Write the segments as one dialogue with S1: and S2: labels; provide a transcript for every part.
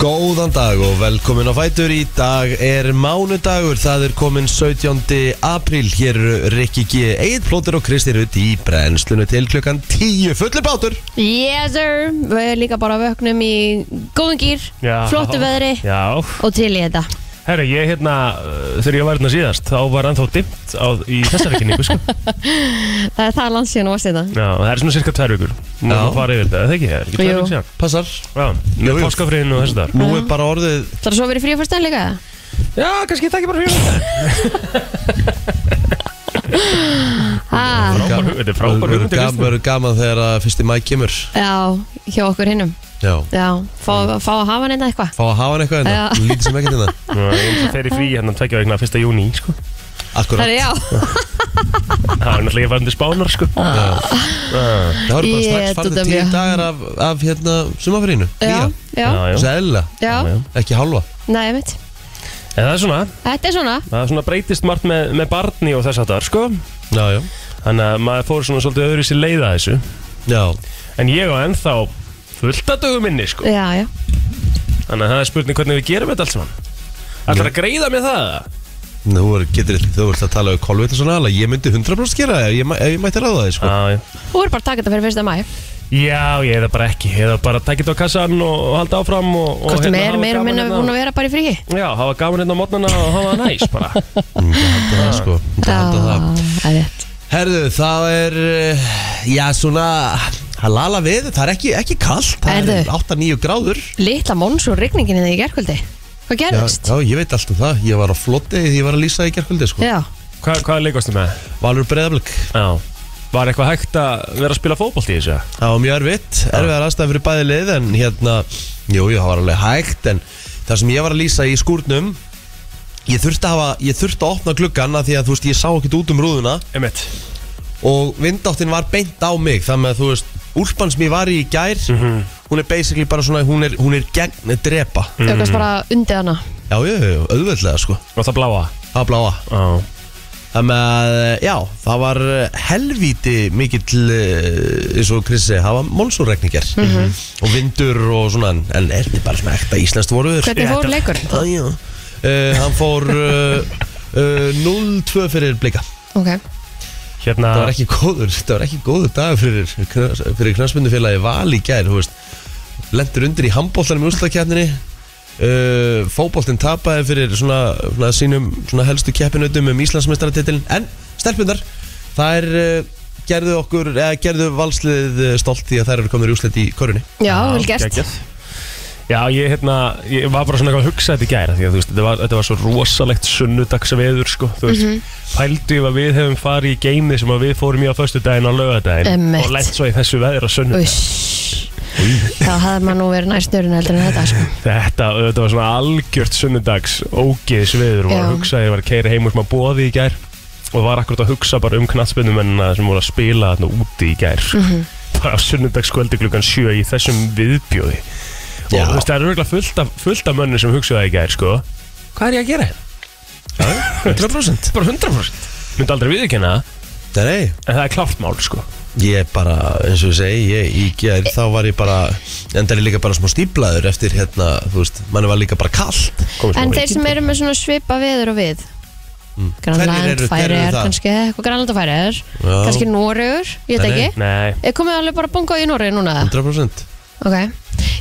S1: Góðan dag og velkomin á Fætur Í dag er mánudagur Það er komin 17. apríl Hér eru Rikki G. Eidplótur og Kristi Rutt í brennslunu til klukkan 10 Fullur bátur
S2: Yes sir, við erum líka bara vöknum í góðum gýr,
S3: Já.
S2: flottu veðri
S3: Já,
S2: og til í þetta
S3: herru, ég hérna, uh, þegar ég var hérna síðast, þá var ennþá dimmt á, í þessari kynningu, sko.
S2: Það er það hérna. landsíðan og ástíðan
S3: Já, það er svona cirka tvær vikur. Nú
S1: Já.
S3: erum við að fara yfir þetta, eða ekki? Það er ekki
S2: Jú.
S3: tvær vikur síðan.
S1: Passar
S3: Já,
S1: Jú,
S3: með
S1: jú.
S3: páskafriðinu og þessu þar.
S1: Nú er bara orðið
S2: Það er svo verið frí að fyrsta líka
S3: Já, kannski það ekki bara fyrir þetta.
S2: ha,
S3: Frábær hug- þetta er frábær
S1: Verður
S3: hugmynd,
S1: gaman-
S3: Kristín.
S1: verður gaman þegar að fyrsti mæk kemur
S2: Já, hjá okkur hinnum
S1: Já
S2: Já, fá, fá að hafa hann hérna eitthvað
S1: Fá að hafa hann eitthvað
S2: Já.
S1: hérna Lítið sem ekkert hérna
S3: Nú, ég er náttúrulega fer í frí hérna tvekja vegna 1. júni, sko.
S2: Það er
S1: Akkurat
S2: já,
S3: Það er náttúrulega ég var undir spánar, sko.
S1: Ah. Já. Það voru bara
S2: Ég,
S1: strax
S2: þetta
S1: farið til
S2: mjög.
S1: dagar af, af hérna sumafrýinu
S2: já, já,
S1: Sæðilega,
S2: já,
S3: já.
S1: ekki hálfa
S2: nei mitt
S3: En það er svona,
S2: Þetta er svona,
S3: það er svona breytist margt með, með barni og þess að það, sko.
S1: Já, já
S3: Þannig að maður fór svona svolítið öðru sér leiða þessu.
S1: Já,
S3: En ég á ennþá fullt að dögum inni, sko.
S2: já, já
S3: Þannig að það er spurning hvernig við gerum þetta allt saman Ætlar að greiða með það?
S1: Nú er, getur þú ert að tala um kolvita svona alveg, ég myndi 100% gera það ef ég, mæ- ef ég mætti ráða það, sko.
S3: Já, já
S2: Þú er bara að taka þetta fyrir fyrsta mæ
S3: Já, ég hefði það bara ekki, ég hefði það bara takit á kassan og, og halda áfram og, og
S2: Hvort meir,
S3: hafa
S2: meir og
S3: gaman hérna.
S2: minna við búin að vera bara í frí
S3: Já, hafa gaman hérna á mótnana og hafa það næs bara
S1: Mm, Ég held að það, sko. Ég held að það.
S2: það er rétt
S1: Herðu, það er, eh, já, svona, það lala við, það er ekki, ekki kallt, það
S2: Herðu.
S1: er 8-9 gráður.
S2: Litla móns og rigningin hérna í það í gerkvöldi Hvað
S1: Já,
S2: gerðist?
S1: já, ég veit allt um það, ég var á flotti því ég var að lýsa í gerkvöldi, sko.
S2: Já,
S3: Hva, Hvað leikastu með?
S1: Valur breyðablökk,
S3: Já Var eitthvað hægt að vera að spila fótbolt í þessu?
S1: það var mjög erfitt, erfiðar aðstæðan fyrir bæði lið, en hérna, jú, jú, það var alveg hægt, en það sem ég var að lýsa í skúrnum, ég þurfti að hafa, ég þurfti að opna gluggan af því að, þú veist, ég sá ekkert út um rúðuna,
S3: Emmett
S1: og vindáttin var beint á mig þannig að þú veist, úlpan sem ég var í í gær hún er basically bara svona hún er, hún er gegn að drepa
S2: þau kannast bara undið hana
S1: já, já, já, já, auðveldlega sko
S3: Og það bláa
S1: að bláa
S3: Já
S1: þannig að, já, það var eh, helvíti mikill eh, eins og Krissi, það var málsúrregningar
S2: Mhm.
S1: Mhm. og vindur og svona en- en er þetta bara svona ekta íslenskt voruður
S2: Hvernig
S3: Ég-
S2: fór
S3: þetta-
S2: leikur?
S1: það, já uh, hann fór uh, uh, 0-2 fyrir blika
S2: Ok,
S3: Hérna
S1: Það var ekki góður, það var ekki góður dag fyrir, knas- fyrir knarspindufélagi Val í gær, þú veist Lendur undir í handbóltanum í úrslutakefninni uh, Fótbóltin tapaði fyrir svona, svona sínum svona helstu keppinutum um Íslandsmeistaratitilin En stelpundar, þær uh, gerðu okkur, eða gerðu valslið stolt því að þær eru komin í úrslit í korunni
S2: já, vel gert
S3: geggjað. Já, ég, hérna, ég var bara svona eitthvað að hugsa þetta í gæra því að þú veist, þetta var, þetta var svo rosalegt sunnudagsveður, sko, þú veist,
S2: Mhm.
S3: pældu ef að við hefum farið í geimið sem að við fórum í á föstudaginn og lögadaginn
S2: Einmitt.
S3: og lent svo í þessu veður á sunnudaginn.
S2: Uss Þá hafði maður nú verið nær snörun heldur en þetta sko.
S3: Þetta, þetta var svona algjört sunnudags ógeðisveður og
S2: Já.
S3: var að hugsa, ég var að keira heim úr smá bóði í gær og var akkurat að hugsa bara um knatsbyndumennina sem voru að spila þarna úti í gær, sko.
S2: Mhm.
S3: bara á sunnudagskvöldi klukkan sjö í þessum viðbjóði.
S1: Já.
S3: og þú veist, það er örgulega fullt af, fullt af mönnum sem hugsaðu það í gær, sko Hvað er ég að gera hérna?
S1: 100%
S3: Bara 100% Myndi aldrei viðurkenna það,
S1: Nei,
S3: en það er klárt mál, sko
S1: ég bara, eins og ég segi, ég, í gær þá var ég bara Endar ég líka bara smá stíplaður eftir hérna, þú veist, manni var líka bara kallt
S3: Komum
S2: En þeir sem eru með svona svipa veður og við
S1: Hverjir
S2: Grænland,
S1: eru- hverjir eru
S2: Færiðar,
S1: það?
S2: kannski eh, eitthvað Grænland og Færiðar
S1: Já.
S2: Kannski Noregur, ég veit
S1: Nei,
S2: ekki
S3: Nei,
S2: Er komið alveg bara bongað í Noregi núna?
S1: 100%
S2: Ok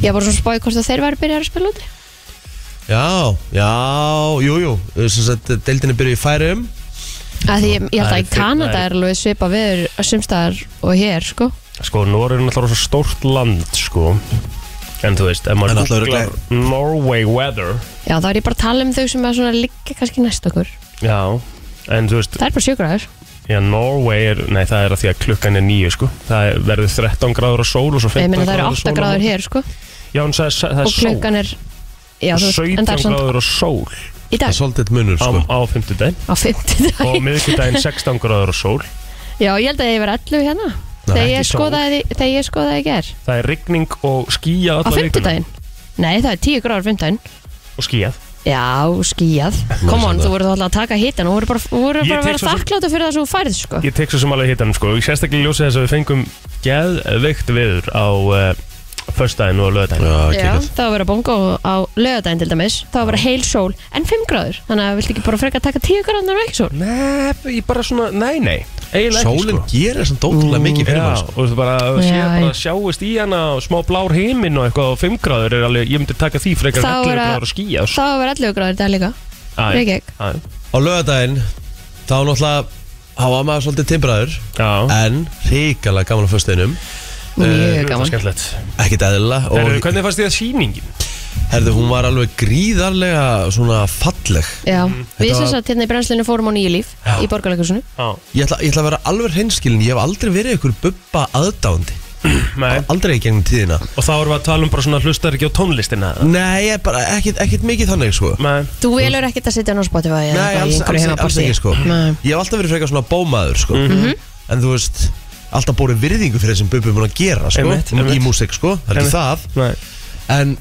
S2: Ég var svona að spáði hvort að þeir væri byrjað að spila úti
S1: Já, já, jú, jú Svo að deildinni byrju í færum
S2: Af Því ég, ég held að
S3: Það er
S2: í
S3: fyrir-
S2: Kanada
S3: það er-
S2: er alveg svipa veður á sumstaðar og hér sko
S3: sko, Nóri er náttúrulega svo stórt land, sko En þú veist, ef
S1: En
S3: maður
S1: náttúrulega
S3: googlar Norway weather
S2: Já þá er ég bara að tala um þau sem er svona liggja kannski næst okkur
S3: Já, en þú veist,
S2: Það er bara sjögraður
S3: já, Norway er Nei, það er að því að klukkan er nýju, sko Það er- verður 13 gráður á sól og svo
S2: Ég
S3: 15
S2: meina það eru
S3: gráður á
S2: 8
S3: sól á
S2: gráður
S3: morgun.
S2: hér sko
S3: Já, en það er, það er
S2: Og
S3: sól
S2: klukkan er Já þú veist, en það
S3: 17
S2: er svona
S3: gráður á
S2: í
S3: sól
S1: Það
S2: dag
S1: er svolítið munur,
S3: á,
S1: sko
S3: á 50 daginn
S2: á 50
S3: og miðvikudaginn 16 gráður á sól
S2: Já, ég held að ég verið 11 hérna Þegar ég
S3: ekki sól.
S2: skoðaði, þegar ég skoðaði í ger
S3: Það er rigning og skíjað
S2: Á
S3: alla vikuna
S2: 50 Nei, það er 10 gráður 50
S3: Og skíjað
S2: Já, skíjað Come on, þú voru þá alltaf að taka hitan og voru bara, voru
S3: Ég
S2: bara að
S3: tek
S2: vera
S3: svo sem-
S2: þakkláttu fyrir það sem þú færið sko.
S3: Ég tek svo sem alveg hittanum sko Ég sérstaklega ljósi þess að við fengum geðveikt viður á, uh, á Föstudaginn og lögadaginn
S1: Já,
S2: Já,
S1: kekjað
S2: það var að vera bongo á lögadaginn til dæmis Það var að vera heil sól en 5 gráður Þannig að viltu ekki bara frekar taka 10 gráðunar og ekki sól
S3: Nei, ég bara svona, nei, nei Eiginlega ekki,
S1: Sólinn
S3: sko.
S1: gerir þessan dótrúlega mikið fyrir
S3: Já,
S1: maður sko.
S3: og þú veist bara, sé,
S2: Já,
S3: bara
S2: já.
S3: sjáist í hana og smá blár heiminn og eitthvað og 5 gráður er alveg, ég myndi taka því frekar
S2: Þá
S3: allir
S2: er að-
S3: gráður sko. að skýja
S2: Það var að vera 11 gráður í dag líka Reykjavík.
S1: Á lögadaginn Þá náttúrulega Háa maður svolítið timbraður
S3: Já,
S1: En ríkala gaman á föstuðinum
S3: Eh,
S2: Mjög gaman
S3: skemmtilegt
S1: Ekkert eðla
S3: Herru,
S1: Og
S3: Hvernig fannst þið að sýningin?
S1: herðu, hún var alveg gríðarlega Svona falleg
S2: Já, við
S1: Þetta
S2: sem
S1: var-
S2: sagt hérna í brennslinu fórum á nýju líf
S1: Já.
S2: Í borgarleikursinu
S3: Já,
S1: Ég ætla, ég ætla að vera alveg hreinskilin Ég hef aldrei verið ykkur bubba aðdáandi
S3: nei
S1: Aldrei í gegnum tíðina
S3: Og þá erum við að tala um bara svona hlustar ekki á tónlistina eða?
S1: Nei, ég er bara ekkert, ekkert mikið þannig sko
S3: Nei,
S2: Þú velur ekkert að sitja hann á Spotify
S1: Nei,
S2: eða eitthvað í
S1: alls,
S2: einhverju
S1: alls, alls
S2: heimapartíi.
S1: ekki sko
S2: Nei. Mhm.
S1: Ég hef alltaf verið frekar svona bómaður sko En þú veist, alltaf bórið virðingu fyrir þessum bubbi búin að gera sko
S3: Einmitt, einmitt.
S1: Í músík sko, það er ekki það
S3: nei
S1: En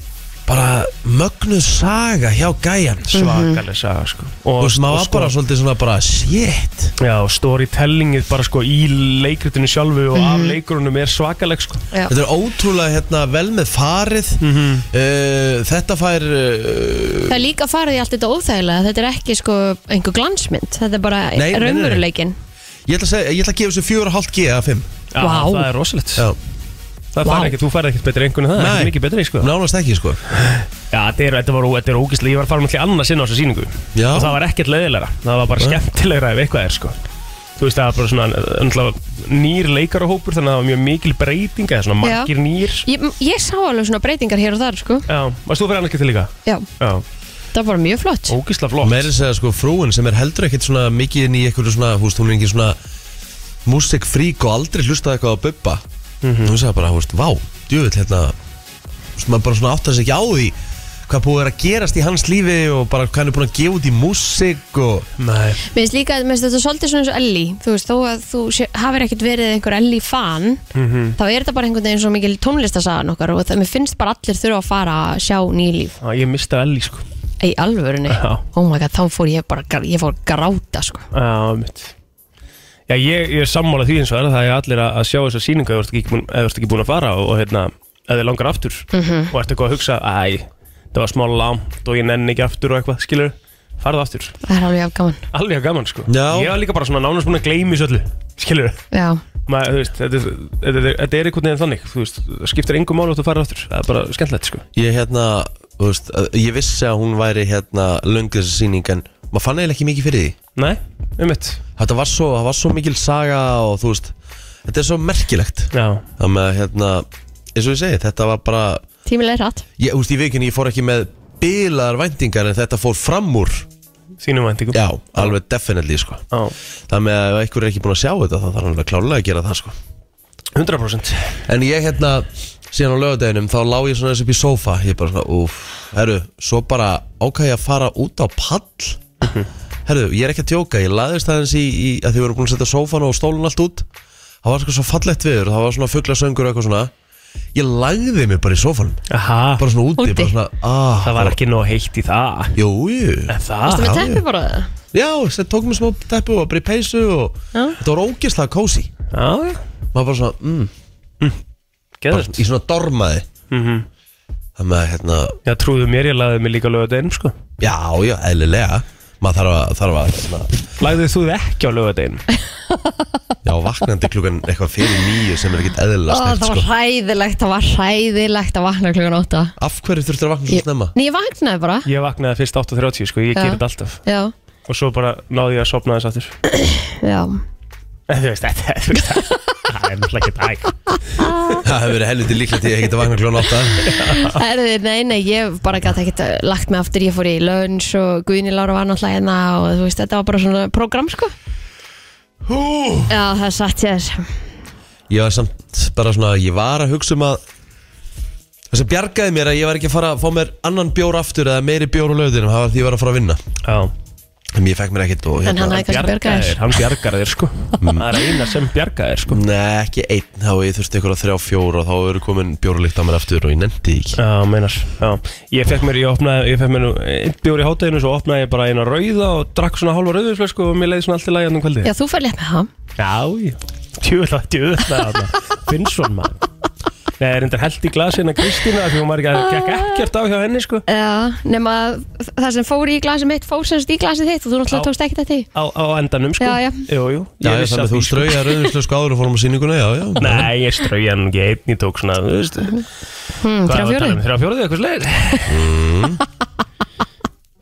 S1: bara mögnuð saga hjá gæjan
S2: Mhm.
S3: Svakalega saga sko
S1: Þú veist, maður var bara svolítið svona bara Shit
S3: Já, og storytellingið bara sko í leikritinu sjálfu og
S2: Mhm.
S3: af leikurunum er svakaleg sko
S2: Já.
S1: Þetta er ótrúlega hérna, vel með farið
S3: Mhm.
S1: uh, Þetta fær uh,
S2: Það er líka farið í allt þetta óþægilega Þetta er ekki sko einhver glansmynd Þetta er bara
S1: Nei, nei, nei, nei.
S2: raunveruleikin
S1: ég, ætla að segja, ég ætla að gefa þessu 4,5 G af 5
S3: Já,
S2: Vá.
S3: það er rosalegt
S1: Já,
S3: Það
S2: Vá.
S3: fær ekki, þú færði ekkert betri einhvern en það,
S1: Nei.
S3: ekki mikið betri sko
S1: nánast ekki sko
S3: Já, þetta er, þetta var, ó- þetta er ógíslega, ég var farin allir annars inn á þessu síningu
S1: Já.
S3: Og það var ekkert leiðilegra, það var bara
S1: Nei.
S3: skemmtilegra ef eitthvað er sko Þú veist, það var bara svona, náttúrulega nýr leikarahópur Þannig að það var mjög mikil breyting, eða svona
S2: Já.
S3: margir nýr
S2: ég, ég sá alveg svona breytingar hér og þar sko
S3: Já, varst þú fyrir annars ekki til líka?
S2: Já,
S3: Já,
S2: það var mjög flott
S3: ógíslega flott
S1: Meira að segja sko frúin sem er heldur ekkert svona mikið inn í eitthvað svona, húst, hún er engin svona músikfrík og aldrei hlustað eitthvað á bubba Hún sagði bara, húst, vá, djöfull hérna Húst, maður bara svona áttast ekki á því hvað búið er að gerast í hans lífi og bara hvað hann er búin að gefa út í músik og
S3: Nei,
S2: Mér finnst líka, mér finnst þetta svolítið svona eins og Ellie Þú veist, þó að þú sé, hafir ekkert verið einhver Ellie fan
S1: Mhm.
S2: Þá er þetta bara einhvern veginn svo mikil tónlistasagan okkar Og það, mér finnst bara allir þurfa að fara að sjá nýlíf
S3: Já, ég misti Ellie sko
S2: Í alvörunni
S3: Já.
S2: Oh my god, þá fór ég bara, gr- ég fór að gráta sko
S3: Já, mitt Já, ég, ég er sammála því eins og það er að það er allir að, að sjá þessa sýningu ef þú ert ekki búin- ef þú ert ekki búin að fara og, og hérna, ef þið langar aftur og ert eitthvað að hugsa, æ, það var smá langt og ég nenni ekki aftur og eitthvað, skilur farðu aftur,
S2: Það er alveg af gaman
S3: alveg gaman sko
S1: Já.
S3: Ég var líka bara svona nánast búin að gleymi þessu öllu skilur,
S2: Já,
S3: maður, þú veist þetta, er- þetta, þetta, þetta er einhvern veginn þannig, þú veist það skiptir engum máli og þú farið aftur, það er bara skemmtilegt sko
S1: ég hérna, þú veist, að- ég vissi að hún væri hérna löngið þessi sýning en maður fann eiginlega ekki mikið fyrir því
S3: Nei, um mitt
S1: Þetta var svo, það var svo mikil saga og þú veist, þetta er svo merkilegt
S3: Já,
S1: Það með hérna, eins og ég segi, þetta var bara
S2: tímilega er hratt
S1: Ég, úst, í vikunni ég fór ekki með bilaðar væntingar en þetta fór fram úr
S3: þínum væntingum
S1: Já, alveg definitely sko
S3: Já,
S1: Það með að ef einhver er ekki búin að sjá þetta þá þarf hann alveg klálega að gera það sko
S3: 100%
S1: En ég hérna, síðan á lögadeginum þá lá ég svona þessu upp í sófa Ég bara svona, úff, herru, svo bara ákvæði að fara út á pall Herru, ég er ekki að tjóka, ég laðist aðeins í, í að þið voru búin að setja sófan og stólun allt út Það var sko svo fallegt viður, það var svona fuglasöngur og eitthvað svona Ég lagði mig bara í sófanum,
S3: Aha,
S1: bara svona úti,
S2: Úti.
S1: bara svona, ah,
S3: það var ekki nóg heitt í það
S1: Jú, jú
S3: En það
S2: Það með
S1: já,
S2: teppi bara það
S1: Já, sem tók mér smá teppu og bara í peysu og
S2: Já.
S1: þetta var ógeðslega kósi
S3: Já, já,
S1: maður bara svona, mm, bara
S3: geðvægt
S1: í svona dormaði þannig að hérna,
S3: Já, trúðu mér, ég lagði mig líka á lögadeinum sko
S1: já, já, eðlilega maður þarf að, þarf að hérna,
S3: Lagðið þú þið ekki á lögadeinum?
S1: já, vaknandi klukkan eitthvað fyrir nýju sem er ekkit
S2: Ó,
S1: eðlilega
S2: það
S1: stert
S2: var
S1: sko.
S2: hræðilegt, það var hræðilegt að vakna klukkan 8
S1: af hverju þurftur að vakna svo snemma?
S2: Nei, ég vaknaði bara
S3: Ég vaknaði fyrst 8.30 sko, ég
S2: Já.
S3: ger þetta alltaf
S2: Já,
S3: Og svo bara náði ég að sopna þess aftur
S2: já
S3: En Þú veist, þetta þú veist, það er náttúrulega ekki dæk
S1: það hefur verið helviti líklegt því að ég ekkit að vakna klukkan 8
S2: Erði, nei, nei, ég bara gæti ekkert uh, lagt mig aftur Ég fór í lunch og Guðni Lára var náttúrulega hérna Og þú veist, þetta var bara svona program, sko Hú Já, það satt ég þess
S1: ég var samt bara svona, ég var að hugsa um að það sem bjargaði mér að ég var ekki að fara að fá mér annan bjór aftur eða meiri bjór á löðinum, það var því ég var að fara að vinna
S3: Já,
S1: en ég fekk mér ekkit og
S2: En hann hafði kannski bjargað
S3: bjargaðir,
S2: þér
S3: hann bjargaðir sko Það er eina sem bjargaðir sko
S1: Nei, ekki einn, þá ég þurfti ykkur að þrjá fjóra og þá eru komin bjórulikt á mér aftur og ég nefndi því ekki
S3: Já, meinar, já Ég fekk mér, ég opnaði, ég fekk mér nú einn bjór í hátæðinu Svo opnaði ég bara eina rauða og drakk svona hálfa rauðislega sko Og mér leiði svona allt í lagi hann um kvöldi
S2: Já, þú fær létt með það
S3: Já, já Tjúla, tjúla Finnsson maður Nei, reyndar held í glasina Kristína af Því hún var ekki að gekk ekkert á hjá henni sko
S2: Já, nema það sem fór í glasið mitt fór semst í glasið þitt og þú náttúrulega
S3: Já.
S2: tókst ekkert eftir því.
S3: Á, á endanum sko
S2: Já, já.
S3: Jú, jú
S1: Já,
S3: Ég
S1: já
S3: vissi
S1: þannig
S3: af
S1: að þú
S3: því, sko.
S1: strauja rauðinslösku áður og fórum á sýninguna, já, já.
S3: Nei, ég strauði hann ekki einn í tók svona, þú veist
S2: Hmm,
S3: Hvað
S2: Þrjá
S3: var að tala
S2: fjóruð.
S3: um? Þrjá fjóruði, eitthvað slegir
S1: Mm.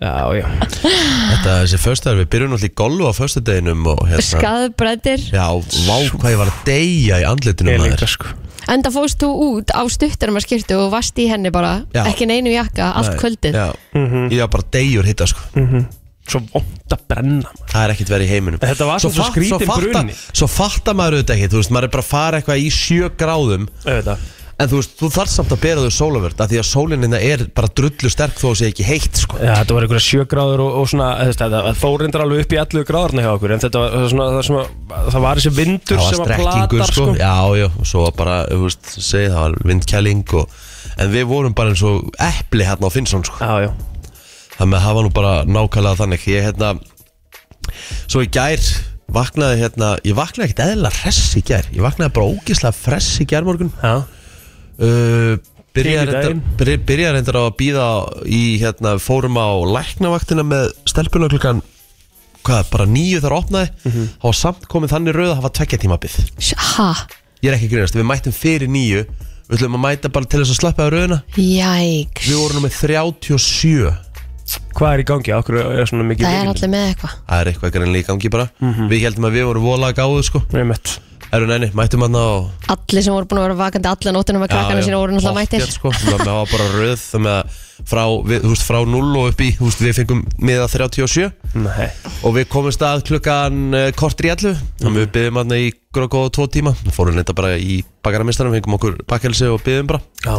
S3: Já, já
S1: Þetta er þessi föstaðar, við byrjum alltaf í golfu á föstadeginum og hérna.
S2: Skaðbrættir.
S1: Já, vá, hvað ég var að deyja í andlitinu
S3: Ég líka
S1: maður.
S3: sko
S2: Enda fóst þú út á stuttunum að skirtu og vast í henni bara,
S1: Já.
S2: ekki neinu jakka, allt
S1: Nei,
S2: kvöldið.
S1: Já,
S3: Mhm.
S1: ég var bara deyjur hitta, sko.
S3: Mm. Svo vond að brenna maður.
S1: Það er ekkert verið í heiminum
S3: Þetta var
S1: Svo
S3: samt svo
S1: fatt-
S3: skrýtin
S1: svo fatta-
S3: bruni.
S1: Svo fattar maður auðvitað ekki, þú veist, maður er bara að fara eitthvað í sjö gráðum
S3: Auðvitað
S1: En þú veist, þú þarf samt að bera þau sólavörd af Því að sólinina er bara drullu sterk þó að sé ekki heitt, sko
S3: Já, þetta var einhverja sjögráður og, og svona þú veist, Þetta fórindar alveg upp í 11 gráðurna hjá okkur En þetta var það svona, það, svona, það var þessi vindur
S1: Það var
S3: sem að
S1: strekkingur,
S3: platar
S1: sko. Já, já, og svo var bara, þú veist, segið það var vindkæling og En við vorum bara eins og epli hérna á Finnsson, sko
S3: Já, já
S1: Þannig að það var nú bara nákvæmlega þannig Ég, hérna, svo í gær vaknaði, hérna Ég vaknaði ekkert eðla hress í gær Ég vaknaði bara ógislega fress í gærmorgun
S3: Já,
S1: Uh, byrja
S3: Til í
S1: reyndar,
S3: daginn.
S1: byrja, byrja reyndar á að býða í hérna, fórum á læknavaktina með stelpuna klukkan hvað, bara nýju þar opnaði mm
S3: Mhm.
S1: það var samt komið þannig röð að það var tvekja tíma bið
S2: Ha,
S1: ég er ekki að grínast, við mættum fyrir nýju við ætlum að mæta bara til þess að sleppa á röðina
S2: jæks.
S1: við vorum með 37
S3: hvað er í gangi? Okkur er svona mikið
S2: Það er allir með eitthvað.
S1: það er eitthvað greinlega í gangi bara við heldum að við vorum volað gáðu sko
S3: Nei, mitt
S1: erum neini, mættum hann og
S2: Allir sem voru búin að vera vakandi alla nótunum með krakkana sína voru náttúrulega
S1: Pottþétt,
S2: mættir.
S1: sko, það með var bara röð það með að frá, við, þú veist, frá 0 og upp í, þú veist, við fengum miða 37
S3: Nei
S1: og við komumst að klukkan uh, kortur í 11 þannig að við byggum hann í gróða góða tvo tíma fórum þetta bara í bakaramistanum fengum okkur bakkelsi og byggum bara
S3: Já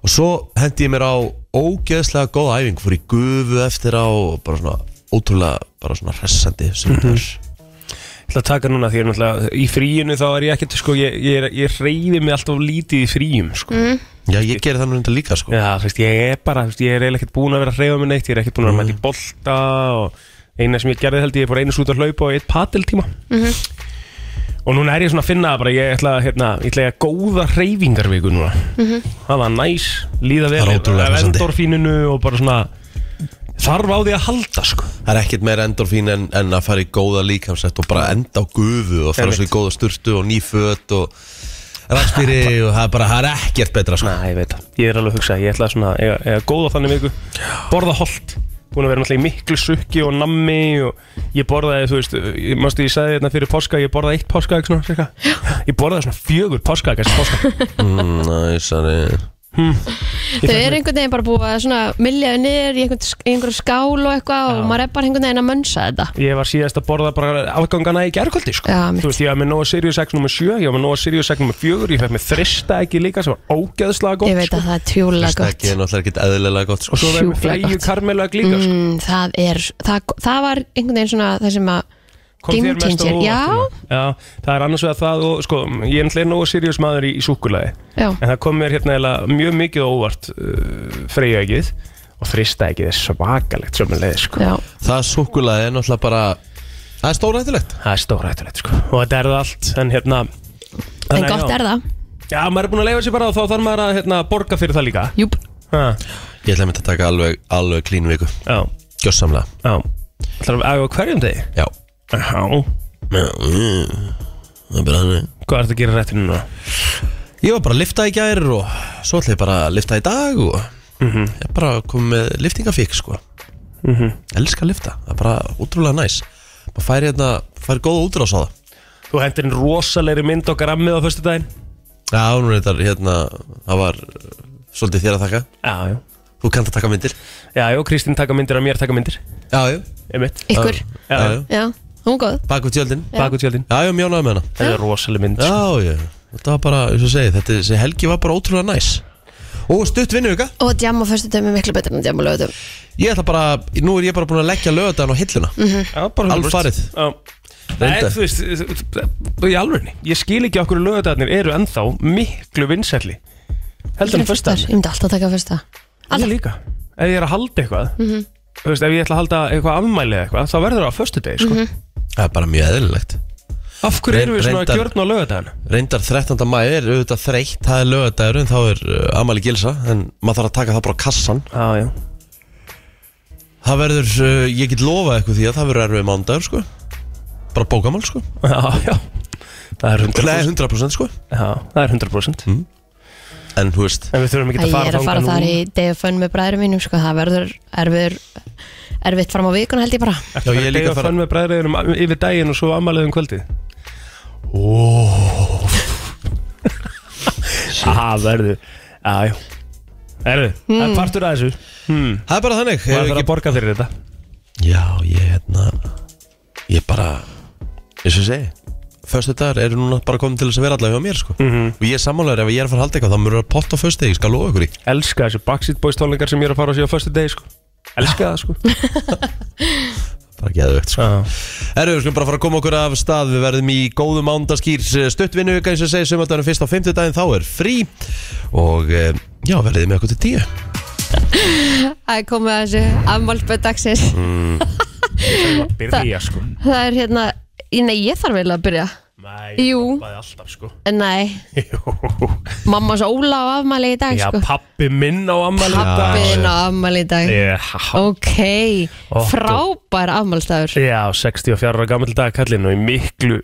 S1: og svo hendi ég mér á ógeðslega góða æfingu, fór í gufu eftir á og bara svona ótrúlega bara svona hressandi sunnudagur.
S3: Mhm. Ég ætla að taka núna því ég er náttúrulega Í fríinu þá er ég ekkert sko Ég, ég, er- ég reyði mig alltaf lítið í fríum sko
S2: Mm.
S1: Já, ég geri þannig þetta líka sko
S3: Já, þú veist, ég er bara, þú veist, ég er eiginlega ekkert búin að vera að reyfa mig neitt, ég er ekkert búin að mæta í
S1: Mm.
S3: bolta og eina sem ég gerði held ég, ég er bara einu út að hlaupa og eitt padeltíma. Og núna er ég svona að finna það bara, ég ætla að, hérna, ég ætla að eiga góða reyfingarviku núna. Það var næs, líða vel,
S1: Það er ótrúlega
S3: af
S1: hressandi.
S3: endorfíninu og bara svona, þarf á því að halda, sko.
S1: Það er ekkert meira endorfín en, en að fara í góða líkamsætt og bara enda á gufu og fara
S3: Einmitt.
S1: svo í góða sturtu og nýföt og rakspýri og það er bara, það er ekkert betra sko.
S3: Nei, ég veit það, ég er alveg að hugsa, ég ætla að svona, eiga, eiga góða þannig viku, borða holdt, búin að vera náttúrulega í miklu sukki og nammi og ég borðaði, þú veist, ég- manstu ég sagði hérna fyrir páska, ég borðaði eitt páska, svona, cirka. ég borðaði svona fjögur páska, þessi páska,
S1: Mm, Næsari
S2: Þau eru einhvern veginn bara búið að svona milljaðu niður í einhvern, í einhvern skál og eitthvað og maður er bara einhvern veginn að mönsa þetta.
S3: ég var síðast að borða bara afgangana í gerkvöldi, sko,
S2: Já, mitt.
S3: þú veist, ég var með Nóa Sirius X nr. 7, ég var með Nóa Sirius X nr. 4, ég fekk með þrista ekki líka, sem var ógeðslega gott,
S2: Ég veit
S3: sko,
S2: að það er tjúlega gott.
S1: Stekki er náttúrulega ekkert eðlilega gott
S3: og
S1: sko.
S3: svo var ég með
S2: sjúklega
S3: flæju
S2: gott.
S3: karmelu líka, sko,
S2: Mm, það, er, það, það var einhvern veginn svona það sem að
S3: Kom
S2: Game
S3: þér mest á
S2: changer,
S3: óvart,
S2: já.
S3: hérna? já Það er annars vegar það og sko Ég er náttúrulega nógu sirjus maður í, í súkulagi
S2: Já.
S3: En það kom mér hérna eiginlega mjög mikið á óvart uh, Freyjaegið Og þristaegið er svakalegt sömulegið sko
S2: já,
S1: Það súkulaði er náttúrulega bara Það er stórættilegt
S3: Það er stórættulegt sko Og þetta er það allt En hérna
S2: en gott er það
S3: Já, maður er búin að leifa sér bara og þá þarf maður að hérna, borga fyrir það líka
S2: Júp,
S3: ha,
S1: Ég ætla mér að taka alveg, alveg klín viku
S3: Já,
S1: Gjössamlega
S3: já Það er að á hverjum degi
S1: Já
S3: Já
S1: mm, Það er bara þannig
S3: Hvað ertu að gera réttinu núna?
S1: Ég var bara að lifta í gær og svo ætla ég bara að lifta í dag og ég er bara komið með liftingafík sko Elskar að lifta, það er bara útrúlega næs Bara færi hérna, færi góða útrás á það
S3: Þú hendir inn rosalegri mynd okkar ammið á föstu daginn
S1: Já, nú er þetta hérna, það var uh, svolítið þér að taka
S3: Já, já
S1: Þú kannt að taka myndir
S3: Já, já, Kristín taka myndir af mér taka myndir
S1: Já, já,
S3: Einmitt
S2: ykkur
S1: já, já,
S2: Já, hún góð
S1: bak við tjöldin
S3: Bakutjöldin
S1: Já, já, mjónaði með hana
S3: Það er rosaleg mynd sko.
S1: Já, já, þetta var bara, eins og ég segi, þetta þessi helgi var bara ótrúlega næs Og stutt vinnu ykkar
S2: Og djam á fyrstu dæmi miklu betur en djam á lögutum
S1: Ég ætla bara, nú er ég bara búin að leggja lögðan á hilluna
S3: Já, bara
S1: Alfarið.
S3: Já. Nei,
S1: Reyndar.
S3: þú veist, í alvörni Ég skil ekki okkur lögadagarnir eru ennþá miklu vinsælli Heldur en fyrsta
S2: Ég myndi alltaf taka fyrsta
S3: Ég líka Ef ég er að halda eitthvað
S2: Mhm. Mhm.
S3: Þú veist, ef ég ætla að halda eitthvað afmæli eða eitthvað þá verður það á föstudegi, sko
S1: Það er bara mjög eðlilegt
S3: Af hverju erum við svona
S1: Reyndar-
S3: að gjörna á lögadagana?
S1: Reyndar 13. maður er auðvitað þreytt Það er lögadagur en þá er uh, Amali Gilsa En maður þarf að taka það bara á kassan
S3: Já, já
S1: Það verður, uh, ég get lofað eitthvað því að það verður erfið mándagur sko Bara bókamál sko
S3: Já, já Það er 100%,
S1: Nei, 100% sko
S3: Já, það er 100%.
S1: En þú veist,
S3: En við þurfum ekki
S2: Æ,
S3: að
S2: Ég
S3: fara
S2: er að fara
S3: þangað
S2: þar
S3: nú
S2: í degafönn með bræðurum mínum sko, það verður erfiður erfitt fram á vikuna held ég bara
S1: já ég er líka að
S3: fara
S1: fara
S3: Fönn með bræðriðinum yfir daginn og svo ammaliðum kvöldið Óóóó Það verður Ah, Já, já Erðu, það
S2: Hmm.
S3: er partur að þessu
S1: Það er bara þannig
S3: Maður
S1: Hefur
S3: þarf
S1: ekki...
S3: að borga fyrir þetta
S1: Já, ég hérna Ég bara, eins og ég segi Föstu dagar eru núna bara komin til þess að vera allavega hjá mér sko Og ég er sammálaður ef ég er að fara að halda eitthvað Þá mörgur að potta á föstu degi, ég skal lofa ykkur í
S3: Elska þessu Backseat Boys tónleikar sem ég er að fara á síðan á föstu degi sko Elska það sko
S1: Bara geðvegt sko
S3: Já.
S1: Herru, við skulum bara fara að koma okkur af stað Við verðum í góðu mándaskýr stuttvinnu eins og segi sömöldanum fyrst á fimmtudaginn Þá er frí Og eh, já, verðið með okkur til tíu
S2: Það er komið að þessu afmálpöð dagsins
S3: Mm. Byrja sko
S2: Það er hérna, í- nei ég þarf eiginlega að byrja
S3: Nei,
S2: Jú.
S3: það er alltaf sko
S2: En Nei,
S3: Jú.
S2: mammas Óla á afmæli í dag
S3: Já,
S2: sko
S3: pappi minn á um ammali
S2: Pappiðin á afmæli í dag
S3: Já,
S2: Ok,
S3: Ó,
S2: frábær afmælstafur
S3: Já, 64 ára gammal dag kallinn og í miklu,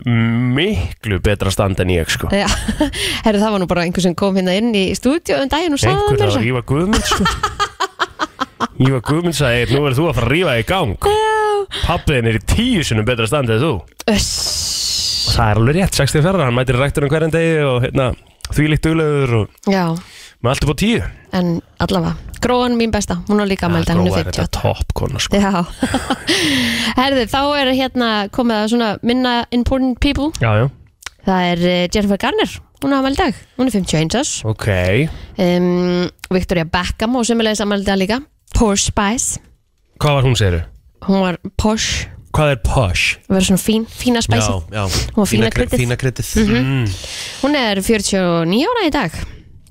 S3: miklu betra stand en ég sko
S2: Já, herru það var nú bara einhver sem kom hérna inn í stúdíu um daginn og sagði það
S3: Einhver
S2: mér
S3: að
S2: svo
S3: rífa Guðmund sko Rífa Guðmund sagði, nú verður þú að fara að rífa í gang Pappiðin er í tíu sinnum betra stand en þú
S2: Öss.
S3: Það er alveg rétt, 64 ára, hann mætir rektur um hverjan degi og hérna, því líkt duglegur og
S2: Já,
S3: með allt upp á tíu
S2: en allavega Gróan mín besta, hún á líka afmæli í dag, hún er
S3: Gróa
S2: 58
S3: er þetta topp kona sko
S2: Já Herðu, þá er hérna komið að svona minna important people
S3: Já, já,
S2: Það er eh, Jennifer Garner, hún er afmæli í dag Hún er 51 árs
S3: ok
S2: um, Victoria Beckham og semulegis afmæli í dag líka Posh Spice
S3: Hvað var hún segiru?
S2: Hún var posh,
S3: Hvað er posh?
S2: hún var svona fín, fína spice
S1: já
S2: Hún var fína kryddið. Mhm.
S1: Fína kryttið
S2: Hún er 49 ára í dag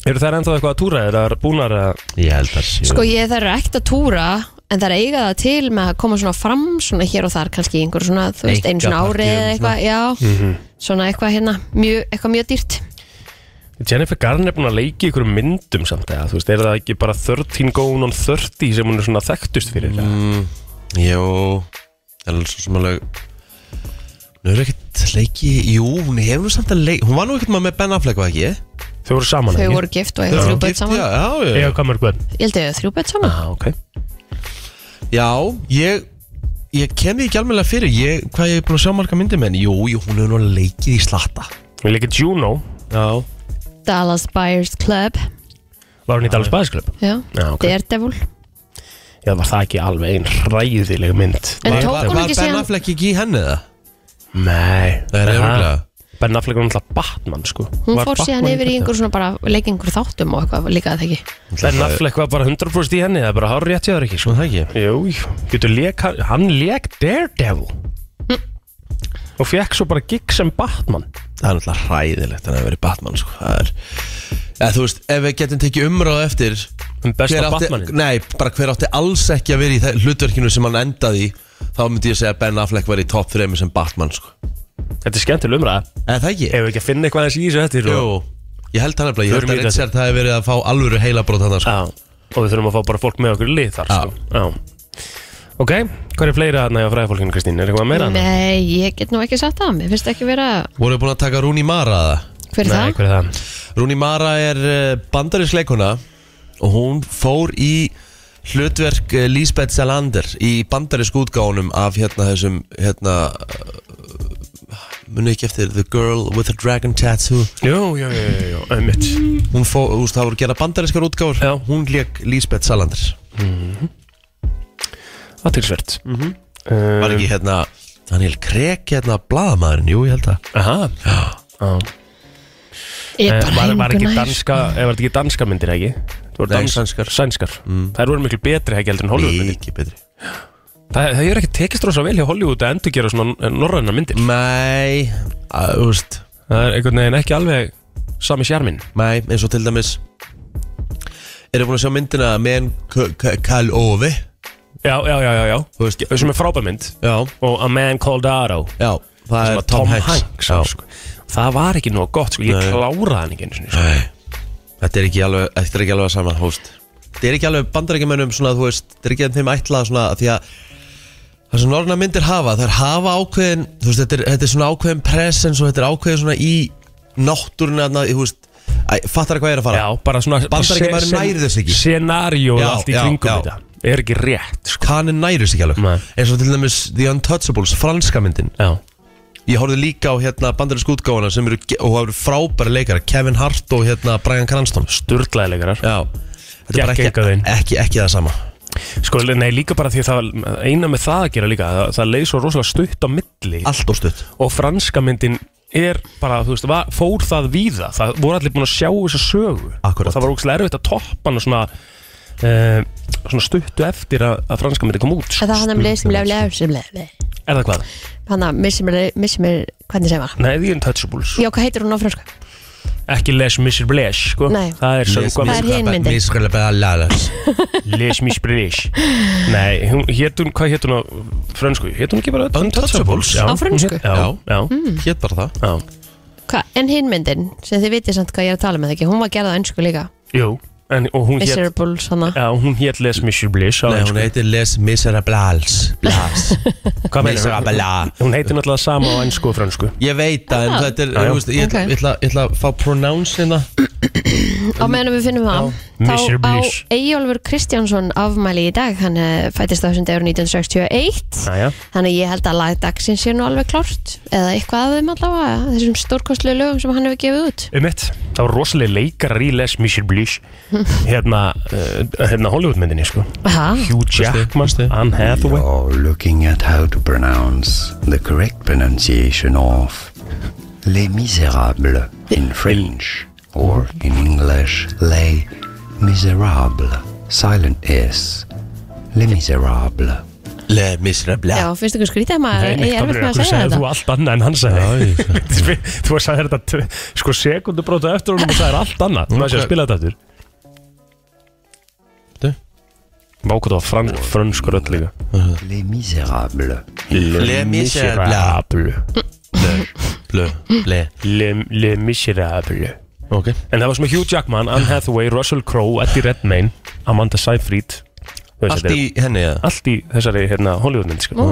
S3: Eru þær ennþá eitthvað að túra þér, að búnar að
S1: Ég held að sé
S2: Sko ég þarf ekkert að túra En það er eiga það til með að koma svona fram Svona hér og þar kannski í einhver svona Þú veist, einu svona
S1: Einkapartíum,
S2: árið eða eitthvað Já,
S3: Mhm.
S2: svona eitthvað hérna mjög, Eitthvað mjög dýrt
S3: Jennifer Garner er búin að leiki ykkur myndum samt eða, þú veist, er það ekki bara 13 going on 30 sem hún er svona þekktust fyrir mm.
S1: Jó, það er svo sem alveg Nú er ekkert leiki Jú, hún hefur samt að leiki Hún var nú ekkert maður með Ben Affleck, var ekki?
S3: Þau voru saman,
S2: Þau
S3: ekki?
S2: voru gift og
S1: Þau
S2: eiga
S1: eru
S2: þrjú börn
S1: gift,
S2: saman
S1: Já, já,
S3: Ég
S1: já
S3: hef kamar hvern
S2: Ég held að þau þrjú bett saman
S3: ah, okay.
S1: Já, ég Ég kem því ekki alveg fyrir ég, Hvað ég er búin að sjá marga myndir með henni Jú, jú, hún hefur nú leikið í slatta
S3: Við leikir Juno,
S1: Já
S2: Dallas Buyers Club
S3: var hún í Dallas Bæðis Club
S2: Já,
S3: Já, ok.
S2: Daredevil
S3: Já, var það ekki alveg einn ræðileg mynd
S2: En
S1: Var-
S2: tók
S1: var-
S2: hún
S1: Var
S2: ekki
S1: Ben
S2: síðan-
S1: Affleck ekki í henni það?
S3: Nei
S1: Það er örugglega.
S3: Ben Affleck var náttúrulega Batman, sko
S2: Hún
S3: Var
S2: fór síðan
S3: Batman
S2: yfir í
S3: þetta?
S2: einhver svona bara leik einhver þáttum og eitthvað líka það ekki
S3: Ben Affleck var bara 100% í henni, það er bara hár rétt hjá þér ekki,
S1: Nú
S3: sko
S1: það ekki
S3: Jú, jú, getur leik, hann leik Daredevil
S2: Hm.
S3: Og fekk svo bara gig sem Batman
S1: Það er náttúrulega hræðilegt að vera Batman sko. Það er Eða, þú veist, ef við getum tekið umræðu eftir
S3: Um besta
S1: hver átti,
S3: Batmaninn.
S1: Nei, bara hver átti alls ekki að vera í það- hlutverkinu sem hann endaði í Þá myndi ég segja að Ben Affleck var í top 3 sem Batman sko.
S3: Þetta er skemmtileg umræða
S1: Eða það ekki?
S3: Ef við ekki að finna eitthvað aðeins í þessu eftir og,
S1: Jú, ég held hann nefnilega Ég held
S3: Förum í Ah.
S1: að
S3: þetta.
S1: Richard hafi verið að fá alvöru heilabrót hann sko.
S3: Já, og við þurfum að fá bara fólk með okkur í lið þar
S1: Já.
S3: sko. Já. Ok, hvað er fleira þarna hjá fræðafólkinu Kristín? Er eitthvað meira? þarna?
S2: Nei, ég get nú ekki sagt það Mér finnst ekki vera,
S1: Voru búin að taka Rúni Mara að það?
S2: hver er
S3: Nei,
S2: það?
S3: hver er það?
S1: Rúni Mara er eh, bandarísleikuna og hún fór í hlutverk eh, Lisbeth Salander í bandarísk útgáunum af hérna þessum hérna eh, muni ekki eftir The Girl with a Dragon Tattoo
S3: Jú, jú, jú, jú, jú, einmitt
S1: hún fór, þú veist, það voru gera bandarískar útgáur
S3: Já.
S1: hún leik Lisbeth Salander
S3: Aðtilsvert mm -hmm. uh,
S1: Mhm. var ekki hérna Daniel Craig hérna blaðamaðurinn, jú ég held að
S3: Aha Já
S2: Ég
S3: Eh,
S2: er bara
S3: Var, var ekki
S2: engu nær.
S3: danska, eða var þetta ekki danska myndir ekki? Það
S1: Nei, Mm.
S3: voru dans-
S1: sænskar.
S3: Sænskar Þær voru miklu betri ekki heldur en Hollywood myndir
S1: mikið betri
S3: Það, það hefur ekki tekist rosa vel hjá Hollywood að endur gera svona norræna myndir
S1: mæ, að, þú veist
S3: Það er einhvern veginn ekki alveg sami sjarminn
S1: Nei, eins og til dæmis Eru búin að sjá myndina Men Kall Ovi
S3: Já, já, já, já, já
S1: Þú veist,
S3: Sem er frábæmynd
S1: já,
S3: og A Man Called Otto
S1: já Það
S3: sem
S1: er
S3: var Tom
S1: Tom
S3: Hanks,
S1: Hanks,
S3: sko,
S1: já.
S3: sko. Það var ekki nóg gott, sko. ég
S1: Nei.
S3: kláraði hann ekki einu sinni sko.
S1: Nei, þetta er ekki alveg, þetta er ekki alveg sama, hóst Þetta er ekki alveg bandarækjumennum svona, þú veist, þetta er ekki þeim ætlað svona af Því að það sem norðna myndir hafa, það er hafa ákveðin, þú veist, þetta er, þetta er svona ákveðin presens og þetta er ákveðin svona í náttúrunni þarna, þú veist, æ, fattar hvað ég er að fara?
S3: Já, bara svona
S1: Bandaríkjamaður
S3: sen-
S1: nærir þess ekki.
S3: Scenario
S1: Já,
S3: allt í
S1: já,
S3: kringum
S1: já.
S3: þetta Er ekki rétt, sko
S1: Kanin næri sig ekki
S3: Nei.
S1: alveg eins og til dæmis The Untouchables, franska myndin
S3: Já,
S1: Ég horfði líka á hérna bandarinsk útgáfana sem eru, ge- og það eru frábæri leikara Kevin Hart og hérna Brian Cranston
S3: durglæðilegarar
S1: Já, þetta er bara
S3: Gekk engan
S1: ekki,
S3: veginn.
S1: ekki, ekki það sama
S3: Sko, nei, líka bara því að það eina með það að gera líka Það, það leið svo rosalega stutt á milli
S1: Allt og stutt
S3: Og franska myndin er bara, þú veist, var, fór það víða Það voru allir búin að sjá þessa sögu
S1: Akkúrat.
S3: Og það var ógstlega erfitt að toppa hann og svona Uh, svona stuttu eftir að, að franska myndi kom út sko.
S2: Það er hann um að lesa mér lefnilega
S3: Er það hvað?
S2: Hann að missi mér, missi mér hvernig segja maður
S3: Nei, The Untouchables
S2: Já, hvað heitir hún á fransku?
S3: Ekki Les Miserables sko.
S2: Nei.
S3: Það er söngva
S2: Það er hin myndin.
S1: Mískulega bara lalas
S3: Les Mis British Nei, hún, hét hún, hvað hétt hún á frönsku? Hétt hún ekki bara
S1: Untouchables?
S3: Já,
S2: Á frönsku? Hmm.
S3: hún hét- Já, já,
S2: Mm.
S1: Hétt bara það
S3: já
S2: Hva? En hinn myndin, sem þið vitið samt hvað ég er að tala með ekki Hún var gerða á ennsku líka
S3: Jú, en, og hún hétt
S2: Miserable, svona
S3: Já, hún hétt Les Miserables á
S1: Nei, hún
S3: ensku.
S1: heitir Les Miserables Blas
S3: Hvað meinar þú?
S1: Miserable.
S3: Hún heitir náttúrulega sama á ennsku og frönsku
S1: Ég veit það, en
S2: Ah.
S1: þetta er,
S3: Já, já.
S1: þú veist, ég ætla-
S2: Ok. Mm.
S1: ég ætla- ég ætla að fá pronounce hérna
S2: Á meðan við finnum það Þá á
S3: Miserables.
S2: Eyjólfur Kristjánsson afmæli í dag Hann eh, fæddist á þessum dagur 1961
S3: Næja,
S2: Þannig að ég held að lag dagsins sé nú alveg klárt Eða eitthvað af þeim allavega Þessum stórkostlu lögum sem hann hefur gefið út
S3: um mitt Það var rosalega leikarar í Les Miserables Hérna, uh, hérna Hollywoodmyndinni sko
S2: Aha.
S3: Hugh Jackman, Anne Hathaway
S4: You're looking at how to pronounce the correct pronunciation of Les Misérables in French or in English Les Misérables. Silent S. Les Misérables.
S1: Les Miserables
S2: Já, finnst ykkur skrítið að maður
S3: Nei,
S2: eigi
S3: neitt,
S2: erfitt
S3: Gabriel,
S2: með að
S3: akkur
S2: segja
S3: sagðir
S2: þetta
S3: Þú allt annað en hann sagði
S1: Já, ég
S3: Þú sagði þetta t- sko sekundu brótu eftir honum og sagði allt annað Þú maður sé að spila þetta eftir
S1: Þetta?
S3: Vá hvað það var frans, franskur öll líka
S4: Les Misérables.
S1: Les Miserables. Blö, ble
S2: Mm.
S3: Le, le Miserable
S1: Ok
S3: En það var sem Hugh Jackman, Anne Hathaway, Russell Crowe, Eddie Redmayne Amanda Seyfried Þú veist,
S1: Allt
S3: þetta
S1: í
S3: er-
S1: henni, eða?
S3: Allt í þessari hérna, Hollywoodmynd sko.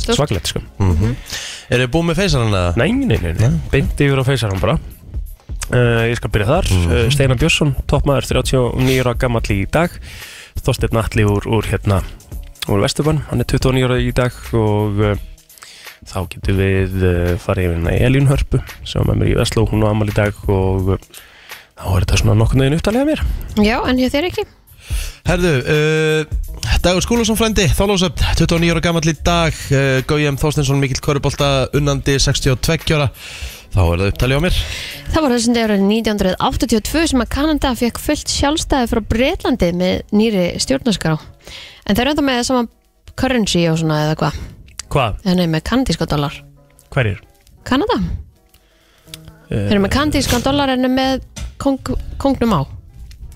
S2: stórt.
S3: Svaklegt sko
S1: Eru þið búið með feysarann eða?
S3: Nei, nei, nei, nei. beint yfir á feysarum bara uh, Ég skal byrja þar mm. uh, Steinar Björnsson, toppmaður 39 ára gamall í dag Þorsteinn Atli úr, úr hérna úr Vesturbann, hann er 29 ára í dag og uh, þá getum við uh, farið yfir hérna í Elín Hörpu sem er með mér í Vestló, hún á amal í dag og uh, þá er þetta svona nokkurn veginn upptalið að mér
S2: Já, en hjá þér ekki
S1: Herðu, uh, Dagur Skúlason frændi, þálósöfn, 29 ára gamall í dag, uh, Gaujum Þorstinsson, Mikill Körubolta, unnandi 62 ára, þá er það upptalið á mér.
S2: Það var þessum dagur 1982 sem að Kanada fekk fullt sjálfstæði frá Breitlandi með nýri stjórnarskrá En þeir eru þetta með saman currency og svona eða hvað
S3: Hvað?
S2: Eða nei, með kanadíska dólar
S3: Hverjir?
S2: Kanada Þeir eru með kanadíska dólar en eru með kong, kongnum á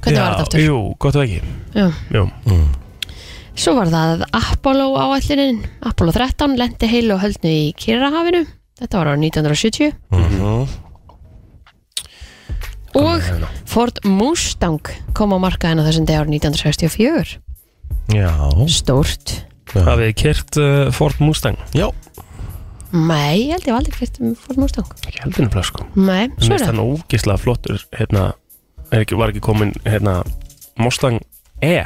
S2: Hvernig var þetta aftur?
S3: Jú, gott og ekki
S2: Já.
S3: Jú.
S2: Svo var það Apollo áallinin Apollo 13 lendi heilu og höldnu í Kyrrahafinu Þetta var á 1970
S1: Mhm.
S2: Og Ford Mustang kom á markaðina þessum dag árið 1964
S1: Já.
S2: Stórt
S3: Hafið þið kert uh, Ford Mustang?
S1: Já.
S2: Nei, ég held ég hef aldrei kert um Ford Mustang
S3: Ekki heldinu plöð sko
S2: Nei, svo
S3: Mér
S2: er
S3: finnst
S2: það
S3: hann ógeðslega flottur hérna, er ekki, var ekki komin hérna, Mustang E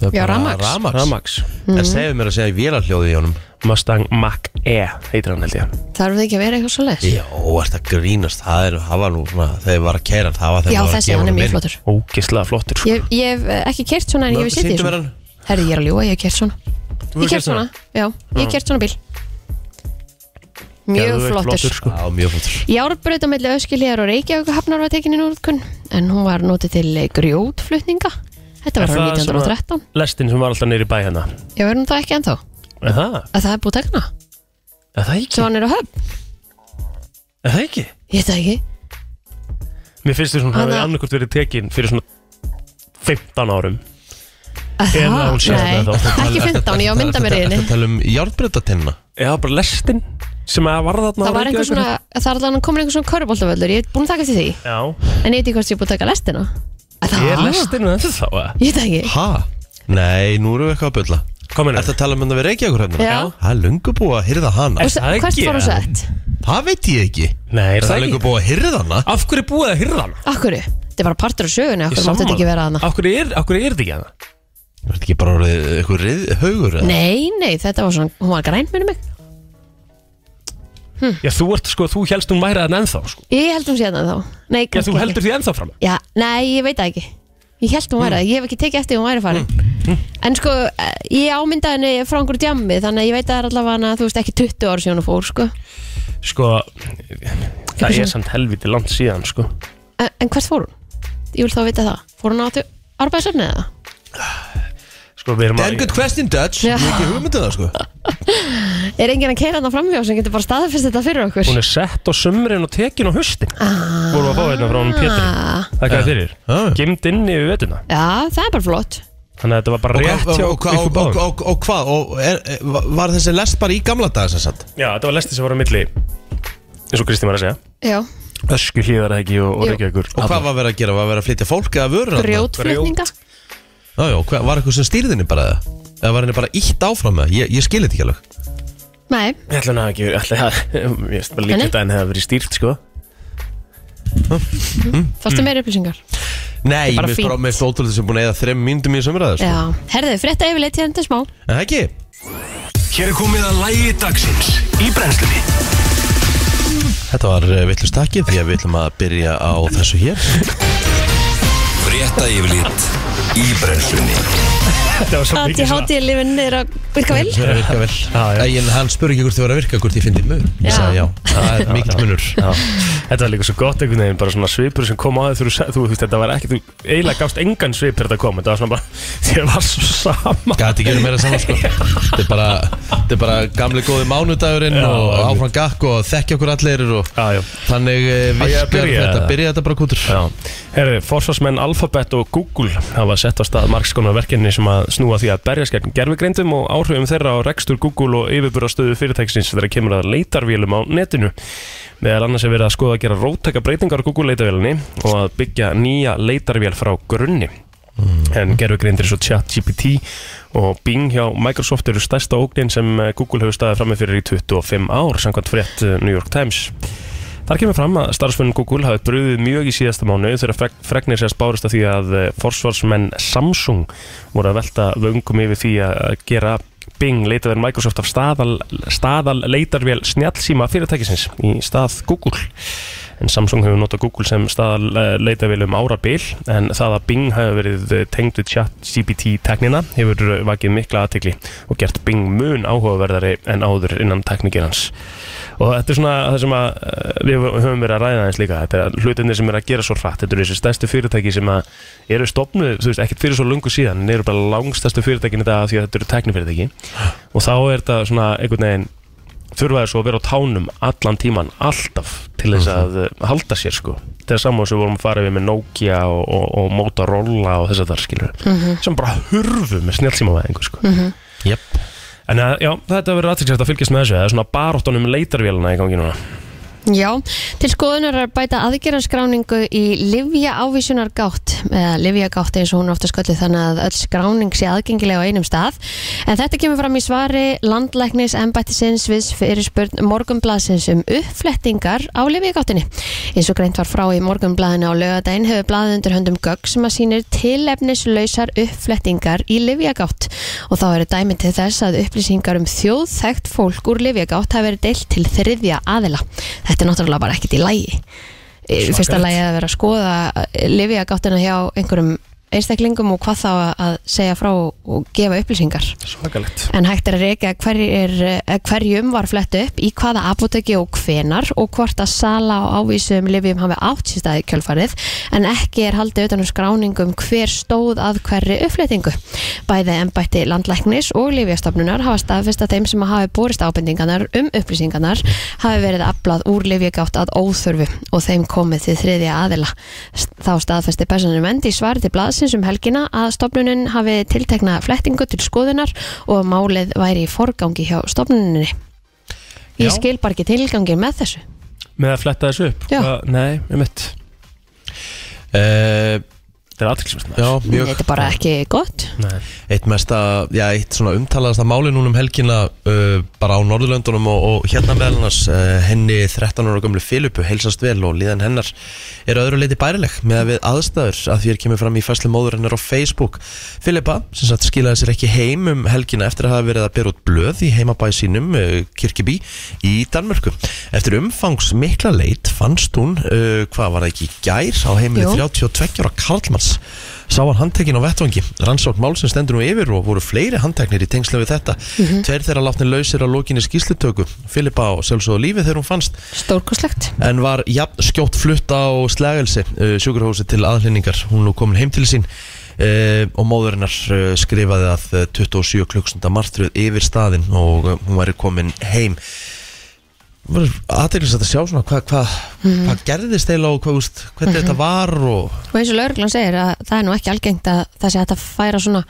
S1: Það er
S2: Já, Mhm.
S1: bara
S2: rafmagns.
S1: Ramax.
S3: Ramax
S1: En segðu mér að segja vélarhljóðið í honum.
S3: Mustang Mach E heitir hann held ég
S2: Þarf það ekki að vera eitthvað svo leiðis?
S1: Já, ert að grínast, það er, það var nú svona, þegar ég var að kæra, það var þegar maður
S2: Já,
S1: var að
S2: þessi, hann er mjög flottur
S3: ógeðslega flottur sko.
S2: Ég, ég hef eh, ekki kert svona en ég hef sitt í
S1: Sýndu mér
S2: svona
S1: hann.
S2: Herri, ég er að ljúa, ég hef kert svona
S1: hefur
S2: Ég
S1: keyrt
S2: kert svona, já, ég hef kert svona bíl Mjög
S3: Geðveikt
S2: flottur
S3: sko.
S1: Já, mjög flottur.
S2: Járbraut á milli öskilíðar og Reykjavík hafnar var tekinni núrkun en hún var notið til grjótflutninga Þetta var
S3: Er
S2: árið
S3: það svona-
S2: 1913
S3: lestin sem var alltaf neyri bæ hérna
S2: Ég verður nú það ekki ennþá
S3: er það?
S2: að það er búið tekna
S3: er það
S2: svo
S3: ekki?
S2: hann er á höfn,
S3: er það ekki?
S2: ég veit það ekki
S3: mér finnst þess að hún
S2: Hann
S3: hafi
S2: að-
S3: annarkvort verið tekin fyrir svona 15 árum
S2: að
S3: Eða
S2: það,
S3: hún sé þarna
S2: nei,
S3: ennþá.
S2: ekki 15, ég á að mynda mér í
S1: Þetta
S2: henni
S1: tala um járbreytatennina.
S3: já bara lestin sem að var þarna á
S2: Það var einhver
S3: Reykjavíkur?
S2: svona, það er allan komin einhver svona köruboltavöllur, ég er búin að taka eftir því
S3: Já,
S2: En ég veit ekki hvort ég er búin að taka lestina Að Það
S3: ég er
S2: um
S3: lestinu ennþá eða?
S2: Ég veit það ekki
S1: Ha? Nei, nú erum við eitthvað að bylla
S3: Hvað meinarðu?
S1: Er það að tala um hann að við reykja okkur hérna?
S2: Já.
S1: Það er löngu búið að hyrða hana
S2: Og s-
S3: það
S2: Hvert
S3: ekki,
S2: fór hún
S3: eða?
S2: sett?
S1: Það veit ég ekki
S3: Nei, er
S1: Er það
S3: það
S1: löngu
S3: ekki?
S1: búið að hyrða hana?
S3: Af hverju er búið að hyrða hana?
S2: Akkur, þetta er bara partur af sögunni,
S3: Ég
S2: akkur mátti þetta
S3: sammála.
S2: ekki vera hana
S3: Af hverju er, af hverju er þetta ekki hana?
S1: Er þetta ekki bara orðið eitthvað rið, haugur? eða?
S2: Nei, nei, þetta var svona, hún var græn minni mig
S3: Já, þú ert sko, þú helst hún væri að ennþá sko.
S2: Ég held hún síðan þá Nei,
S3: Já,
S2: kannski
S3: þú
S2: ekki.
S3: heldur Mm. því ennþá fram
S2: Já, nei, ég veit það ekki Ég held hún væri það, ég hef ekki tekið eftir að hún væri farin
S3: Mm,
S2: En sko, eh, ég ámynda henni frá einhverju djammi Þannig að ég veit að það er allavega hana, þú veist, ekki 20 ára síðan hún fór, sko
S3: Sko, það er samt helviti langt síðan sko.
S2: En, en hvert fór hún? Ég vil þá vita það Fór hún á árbæðsöfni eða?
S3: Sko, við erum
S1: Damn good question, Dutch Ég
S2: Já.
S1: hef ekki hugmyndið það, sko
S2: Er enginn að keira hann á framhjá sem getur bara staðfyrst þetta fyrir okkur?
S3: Hún er sett á sumrin og tekin á haustin
S2: Ah.
S3: Vorum við að fá hérna frá hann Pétur Þakka þér fyrir
S1: Ah.
S3: Gemd inni við vettuna
S2: Já, það er bara flott
S3: Þannig að þetta var bara
S1: Og
S3: rétt
S1: hvað-
S3: hjá
S1: og hvað- og-
S3: ykkur
S1: og-
S3: báðum
S1: og- Og hvað? Og er- er- Var þessi lest bara í gamla daga sem sagt?
S3: Já, þetta var lesti sem var á milli eins og Kristi var að segja
S2: Já,
S3: Ösku hlýðar ekki og, og
S2: Jú.
S3: reykja ykkur
S1: Og hvað var verið að gera? Var verið að flytja fólk eða vörur? þarna?
S2: grjótflutninga
S1: Já, já, hvað- var eitthvað sem stýrði henni bara það? Eða var henni bara ítt áfram með það? Ég, ég skil þetta ekki alveg
S2: Nei,
S3: Ég ætla hann að ekki ætla að, Ég veist bara líka
S2: Nei.
S3: þetta en hefði verið stýrt sko Mm.
S2: fórstu meiri upplýsingar
S1: Nei,
S2: bara
S1: mér finnst
S2: fínt.
S1: bara með stótulegt sem búin að eða þrem myndum í sko. sömur aðeins
S2: Já, herðu, frétta yfirleitt hérna til smá
S1: En það ekki?
S5: Hér er komið að lægi dagsins í brennslunni
S1: Þetta var vittlust takkið því að við ætlum að byrja á þessu hér
S5: Frétta yfirlit í brennslunni
S3: Þetta var svo
S2: Hátti
S3: mikið
S2: hátti lifin er að virka vel
S1: Það virka vel
S3: Já, já.
S1: Æ, En hann spurði ekki hvort þið var að virka hvort ég fyndi mjög Ég
S2: Já.
S1: sagði já, það er mikill munur
S3: Já, þetta var líka svo gott einhvern veginn, bara svona svipur sem kom á þér þú, þú veist, þetta var ekki, þú eiginlega gafst engan svip þegar þetta kom, þetta var svona bara, þér var svo sama
S1: Gati ekki verið meira saman sko Þetta er bara, þetta er bara gamli góði mánudagurinn
S3: Já,
S1: og
S3: einmitt.
S1: áfram gakk og þekkja okkur allir og
S3: Já, já.
S1: þannig eh,
S3: Á ég
S1: virkar
S3: að byrja,
S1: þetta
S3: eða?
S1: Byrja þetta bara kútur
S3: Já, herru, forsvarsmenn Alphabet og Google hafa sett á stað margskonar verkefni sem að snúa því að berjast gegn gerfugreindum og áhrifum þeirra á rekstur Google og yfirburðastöðu fyrirtæksins þegar kemur að leitarvélum á netinu. Meðal annars er verið að skoða að gera róttaka breytingar á Google leitarvélunni og að byggja nýja leitarvél frá grunni. En gerfugreindir svo ChatGPT og Bing hjá Microsoft eru stærsta ógnin sem eh, Google hefur staðið fram með fyrir í 25 ár, samkvæmt frétt eh, New York Times. Þar kemur fram að starfsmenn Google hafi bröðið mjög í síðasta mánu þegar frek- fregnir sérst bárust af því að eh, forsvarsmenn Samsung voru að velta vöngum yfir því að gera Bing leitaðar Microsoft af staðal, staðal leitarvél snjallsíma fyrirtækisins í stað Google. En Samsung hefur notað Google sem staðal eh, leitarvél um árabil en það að Bing hafi verið eh, tengd við chat GPT-teknina hefur eh, vakið mikla aðtikli og gert Bing mun áhugaverðari en áður innan teknikirans og þetta er svona það sem að eh, við höfum verið að ræða eins líka þetta er hlutinni sem er að gera svo hratt þetta eru þessi stærstu fyrirtæki sem að eru stopnu, þú veist, ekkert fyrir svo lungu síðan en eru bara langstærstu fyrirtækin þetta af því að þetta eru teknifyrirtæki og þá er þetta svona einhvern veginn þurfa þessu að vera á tánum allan tíman alltaf til þess að eh, halda sér sko þetta er saman sem við vorum að fara við með Nokia og, og, og Motorola og þess að það skilur sem bara hurfu með snjálfsímavæðingu sko
S1: Jep.
S3: En að, já, þetta verður aðtryggsvægt að fylgjast með þessu Það er svona baróttunum leitarvélina í gangi núna
S2: Já, til skoðunar er að bæta aðgerðarskráningu í livja ávísunar gátt eða livja gátt eins og hún er ofta sköllið þannig að öll skráning sé aðgengilega á einum stað en þetta kemur fram í svari landlæknis embættisins við fyrirspurn morgunblasins um uppflettingar á livja gáttinni. Eins og greint var frá í morgunblaðinu á lögadaginn hefur blaðið undir höndum gögg sem að sýnir tilefnislausar uppflettingar í livja gátt og þá eru dæmi til þess að upplýsingar um þjóðþægt fólk úr livja gátt hafi verið deilt til þriðja aðila þetta er náttúrulega bara ekkert í lægi í fyrsta
S3: Svakalegt.
S2: lægi að vera að skoða lifja gáttina hjá einhverjum einstaklingum og hvað þá að segja frá og gefa upplýsingar
S3: Svakalegt
S2: en hægt er að reyka hverjir, eh, hverjum var flett upp í hvaða apotekki og hvenar og hvort að sala á ávísum lifjum hafi átt sér stað í kjölfarið en ekki er haldið utanum skráningum um hver stóð að hverri uppflettingu. Bæði embætti landlæknis og lifjastofnunar hafa staðfest að þeim sem hafi borist ábendinganar um upplýsingarnar hafi verið aflað úr lifjagátt að óþörfu og þeim komið til þriðja aðila. St- Þá staðfesti personum endi í svari til blaðsins um helgina að stofnunin hafi tiltekna flettingu til skoðunar og að málið væri í forgangi hjá stofnuninni. Ég
S3: Já.
S2: skil bara ekki tilgangin með þessu
S3: með að fletta þessu upp
S2: Já.
S3: Hvað- Nei, um mitt
S1: uh,
S3: Þetta er aðtilsvæmt
S1: Já, mjög
S2: Þetta er bara ekki gott
S1: Eitt mesta, já, eitt svona umtalaðasta máli núna um helgina uh, bara á Norðurlöndunum og, og hérna meðal annars uh, henni 13 ára gömlu Filipu heilsast vel og líðan hennar er að öðru leiti bærileg með að við aðstæður að því er kemur fram í fæslu móður hennar á Facebook. Filipa, sem sagt, skilaði sér ekki heim um helgina eftir að hafa verið að bera út blöð í heimabæ sínum uh, Kirkibí í Danmörku. Eftir umfangs mikla leit fannst hún, uh, hvað var það ekki, í gær á heimili
S2: Jú.
S1: 32 ára Karlmanns sá hann handtekinn á vettvangi rannsókn mál sem stendur nú yfir og voru fleiri handteknir í tengslu við þetta tveir þeirra látni lausir á lokinni skýslutöku Filippa á sjálfsögðu lífi þegar hún fannst
S2: Stórkoslegt
S1: en var jafn skjótt flutt á slegelsi uh, sjúkurhósi til aðlýningar hún er nú komin heim til sín uh, og móðurinnar uh, skrifaði að eh, 27 klukkstunda martruð yfir staðinn og uh, hún væri komin heim var aðeins að sjá svona hvað hva, hva gerðist eiginlega og hvað, þú veist, hvernig þetta var og
S2: Og eins og lauruglan segir að það er nú ekki algengt að það sé hægt að færa svona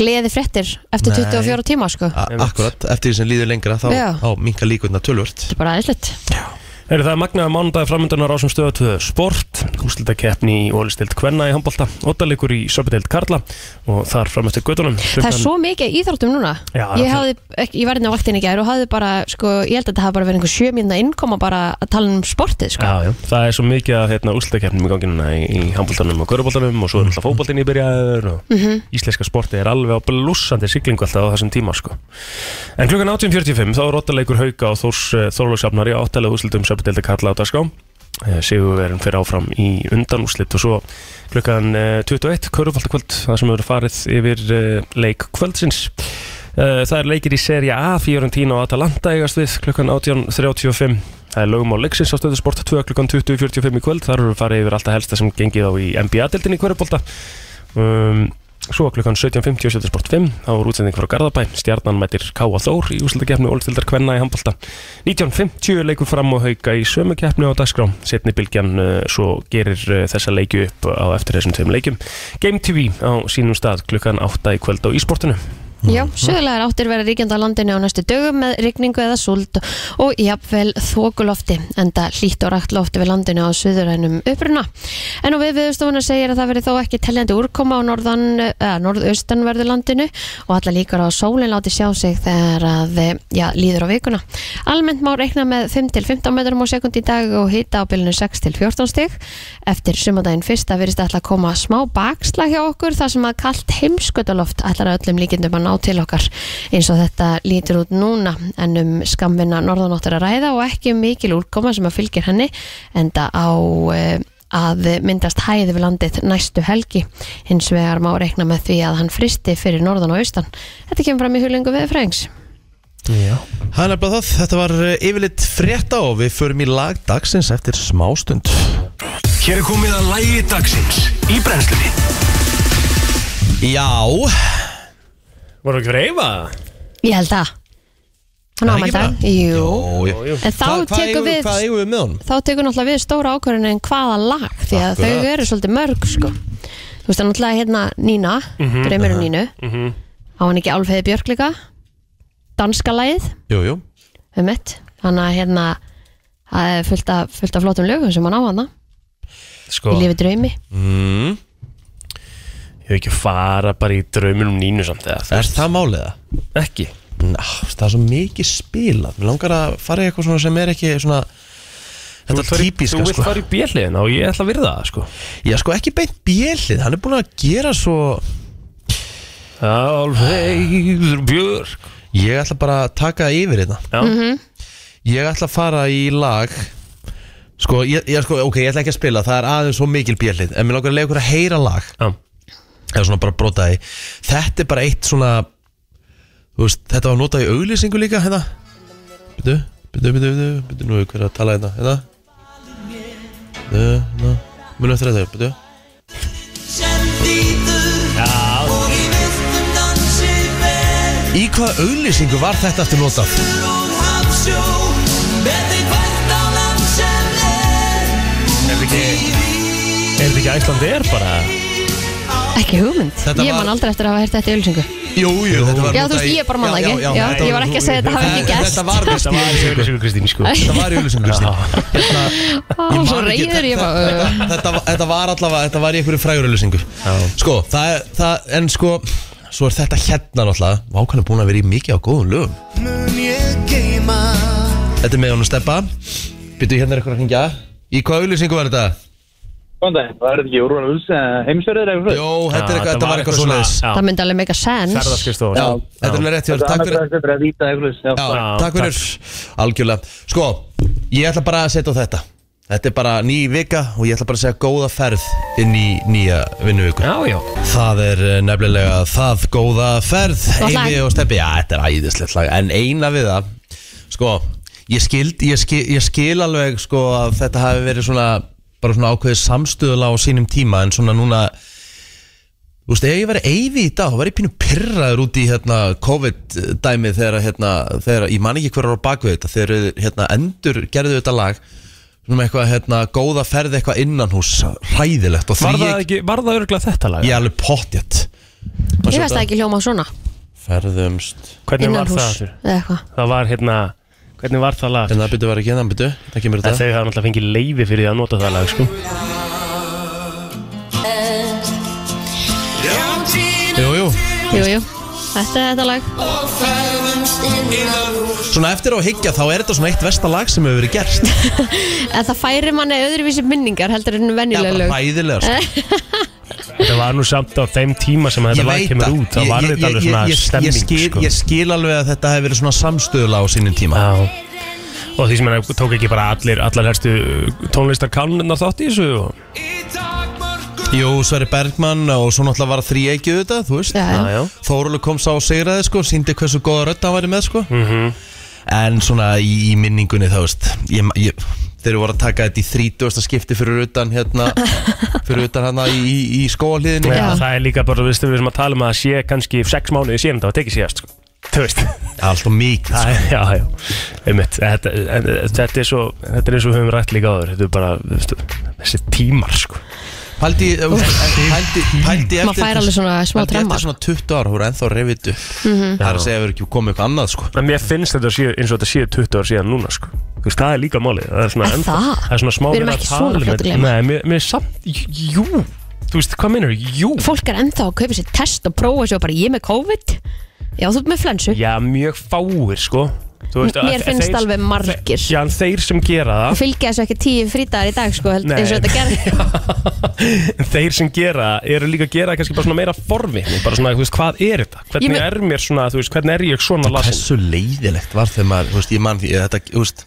S2: gleði fréttir eftir
S1: Nei.
S2: 24 tíma sko
S1: A-
S3: Einmitt.
S1: Akkurat, eftir því sem líður lengra þá,
S2: Já.
S1: þá minka líkurnar tölvört
S2: Þetta er bara aðeinslegt
S3: Er það magnaði mánudagi framöndunar á sem stöða tvöðu sport, úslitakeppni í ólistild Kvenna í handbolta, óttalegur í söpudeild Karla og þar framöftir göttunum.
S2: Það er svo mikið í íþróttum núna
S3: Já,
S2: Ég,
S3: það-
S2: hafði, ekki, ég var inn á vaktin í gær og hafði bara sko, ég held að þetta hafði bara verið einhver sjö mínna innkoma bara að tala um sportið sko.
S3: Já, já. Það er svo mikið að hérna, úslitakeppnum í ganginuna í, í handboltanum og köruboltanum og svo
S2: Mm.
S3: er alltaf fótboltin í byrjaður og
S2: Mhm.
S3: íslenska sportið er alveg á blúsandi siglingu alltaf á þessum tíma sko. En klukkan 18.45 þá er óttalegur hauka og þórlóksjafnar í óttalegu úslitum söpudeildi Karla á dagskrá. Sigurverðin fyrir áfram í undanúslit og svo klukkan eh, 21 körufaldakvöld, það sem hefur farið yfir eh, leik kvöldsins Eh, Það er leikir í seria A, Fiorentina og Atalanta eigast við klukkan 18.35 Það er lögum á leiksins á stöðusport 2 klukkan 20.45 í kvöld Þar eru við farið yfir alltaf helsta sem gengið á í NBA-deltinni í hverjubólta um, Svo klukkan 17.50 á stöðusport 5 Þá er útsending frá Garðabæ Stjarnan mætir Káa Þór í úsildakefni Ólstildar Kvenna í handbólta 19.50 leikur fram og hauka í sömu keppni á dagskrá Setni bylgjan uh, svo gerir uh, þessa leikju upp á eftir þessum tveim leikum Game TV á sínum stað klukkan 8 í kvöld á ísportinu
S2: Já, sögulegar áttir verða ríkjandi á landinu á næstu dögum með rigningu eða súld og jafnvel þokulofti enda hlýtt og rætt lofti við landinu á suðurænum uppruna. En á við viðstofuna segir að það verði þó ekki teljandi úrkoma á norðan, eða, norðaustanverðu landinu og alla líkar á að sólin láti sjá sig þegar að ja, líður á vikuna. Almennt má reikna með 5-15 metrum á sekund í dag og hita á bylunu 6-14 stig. Eftir sumadaginn fyrsta virðist ætla að koma smá bakslag hjá okkur þar sem að kalt heimskutaloft ætlar að öllum líkindum að ná til okkar eins og þetta lítur út núna en um skamvinna norðanóttir að ræða og ekki um mikil úrkoma sem að fylgir henni enda á eh, að myndast hæði við landið næstu helgi hins vegar má reikna með því að hann fristi fyrir norðan og austan Þetta kemur fram í hulingu við fræðings
S3: Já
S1: Það er nefnilega það, þetta var eh, yfirleitt frétta og við förum í lag dagsins eftir smástund
S5: Hér er komið að lægi dagsins í brennslunni
S1: Já,
S3: Voru ekki fyrir Eyva?
S2: Ég held að Hann
S1: Það er ekki
S2: ámælt að Jú
S1: Jú.
S2: En þá
S1: Hvað- hvað
S2: tekur
S1: eigum-
S2: við-
S1: Hvað eigum við með honum?
S2: þá tekur náttúrulega við stóra ákvörðin en hvaða lag því að
S1: Akkurat.
S2: þau eru svolítið mörg sko. þú veist að náttúrulega hérna Nína
S1: Mhm.
S2: Dreymir um Nínu á hann ekki Álfheði Björk líka danska lagið
S1: Jú, jú
S2: um mitt þannig að hérna það er fullt af, fullt af flottum lögum sem hann á hann
S3: Sko,
S2: í
S3: ég
S2: lífi draumi
S1: mm.
S3: hef ekki að fara bara í drauminum nínu samt eða
S1: Er það máliða?
S3: það ekki?
S1: Ná, það er svo mikið spilað Mér langar að fara í eitthvað svona sem er ekki svona
S3: Þú
S1: Þetta
S3: vilt fara í-
S1: típiska
S3: Þú vilt
S1: sko
S3: fara í björliðina og ég ætla að virða það sko
S1: Já, sko ekki beint bjellið, hann er búin að gera svo
S3: Álfeiður björk
S1: Ég ætla bara að taka yfir hérna. þetta
S3: Já, mm -hmm.
S1: Ég ætla að fara í lag Sko, ég, ég, sko, ok, ég ætla ekki að spila Það er aðeins svo mikil björlið En mér langar að leiða ykkur að heyra lag
S3: já
S1: Eða svona bara brota því Þetta er bara eitt svona þú veist, Þetta var notað í auglýsingu líka hérna. Byrju, byrju, byrju, byrju Byrju, nú er hver að tala hérna Hérna Byrju, hérna Munum eftir þetta, byrju Í hvaða auglýsingu var þetta aftur notað?
S3: Er þetta ekki Æslandi er bara
S2: Ekki hugmynd
S1: Þetta
S2: Ég
S1: var-
S2: man aldrei eftir að hafa hert þetta í ölsingu
S1: Jú, jú, þetta var
S2: Já,
S1: notað
S2: þú veist,
S1: í-
S2: ég bara man það
S1: Já,
S2: ekki
S1: já, já,
S2: Já,
S1: þetta var-
S2: Ég var ekki að segja þetta hafi ekki gerst
S1: Þetta var
S3: Þetta var í auðvitað Kristín sko
S1: Þetta var í auðlýsingu Hérna,
S2: Ó,
S1: ég man
S2: svo
S1: ekki-
S2: reyður ég
S1: þetta-
S2: bara
S1: þetta-
S2: uh.
S1: þetta var- Þetta var allavega, þetta var í einhverju frægur auðlýsingu Sko, það er, það, en sko Svo er þetta hérna náttúrulega Vákan er búin að vera í mikið á góðum lögum Þetta er með honum steppa Byttu hérna er eitthvað að hringja Í hvað auðlýsingu var þetta?
S6: Góðan dag, var þetta ekki Úrvan Ulsen heimsverðir eða eitthvað?
S1: Jó, þetta, er eitthvað, þetta var eitthvað svoleiðis
S2: Það myndi alveg meika sens
S3: Ferðarskristofa
S1: Já, þetta er alveg rétt hjá þér.
S6: Þetta
S1: Takk
S6: annars
S1: fyrir
S6: er þetta að víta eitthvað, já.
S1: Já,
S3: Já,
S1: takk fyrir, algjörlega Sko, ég ætla bara að setja á þetta Þetta er bara ný vika og ég ætla bara að segja góða ferð inn í nýja vinnuviku
S3: Já, já
S1: Það er eh, nefnilega það góða ferð
S2: Gott lag.
S1: Eyvi og Steppi, já, þetta er æðislegt lag En eina við það, sko Ég skil, ég skil, ég skil alveg sko að þetta hafi verið svona bara svona ákveðið samstöðula á sínum tíma en svona núna Þú veist, ef ég væri eyfi í dag, þá væri ég pínu pyrraður út í hérna, COVID-dæmi þegar, hérna, þegar, ég man ekki hver var á baku þetta, þegar hérna, endur gerðu þetta lag, svona með eitthvað, hérna, góða ferð eitthvað innan hús, hræðilegt og
S3: Var
S1: því
S3: það
S1: ég,
S3: ekki, var það örgulega þetta lag?
S1: ég er alveg pottjætt.
S2: Ég veist það ekki hljóma svona
S1: Ferðumst.
S3: Hvernig
S2: Innan
S3: var það?
S2: hús
S3: aftur?
S2: Eða eitthvað
S3: Það var hérna Hvernig var það lag?
S1: En það byrju Hérna, var ekki, það byrju, það kemur
S3: En
S1: þetta.
S3: þau hafa náttúrulega fengið leiði fyrir því að nota það lag sko
S1: Jú, jú.
S2: Jú, jú Þetta er þetta lag
S1: Svona eftir á að higgja, þá er þetta svona eitt versta lag sem hefur verið gerst.
S2: En það færi manni öðruvísi minningar heldur
S1: Já,
S2: en venjulega
S1: bara
S2: lög
S1: hræðilega, sko.
S3: Þetta var nú samt á þeim tíma sem þetta lag kemur út Það var þetta alveg svona stemming
S1: ég skil,
S3: sko
S1: ég skil alveg að þetta hefur verið svona samstöðula á sínum tíma
S3: Já Og því sem hann tók ekki bara allir, allar helstu tónlistar kánlunar þátt í þessu og...
S1: Jú, Sverri Bergmann og svo náttúrulega var þrýeikið þetta, þú veist
S2: Já, já.
S3: já
S1: Þórulega kom sá og sigraði sko, síndi hversu góða rödd hann væri með sko
S3: Mhm.
S1: En svona í, í minningunni þá veist ég, ég, Þeir voru að taka þetta í þrítjósta skipti fyrir utan hérna Fyrir utan hérna í, í, í skóliðinu
S3: Já.
S2: Já.
S3: Það er líka bara, veistu, við sem að tala um að það sé kannski sex mánuði síðan það var tekið síðast sko. Þú veist,
S1: Alltaf mikið
S3: það
S1: sko.
S3: er, já, já Einmitt, þetta, en, þetta er svo Þetta er eins og við höfum rætt líka áður Þetta er bara, veistu, þessi tímar sko.
S1: Pældi, pældi, pældi
S2: Maður fær alveg svona smá
S1: pældi
S2: tremma. Mhm.
S1: eftir svona 20 ára, hún er ennþá reyfitu Það er að segja að við ekki komið eitthvað annað sko
S3: En mér finnst þetta sé, eins og þetta séu 20 ár síðan núna sko. Þú veist, það er líka málið Það er, svona,
S2: Er
S3: ennþá-
S2: það?
S3: það er svona smá
S2: Við erum
S3: verið að
S2: ekki
S3: tala
S2: svona
S3: um
S2: fljót að
S3: þetta.
S2: gleyma.
S3: Nei, mér, mér er samt, jú Þú veist, hvað meinar, jú
S2: Fólk er ennþá að kaupa sér test og prófa sér bara ég er með COVID Já, þú ert með flensu
S3: Já, mjög fáir sko. Þú veist, að-
S2: Mér finnst
S3: þeir-
S2: alveg margir
S3: Já, en þeir sem gera það
S2: Og fylgja þessu ekki tíu frítagar í dag sko, held,
S3: Nei.
S2: eins og þetta gerði
S3: En þeir sem gera eru líka að gera kannski bara svona meira forvitni bara svona, þú veist, hvað er þetta?
S2: Ég
S3: Hvernig
S2: me-
S3: er mér svona, þú veist, hvernig er ég svona lasin?
S1: Hversu leiðilegt var þegar maður, þú veist, ég mann því, ég, þetta, þú veist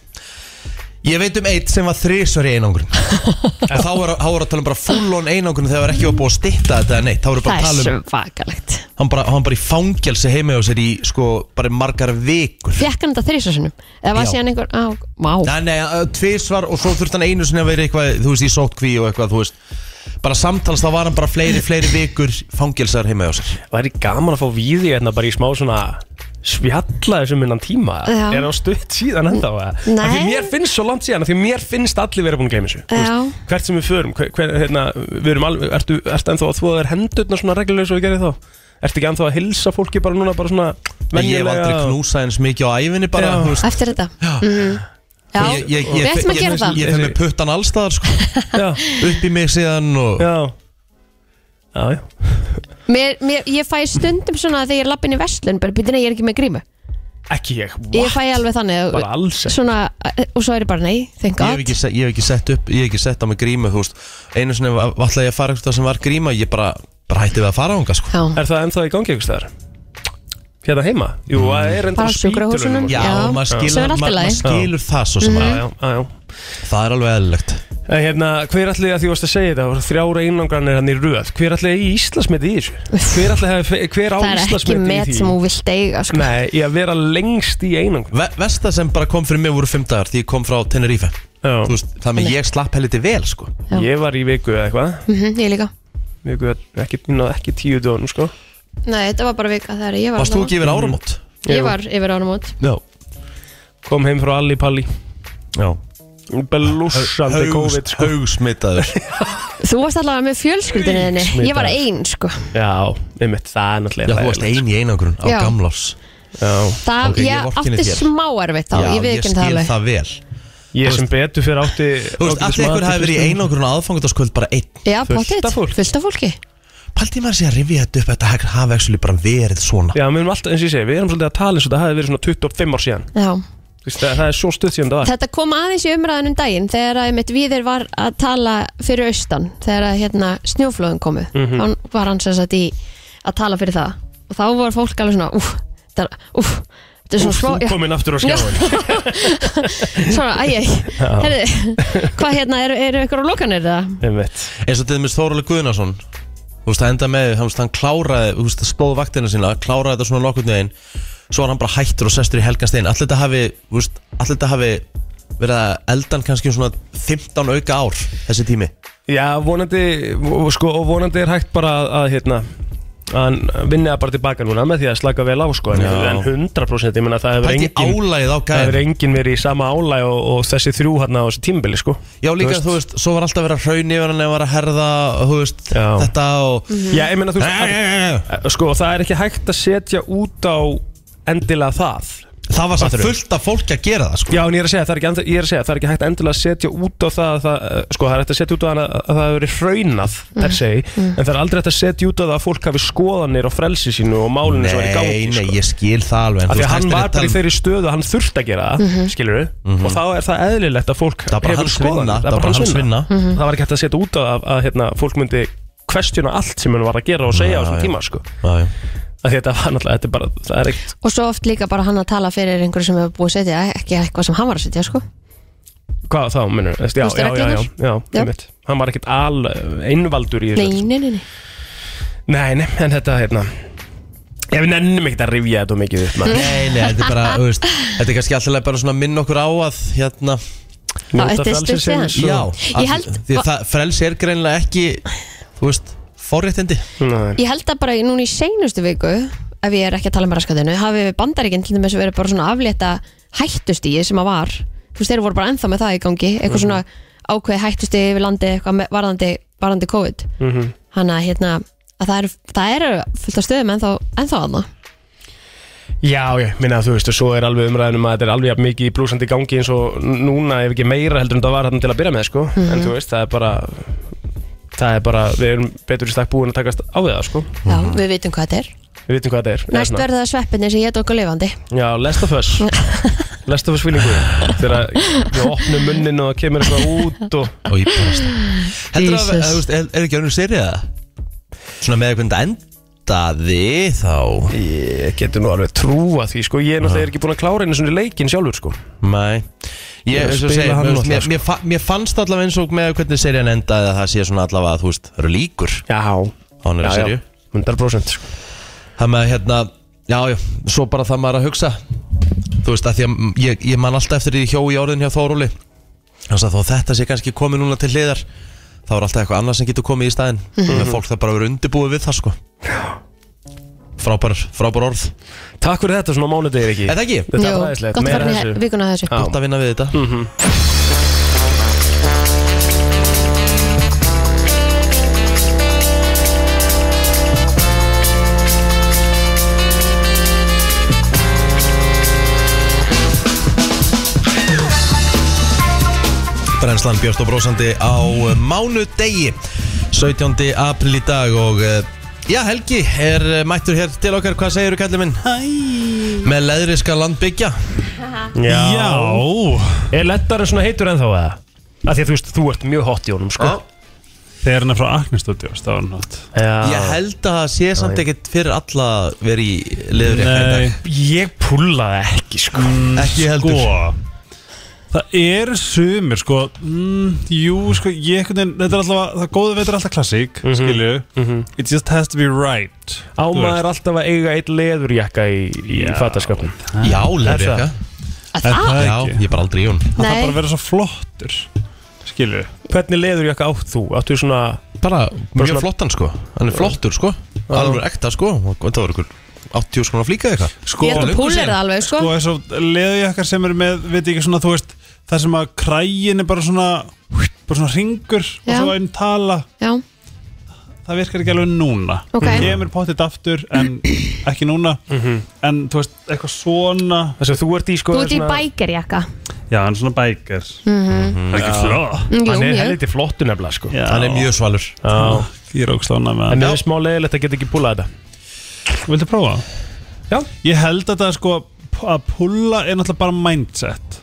S1: Ég veit um eitt sem var þrisvar í einangrun Og þá voru þá voru að tala um bara full on einangrun þegar það var ekki var búið að stytta þetta eða neitt Þá voru bara að
S2: Það
S1: tala um,
S2: er svakalegt
S1: hann bara, hann bara í fangelsi heima hjá sér í, sko, bara í margar vikur
S2: Fekk hann þetta þrísa sinnum Eða var
S1: Já.
S2: síðan einhver, á, má
S1: Nei, nei, ö, tvisvar og svo þurfti hann einu sinni að vera eitthvað, þú veist, í sótkví og eitthvað, þú veist Bara samtals þá var hann bara fleiri, fleiri vikur fangelsar heima hjá sér
S3: Væri gaman að fá við því hérna bara í smá svona spjalla þessum innan tíma
S2: Já.
S3: er á stutt síðan ennþá að
S2: Nei.
S3: því mér finnst svo langt síðan að því mér finnst allir vera búin að gleyma þessu Þú
S2: Já.
S3: veist, hvert sem við förum hver, hver, hérna, við erum alveg, ertu, ertu ennþá að þvóða þér hendurna svona reglulega svo við gerir þá ertu ekki ennþá að hilsa fólki bara núna bara svona
S1: En Ég hef aldrei
S3: venjulega?
S1: knúsað eins mikið á æfinni bara,
S3: Já.
S1: þú veist
S2: Eftir þetta Mhm. Já,
S1: Ég- ég- ég-
S2: við ættum að
S1: ég-
S2: gera það
S1: Ég fer með puttan allstaðar, sko
S3: já,
S1: upp í mig síðan og
S3: já, já, já.
S2: mér, mér, Ég fæ stundum svona þegar ég er lappin í vestlun bara býtina ég er ekki með grímu
S3: ekki ég,
S2: Ég fæ alveg þannig
S3: Bara alls ekki.
S2: svona, eh, Og svo er ég bara nei, thank
S1: ég hef,
S2: god
S1: ekki, se- ég hef ekki sett upp, ég hef ekki sett á mig grímu þú veist, einu sinni var- ætlaði ég að fara eitthvað sem var gríma, ég bara, bara hætti við að fara ánga sko.
S2: Já,
S3: Er það ennþá í gangi ykkur staðar? Hérna heima? Jú, það er enda
S2: Bara á sjúkrahúsunum.
S1: Mm. já,
S2: Já,
S1: og maður
S2: sem
S1: skilur,
S2: er allt í
S1: maður-
S2: lagi. Mhm.
S1: maður skilur það svo sem mm.
S3: Já, já, já, já.
S1: það er alveg eðlilegt
S3: En hérna, hver allir að því varst að segja þetta, það voru þrjára einangranir hann í röð, hver allir í Íslandsmeti í þessu? Hver allir hefði, hver á
S2: það er ekki
S3: Íslandsmeti í
S2: met
S3: því?
S2: sem hún vilt eiga sko.
S3: Nei, í að vera lengst í einangrun.
S1: Ve Vesta sem bara kom fyrir mig voru fimm dagar því ég kom frá Tenerife
S3: Já.
S1: Þú veist, það með ég slapp helviti vel sko.
S2: Já.
S3: Ég var í viku eða eitthvað,
S2: Mhm, Ég líka
S3: viku ekki, ég náði ekki tíu döðunum, sko.
S2: Nei, þetta var bara vika þegar ég var
S1: varst þú
S3: Mhm.
S1: ekki yfir áramót?
S2: Ég var yfir áramót
S1: já,
S3: Kom heim frá Alli Palli.
S1: já
S3: Belussandi COVID sko.
S1: haugsmitaður
S2: Þú varst allavega með fjölskyldinni þinni Ég var ein sko
S3: Já, einmitt, það
S1: Já,
S3: er náttúrulega
S1: þú varst ein í einangrun á
S2: Já.
S1: gamlás
S3: Já,
S2: Það,
S1: Ok, ég
S2: ég
S1: vorkenni
S2: átti
S1: þér.
S2: smá erfitt þá Ég
S1: ég
S2: viðkynnt það
S1: skil
S2: alveg
S1: það vel
S3: Ég sem betur fyrir átti
S1: Þú veist, allir ykkur hafi verið í einangrun á aðfangandaskvöld bara einn
S2: Já,
S3: fullt
S2: pottitt,
S3: af fólki.
S2: fullt af fólki
S1: Paldi maður sé að rifja þetta upp Þetta hafi- hafi ekki bara verið svona
S3: Já, við erum alltaf, eins og ég segi, við erum svolítið að tala eins og það hafi verið svona 25 ár síðan
S2: Já.
S3: Þú veist, það, það er svo stutt síðan það var
S2: Þetta kom aðeins í umræðanum daginn þegar að mitt viðir var að tala fyrir austan þegar að hérna snjóflóðum komu
S3: Mhm.
S2: þá var hann sem sagt í að tala fyrir það og þá var fólk alveg svona úf, þetta er, úf, þetta er svona
S3: Úff,
S2: smá
S3: Þú
S2: já,
S3: komin aftur á skjáin
S2: svona, æj, æj, herðu hvað hérna, eru er ykkur á lokanir það?
S3: Einmitt
S1: eins og til dæmis Þóraleg Guðnason þú veist, það enda með, þú veist, hann kláraði þú veist, það stóð vaktina sína, kláraði þetta svona nokkurn veginn, svo var hann bara hættur og sestur í helgan stein, allir þetta hafi, þú veist allir þetta hafi verið að eldan kannski um svona 15 auka ár þessi tími,
S3: Já, vonandi, og sko, og vonandi er hægt bara að, að hérna að vinna bara tilbaka núna með því að slaka vel á sko en,
S1: Já.
S3: en 100% ég menna það hefur
S1: hætti
S3: engin
S1: álægið á
S3: það hefur
S1: gæðin
S3: engin verið í sama álæg og, og þessi þrjú hérna á þessi tímbili sko
S1: já líka, þú veist, svo var alltaf verið að hraun yfir hann eða var að herða, þú veist,
S3: Já.
S1: þetta og
S3: Já, ég menna þú veist að-
S1: Æ, æ, æ, æ.
S3: Sko, það er ekki hægt að setja út á endilega það
S1: það var samt
S3: Fattarðu?
S1: fullt af fólki að gera það, sko
S3: Já, en ég er að segja, það er ekki, enda- ég er að segja, það er ekki hægt endilega að setja út á það, að það eh, sko, það er hægt að setja út á það að að það hefur verið hraunað, per se, en það er aldrei hægt að setja út á það að fólk hafi skoðanir á frelsi sínu og málunni sem er í gangi,
S1: nei,
S3: sko.
S1: nei, ég skil það alveg en
S3: Af
S1: þú
S3: því
S1: veist,
S3: að hann
S1: hægt er að
S3: var bara í
S1: tala um-
S3: þeirri stöðu að hann þurfti að gera það, mm og þá er það eðlilegt að fólk
S1: Það er bara
S3: hefur
S1: hans vinna,
S3: skoðanir,
S1: það er bara hans vinna.
S3: Það var ekki hægt að setja út á það að, að hérna, fólk myndi questiona allt sem hann var að gera og segja á þessum
S1: já.
S3: tíma, sko.
S1: Já, já.
S3: Af því að þetta var náttúrulega, þetta er bara, það er ekkert,
S2: Og svo oft líka bara hann að tala fyrir einhverju sem hefur búið að setja, ekki eitthvað sem hann var að setja sko.
S3: hvað þá, minnur,
S2: Þú
S3: já, já,
S2: veist,
S3: já, já, já,
S2: reglurnar?
S3: já,
S2: Já.
S3: einmitt. Hann var ekkert al eh, einvaldur í þessu
S2: Nei, nei, nei, nei.
S3: Nei, nei, en þetta, hérna Ég við nennum ekkert að rifja þetta of mikið upp maður.
S1: Nei, nei, þetta er bara, þú veist, þetta er kannski alltaf bara svona að minna okkur á að, hérna,
S2: Já,
S3: Njóta
S2: Mm-hmm. þetta er stutt
S3: frelsisins
S2: síðan.
S1: já,
S2: Ég
S1: af-
S2: held-
S1: því að það, frelsi er greinlega ekki, þú veist, forréttindi.
S3: Nei.
S2: Ég held að bara í- núna í seinustu viku ef ég er ekki að tala um raskatinu hafi við bandaríkinn til dæmis verið bara svona aflétta hættustíi sem að var þú veist þeir voru bara ennþá með það í gangi eitthvað svona ákveði hættustíi yfir landi eitthvað með, varðandi, varðandi COVID mm
S3: Mhm.
S2: -hmm. að hérna að það eru það eru fullt af stöðum ennþá, ennþá aðna
S3: Já, ég minna að þú veist, og svo er alveg umræðinum að þetta er alveg jafn mikið í blúsandi gangi eins og n- núna ef ekki meira heldur en það var þarna til að byrja með, sko
S2: Mhm.
S3: En þú veist, það er bara, það er bara, við erum betur í stakk búin að takast á við það, sko
S2: Já, við vitum hvað þetta er
S3: Við vitum hvað þetta er Eða
S2: Næst
S3: svona-
S2: verða það sveppinni sem ég tók að lifandi
S3: Já, Last of Us Last of Us feelingu Þegar við opnum munnin og það kemur eitthvað út og
S1: Og ég búist það. Heldur að,
S2: Jesus.
S1: að, þú veist, er, er ekki önnur serið það? Svona með eitthvað endaði þá?
S3: Ég getur nú alveg trúa því sko Ég er náttúrulega ekki búin að klára einu svona leikin sjálfur sko
S1: Nei. Ég,
S3: Ég
S1: eins
S3: spila
S1: og segja,
S3: hann
S1: mér,
S3: náttúrulega,
S1: mér,
S2: sko.
S1: mér, fa- mér fannst allavega eins og með hvernig serían endaði að það sé svona allavega að, þú veist, það eru líkur
S3: Já
S1: á hann er að serju.
S3: 100% sko
S1: Það með hérna, já, já, svo bara það maður að hugsa Þú veist, að því að ég, ég man alltaf eftir því hjó í orðin hjá Þórúli Þannig að þó þetta sé kannski komið núna til hliðar Þá er alltaf eitthvað annað sem getur komið í staðinn mm Fólk það bara verið undirbúið við það, sko Frábær, frábær orð
S3: Takk fyrir þetta svona mánudegir ekki
S1: Eða ekki?
S3: Þetta er
S2: Jú,
S3: fræðislegt,
S2: Gott að
S3: meira
S2: vera
S3: þessu
S2: vikuna þessu
S3: Já.
S1: Gott að vinna við þetta Brennslan Björst og Brósandi á eh, mánudegi 17. april í dag og eh, já Helgi er eh, mættur hér til okkar, hvað segirðu kallið minn? Hæ Með leðriska landbyggja
S3: Já, Er lettarinn svona heitur ennþá eða? Af því að þú veist, þú ert mjög hot í honum sko
S7: Þegar hann er frá Agnes Studios, það var hann hot
S1: Ég
S3: Já
S1: held að það sé samt ekkert fyrir alla verið í leðurjakka í
S7: Nei,
S1: dag
S3: Ég púlaði ekki sko
S1: Ekki heldur
S7: sko Það eru sumir, sko mm, Jú, sko, ég einhvern veginn Þetta er alltaf, það góða veit er alltaf klassík mm Skilju, it just has to be right
S3: Á
S7: Þú
S3: maður alltaf að eiga eitt leðurjakka í, í
S7: Já.
S3: fataskapnum
S1: Já,
S3: Er
S1: leðurjakka
S2: Að það?
S7: það
S1: Já,
S7: ekki?
S1: ég er bara aldrei í hún
S7: Það þarf
S2: Nei.
S7: bara að vera svo flottur Skilju
S3: Hvernig leðurjakka átt þú? Áttu svona
S1: Bara mjög
S3: svona-
S1: flottan sko Hann er flottur sko Alveg ekta sko Og það var ykkur 80 skona flíka eða eitthvað
S7: Sko,
S2: Ég held að
S1: löngu
S2: púlir
S1: síðan.
S2: það alveg sko
S7: sko eins og leðjakkar sem eru með, veit ég ekki svona, þú veist það sem að krægin er bara svona bara svona ringur og
S2: Já.
S7: svo einn tala
S2: Já,
S7: það virkar ekki alveg núna
S2: Ok.
S7: kemur pottit aftur en ekki núna en þú veist, eitthvað svona
S3: Þess að þú ert í sko
S2: þú ert í
S3: svona-
S2: bækerjakka
S7: já, hann er svona bækir
S2: Mhm.
S3: Það er ekki flott
S2: Jú,
S3: Hann er
S2: mjög.
S3: helviti flottu nefnilega sko
S7: já,
S1: Hann er mjög svalur
S3: Já.
S7: ég er ógslána með
S3: En
S7: hann
S3: mér er smá leiðilegt að geta ekki púlað þetta
S7: viltu prófa?
S3: Já.
S7: ég held að það sko að pulla er náttúrulega bara mindset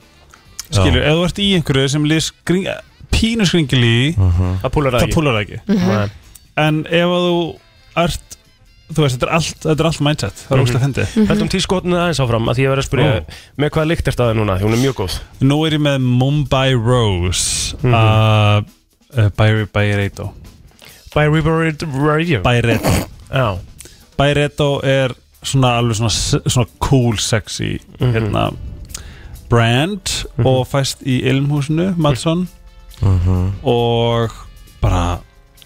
S7: skilur, ef þú ert í einhverju sem lýs skring, pínu skringil í
S3: Að púla Mm. það
S7: það
S3: ekki
S7: pullar það ekki
S2: Mhm.
S3: Nei.
S7: en ef að þú ert þú veist, þetta er allt, þetta er allt mindset það er
S3: Mhm.
S7: óslega fyndið
S3: Heldum tískotinu aðeins áfram að því ég verið að spyrja
S7: Ó.
S3: með hvaða lykt ert að það núna, því hún er mjög góð
S7: Nú er ég með Mumbai Rose eh, mm
S3: Mhm.
S7: by, by Reito
S3: By Reverend Radio
S7: By Reito
S3: Já,
S7: By Reito er svona alveg svona, s- svona cool sexy
S3: Mhm.
S7: hérna brand og fæst í Ilmhúsinu Madsson og bara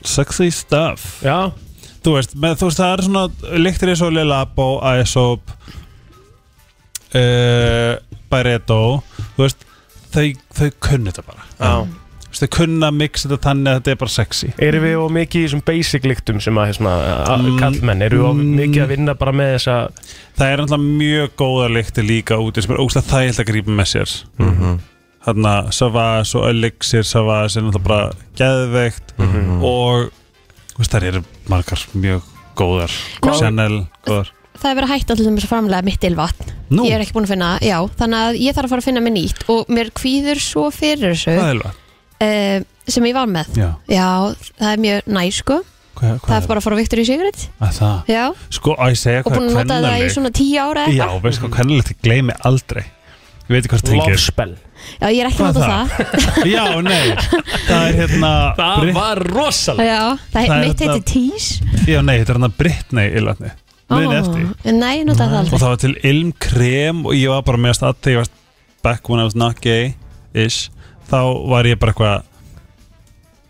S7: sexy stuff
S3: já,
S7: þú veist, með, þú veist það er svona lyktir eins og Lilabo, Aesop uh, By Reito þú veist, þau, þau kunnu þetta bara
S3: já
S7: Þú veist, þau kunna að mixa þetta þannig að þetta er bara sexy
S3: Erum við of mikið í þessum basic lyktum sem að, hérna, að
S7: Mm.
S3: kallmenn, erum við of
S7: Mm.
S3: mikið að vinna bara með þessa
S7: það er alltaf mjög góða lykti líka úti sem er ógstlega þægilt að grípa með sér mm þarna Savas og Elixir Savas er alltaf bara geðveikt
S3: Mhm.
S7: og þú veist, þær eru margar mjög góðar
S2: Nú-
S7: Chanel góðar
S2: Það er verið að hætta allir þess að framlega mitt ilvatn
S7: Nú,
S2: Ég er ekki búin að finna, já, þannig að ég þarf að fara að finna mér nýtt og mér kvíður svo fyrir þessu
S7: hvað er það?
S2: uh, sem ég var með
S7: Já,
S2: Já, það er mjög næ sko
S7: hvað, hvað
S2: Það er bara að fara á Victory Secret
S7: Að það?
S2: Já,
S7: Sko, að ég segja
S2: og
S7: hvað
S2: búin að nota það í
S7: kvennalegt
S2: svona tíu ára
S7: Já, veist hvað kvennalegt ég gleymi aldrei Ég veit ekki hvað það
S3: love
S7: tengir
S3: spell
S2: Já, ég er ekki að
S7: Hvað
S2: nota
S7: það?
S2: það
S7: Já, nei, það er hérna Brit-
S3: var rosalega
S2: Já, það,
S7: Það er
S2: mitt
S7: hérna-
S2: heiti Tease
S7: Já, nei, þetta er hérna Britney illatni Muni eftir
S2: Nei, ég nota það
S7: og
S2: aldrei
S7: það var til ilmkrem og ég var bara með að stað þegar ég var back when I was not gay ish, þá var ég bara eitthvað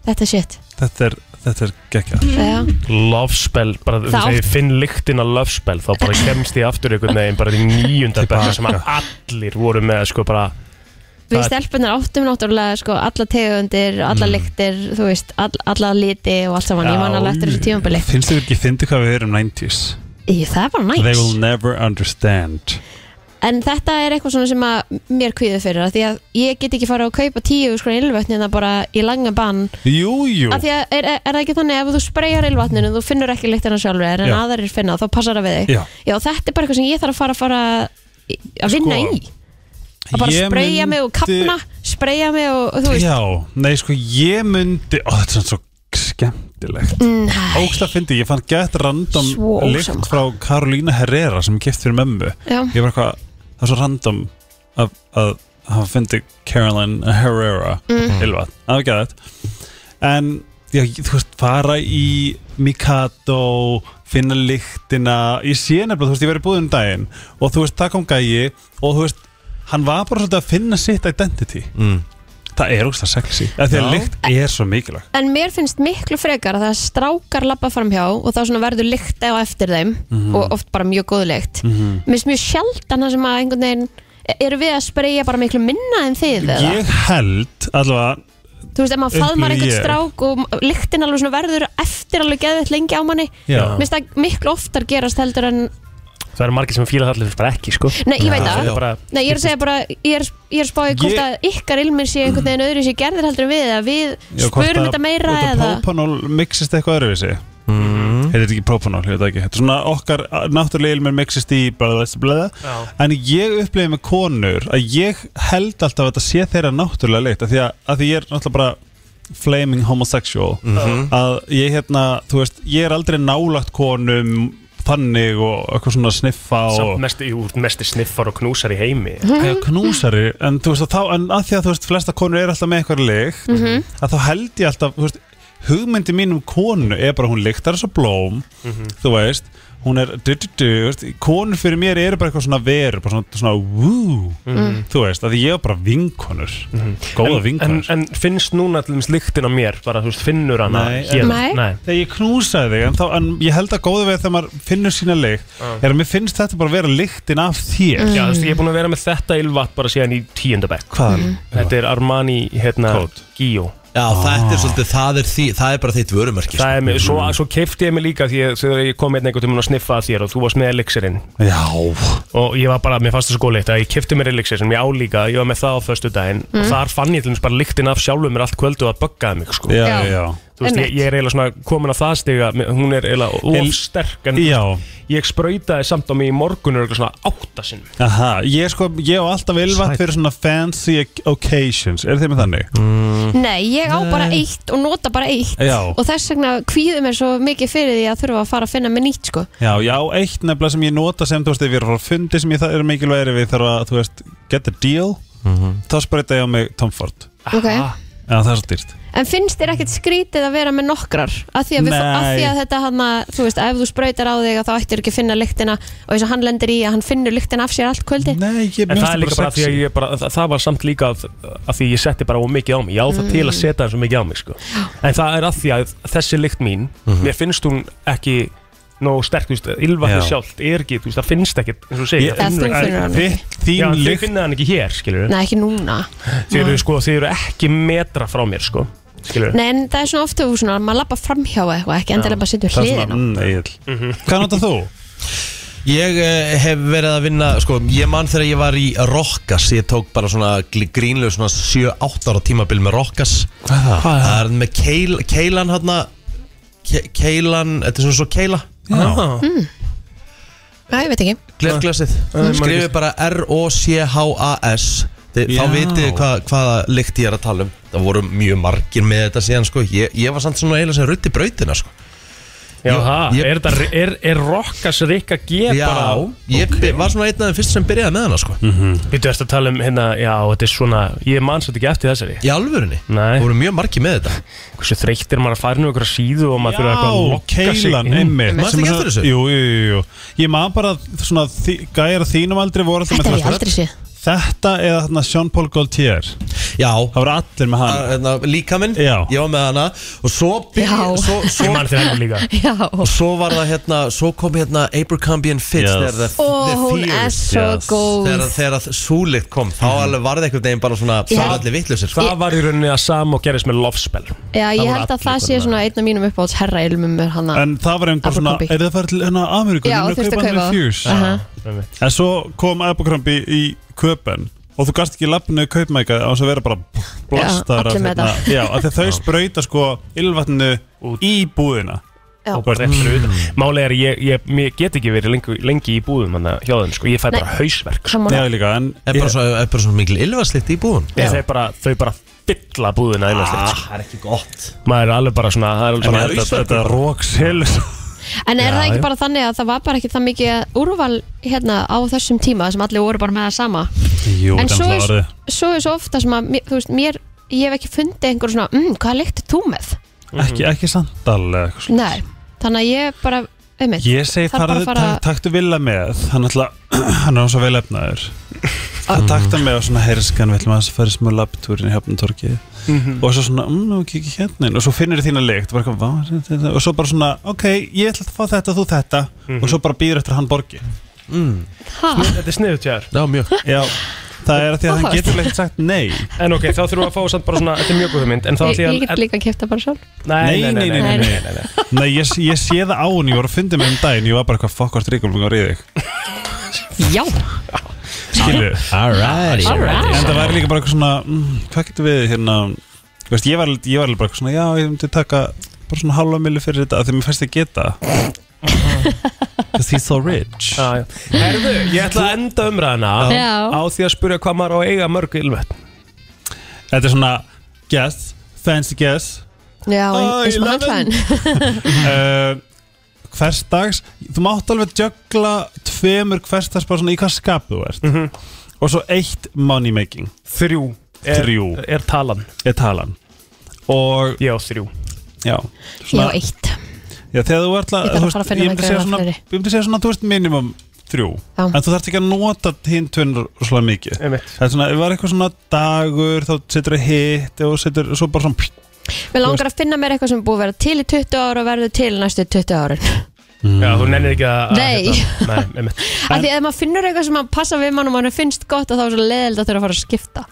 S2: Þetta er shit
S7: þetta er, þetta er gekkja
S2: Já,
S3: Love spell, bara
S2: Það
S3: þú veist, ef ég finn lyktina love spell þá bara kemst ég aftur einhvern veginn bara í nýjunda bekka sem að allir voru með sko bara
S2: Við
S3: Það-
S2: stelpunar áttum náttúrulega sko, alla tegundir, alla
S7: Mm.
S2: lyktir, þú veist, all, alla liti og allt saman, ég man alveg eftir þessu tímanbili.
S7: finnst þið ekki fyndi hvað við erum 90s
S2: Í, Það er bara
S7: they will
S2: næst.
S7: never understand
S2: En þetta er eitthvað svona sem að mér kvíður fyrir, af því að ég get ekki fara að kaupa tíu sko ilvötnina bara í langa bann.
S7: jú, jú,
S2: Af því að er, er, er það ekki þannig ef þú spreyjar ilvatninu, þú finnur ekki lyktina sjálfur, en
S7: Já.
S2: aðarir finna, þá passar það við þig.
S7: já
S2: Já, þetta er bara eitthvað sem ég þarf að fara að fara í- að vinna
S7: Sko,
S2: í. Að bara
S7: Ég
S2: spreyja mig og
S7: myndi-
S2: kapna, spreyja mig og, og þú veist,
S7: já, nei sko, ég myndi ó, þetta er svona svo skemmtilegt
S2: næ,
S7: ógst að fyndi, ég fann gett random
S2: mm, Svo ósammála.
S7: lykt frá Karolína Herrera sem ég keft fyrir mömmu
S2: já.
S7: ég var eitthvað, það er svo random að, að hafa fundið Caroline Herrera
S2: Mhm.
S7: mm. Ylva, það var ekki að þetta en já, ég- þú veist, fara í Mikado finna lyktina, ég sé nefnilega þú veist, ég verið búið um daginn og þú veist, það kom gæi og þú veist, hann var bara svolítið að finna sitt identity
S1: Mm.
S7: það er ógst að sexy, af því að
S1: Já.
S7: lykt er svo mikilvæg
S2: En mér finnst miklu frekar að það strákar lappa framhjá og þá svona verður lykt á eftir þeim
S7: Mhm.
S2: og oft bara mjög góð lykt. Mér finnst mjög sjaldan það sem að einhvern veginn eru við að spreyja bara miklu minna en þið eða?
S7: ég held, allavega
S2: Þú veist, ef maður faðmar
S7: upplifi
S2: einhvern
S7: ég.
S2: strák og lyktin alveg svona verður eftir alveg geðveitt lengi á manni
S7: Já.
S2: Mér finnst það miklu oftar gerast heldur en
S3: það eru margir sem fíla það allir bara ekki sko
S2: Nei, ég veit
S3: Það
S2: það
S3: er bara
S2: Nei, ég er að segja bara, ég er, ég er spáið hvort
S7: Ég-
S2: að ykkar ilmir sé einhvern veginn öðru sér gerðir heldur en við eða við
S7: Já, hvort
S2: spurum
S7: að-
S2: þetta meira
S7: hvort að
S2: eða
S7: Propanol mixist eitthvað öðruvísi mm. Heitir þetta ekki propanol, ég veit það ekki Þetta er svona okkar náttúrulega ilmur mixist í bara þessi bleða En ég upplegi með konur að ég held alltaf að þetta sé þeirra náttúrulega leitt af því að, að því ég er náttúrulega bara flaming homosexual að ég hérna, þú veist, ég er aldrei nálagt konum þannig og eitthvað svona sniffa og
S3: samt mest, jú, mest sniffar og knúsar í heimi
S7: Já, knúsari, en þú veist að þá en að því að þú veist, flesta konur er alltaf með eitthvað lykt að þá held ég
S3: Mhm.
S7: alltaf þú veist, hugmyndi mín um konu er bara hún lyktar svo blóm, þú veist hún er du, du, du, veist, konur fyrir mér eru bara eitthvað svona veru bara svona, svona wú þú veist, að ég er bara vinkonur góða
S3: Mhm. en, en,
S7: vinkonur
S3: en finnst núna til þess lyktin á mér bara, þú veist, finnur hana
S7: Nei,
S3: hér?
S2: Nei.
S7: Þegar ég knúsaði þig, en, þá, en ég held að góða við þegar maður finnur sína lykt
S3: Ah.
S7: er að mér finnst þetta bara vera lyktin af þér
S3: Já, þú veist, ég er búin að vera með þetta ylvat bara síðan í tíundabæk
S7: Hvaðan?
S3: Þetta er Armani, hérna,
S7: Kót.
S3: Gio
S1: Já, þetta er svolítið, það er, því, það er bara þitt vörumerki
S3: Það er mér, svo,
S7: Mhm.
S3: svo keifti ég mig líka því að þegar ég kom einn einhvern tímann að sniffa að þér og þú varst með elixirinn
S1: Já,
S3: og ég var bara, mér fannst það svo góð lykt að ég keifti mér elixir sem ég á líka, ég var með það á föstu daginn og þar fann ég til þess bara lyktin af sjálfur mér allt kvöldu og það böggaði mig, sko
S7: Já,
S2: Já.
S7: já,
S3: Þú veist, ég,
S2: Einmitt.
S3: ég er eiginlega svona komin á það stiga, hún er eiginlega
S7: En-
S3: of sterk en
S7: já.
S3: ég sprautaði samt á mig í morgun og svona átta sinnum
S7: Aha, ég, sko, ég á alltaf ylvat fyrir svona fancy occasions Er þið með þannig?
S3: Mm.
S2: Nei, ég á bara eitt og nota bara eitt
S7: Já.
S2: og þess vegna kvíðum mér svo mikið fyrir því að þurfa að fara að finna mér nýtt sko.
S7: Já, já, eitt nefnilega sem ég nota sem, þú veist, ef ég er frá fundi sem ég það er mikilvægir ef ég þarf að, þú veist, get the deal
S3: Mhm.
S7: þá spreita ég á mig Tom Ford
S2: okay.
S7: Já, það er svo dýrt
S2: En finnst þér ekkert skrítið að vera með nokkrar af því að, við,
S7: Nei.
S2: af því að þetta hann að þú veist, ef þú sprautar á þig að þá ættir ekki að finna lyktina og eins og hann lendir í að hann finnur lyktina af sér allt kvöldi
S7: Nei, ég
S3: En það
S7: mér finnst
S3: er líka bara því að
S7: sexy.
S3: ég bara, það, það var samt líka að, að því ég setti bara of mikið á mig, ég á það til að setja það svo mikið á mig sko. En það er að því að þessi lykt mín, mér finnst hún ekki nóg sterk, þú veist, ylvatni
S7: Mhm. Já.
S3: sjálft er ekki, þú veist, það finnst ekkit, eins og þú segir,
S7: Ég-
S3: það
S2: Eða þú
S3: finnur-
S2: finnur hann ekki
S7: Þitt, þín
S3: Já, en þið
S7: lykt
S3: finnið hann ekki hér, skilur við
S2: Nei, ekki núna
S3: Þið eru sko, þið eru ekki metra frá mér, sko Skilur við
S2: Nei, en það er svona ofta svona, maður lappa framhjá eitthvað, ekki endilega bara sittur
S7: Það er
S2: hliðin á
S7: svona, mm,
S2: Mhm.
S7: Egill. Hvað notar þú?
S1: Ég eh, hef verið að vinna, sko, ég man þegar ég var í Rokkas, ég tók bara svona gl- grínlega svona 7-8 ára tímabil með Rokkas
S7: Hvað er það?
S1: Það er með keil, keilan hérna, ke, keilan, þetta er svona svo keila,
S3: Já,
S2: Nei, ég veit ekki
S1: glerglasið, skrifið bara R-O-C-H-A-S, Þið, þá
S7: Já.
S1: vitið þið hvað, hvaða lykt ég er að tala um Það voru mjög margir með þetta síðan, sko, ég, ég var samt svona eiginlega sem rutti brautina, sko
S3: já,
S1: Ég-
S3: er þetta, er, er rokkas Rikka G
S1: Já,
S3: bara
S1: ég okay. var svona einn af þeim fyrst sem byrjaði með hana, sko
S7: Hm.
S3: Við þú ert að tala um hérna, já, þetta er svona, ég manns þetta ekki eftir þessari
S1: Í alvörinni,
S3: Nei.
S1: það voru mjög margir með þetta
S3: hversu þreytt er maður að fara inn á einhverja síðu og maður þurfa eitthvað að
S7: Já,
S3: lokka sig Mm.
S7: keilan,
S3: inn.
S7: einmitt
S1: Manstu
S7: Sem
S1: ekki
S7: er
S1: eftir
S7: svona-
S1: þessu?
S7: Jú, jú, jú, jú Ég maður bara svona þi- gæjar á þínum aldrei voru alltaf
S2: Þetta
S7: með
S2: hef ég
S7: þvert.
S2: aldrei séð
S7: Þetta eða þarna Sean Paul Gaultier
S1: Já,
S7: Það voru allir með
S2: Ah,
S7: hann
S1: hérna, líkaminn,
S7: Já.
S1: ég var með hana Og svo, byrj,
S2: Já.
S1: svo,
S3: Ég
S1: svo
S3: man þér henni líka
S2: Já,
S1: Og svo var það hérna, svo kom hérna Abercrombie and Fitch
S7: Yes.
S1: þegar það
S2: og hún er svo
S7: yes.
S2: góð
S1: Þegar, þegar að súlikt kom, þá
S3: Mhm.
S1: alveg var það einhvern veginn bara svona Það var allir vitlausir sko.
S3: Það var í rauninni að sama og gerist með lofspel
S2: Já, ég
S3: voru
S2: held að
S3: allir
S2: það sé
S3: komin
S2: svona einn af mínum uppáhalds herrailmum er hann að
S7: En það var einhver svona,
S2: Abercrombie.
S7: er það farið til hérna Ameríku?
S2: Já,
S7: Ég mun
S2: þurfti að
S7: hann
S2: kaupa.
S7: Refuse.
S2: Aha.
S7: En svo kom Abercrombie í köpen og þú gast ekki lappinu kaupmæka á þess að vera bara blastar
S2: allir með þetta.
S7: Já, af því að þau sprauta sko ylvatnu
S3: Út.
S7: í búðina
S3: og bara rétt fyrir utan Málið er að ég, ég, ég get ekki verið lengi, lengi í búðum hann hjá þeim sko, ég fæ bara
S2: Nei.
S3: hausverk sko.
S2: Sammála.
S7: Já, líka, en
S1: Er bara svona, er bara svona mikil ylfarslikt í búin
S3: Ég- þau bara, þau bara fylla búðina ah,
S1: Það er ekki gott
S3: maður er alveg bara svona það er alveg
S7: En
S3: svona
S7: ég held að
S3: þetta-
S7: þetta róksil
S2: En er
S3: Já,
S2: það ekki
S3: já.
S2: bara þannig að það var bara ekki það mikið úrval hérna á þessum tíma sem allir voru bara með það sama
S7: Jú,
S2: En
S7: þetta
S2: svo
S7: er
S2: er,
S7: orðið.
S2: svo er svo ofta sem að mér- þú veist, mér, ég hef ekki fundið einhver svona mm, hvað leikt þú með?
S7: ekki, ekki sandal eða eitthvað svona.
S2: Nei, þannig að ég bara einmitt,
S7: Ég segi
S2: Þarf bara
S7: farðu,
S2: að fara-
S7: tak- taktu vilja með hann, ætla, hann er svo vel efnaður
S2: Ah.
S7: að takta mig á svona herskan við ætlum aðeins að fara í smá labbtúrin í Hafnartorki og svo svona, mm, og kikið hérna inn. og svo finnir þína lykt og, bara, eitthvað, "Vá, þetta- þetta." og svo bara svona, ok, ég ætla að fá þetta þú þetta og svo bara býður eftir að hann borgi
S2: ha,
S3: Mhm. þetta er sniðut hjá þér
S1: Já, mjög
S7: Já, það er að því að hann
S2: Áhugavert.
S7: getur leikt sagt nei
S3: en ok, þá þurfum við að fá samt bara svona þetta er mjög góð mynd en þá
S2: ég,
S3: því að
S2: ég get líka að kipta bara sjálf
S3: nei, nei, nei, nei, nei, nei,
S2: nei,
S3: nei, nei.
S7: Nei, ég, ég sé það á hún, ég var að fundi mig um daginn ég var bara eitthvað, fuck, hvort ríkulum að ríða þig
S2: Já,
S7: Skilu
S1: Alright
S2: alright
S7: En það væri líka bara eitthvað svona mm, Hvað getur við hérna Þú veist, ég var, alveg- ég var alveg bara eitthvað svona Já, ég myndi taka bara svona halva milli fyrir þetta af Því mér fæst ég geta Because he's so rich
S3: Ah, Já, já. Herðu, ég ætla að enda umræðina
S2: Já.
S3: á því að spurja hvað maður á að eiga mörg ylvett
S7: Þetta er svona guess, fancy guess
S2: Já,
S7: Oh,
S2: eins og
S7: 11.
S2: handklæðin
S7: uh, Hversdags Þú mátt alveg juggla tveimur hversdags bara svona í hvað skap þú ert Og svo eitt money making
S3: þrjú er,
S7: Þrjú.
S3: er talan
S7: er talan Og
S3: ég á þrjú
S7: já
S2: Já, eitt
S7: Já, þegar þú ert
S2: Ég þarf að
S7: að,
S2: fara
S7: þú
S2: að
S7: veist,
S2: finna mér
S7: ég myndi segja
S2: greiða
S7: svona,
S2: fleiri.
S7: ég myndi segja svona, þú veist, minimum þrjú.
S2: Já.
S7: En þú þarft ekki að nota hinn tvinnur svolítið mikið.
S3: Einmitt.
S7: Það er svona, ef það er eitthvað svona dagur, þá setur það hitt og setur, svo bara svona,
S2: Mér langar að finna mér eitthvað sem er búið að vera til í 20 ára og verður til næstu 20 árin
S3: Já, þú nennir ekki að... að
S2: Nei.
S3: hérna- Nei, einmitt.
S2: Af því ef maður finnur eitthvað sem maður passa við mann og mann finnst gott og þá er svo leðild að þurfa að fara að skipta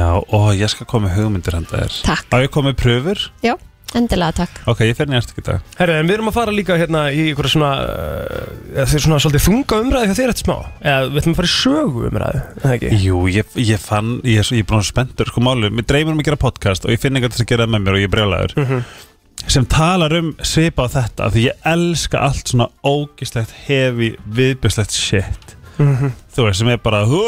S7: já, ó, ég skal koma með hugmyndir handa þér.
S2: Takk.
S7: Á ég að koma með pröfur?
S2: Já, endilega takk
S7: Ok, ég fer nýjast ekki dag.
S3: Herru, en við erum að fara líka hérna í einhverja svona, uh, þeir svona svolítið þunga umræði þegar þeir eru smá. Eða við ætlum að fara í sögu umræði, er það ekki?
S7: Jú, ég, ég fann, ég er, svo- ég er búin að vera spenntur, sko máli, mér dreymir um að gera podcast og ég finn eitthvað til að gera það með mér og ég er brjálæður sem talar um svipa á þetta af því ég elska allt svona ógislegt hefi, viðbjörslegt shit
S3: Mhm.
S7: þú veist, sem er bara "Hú,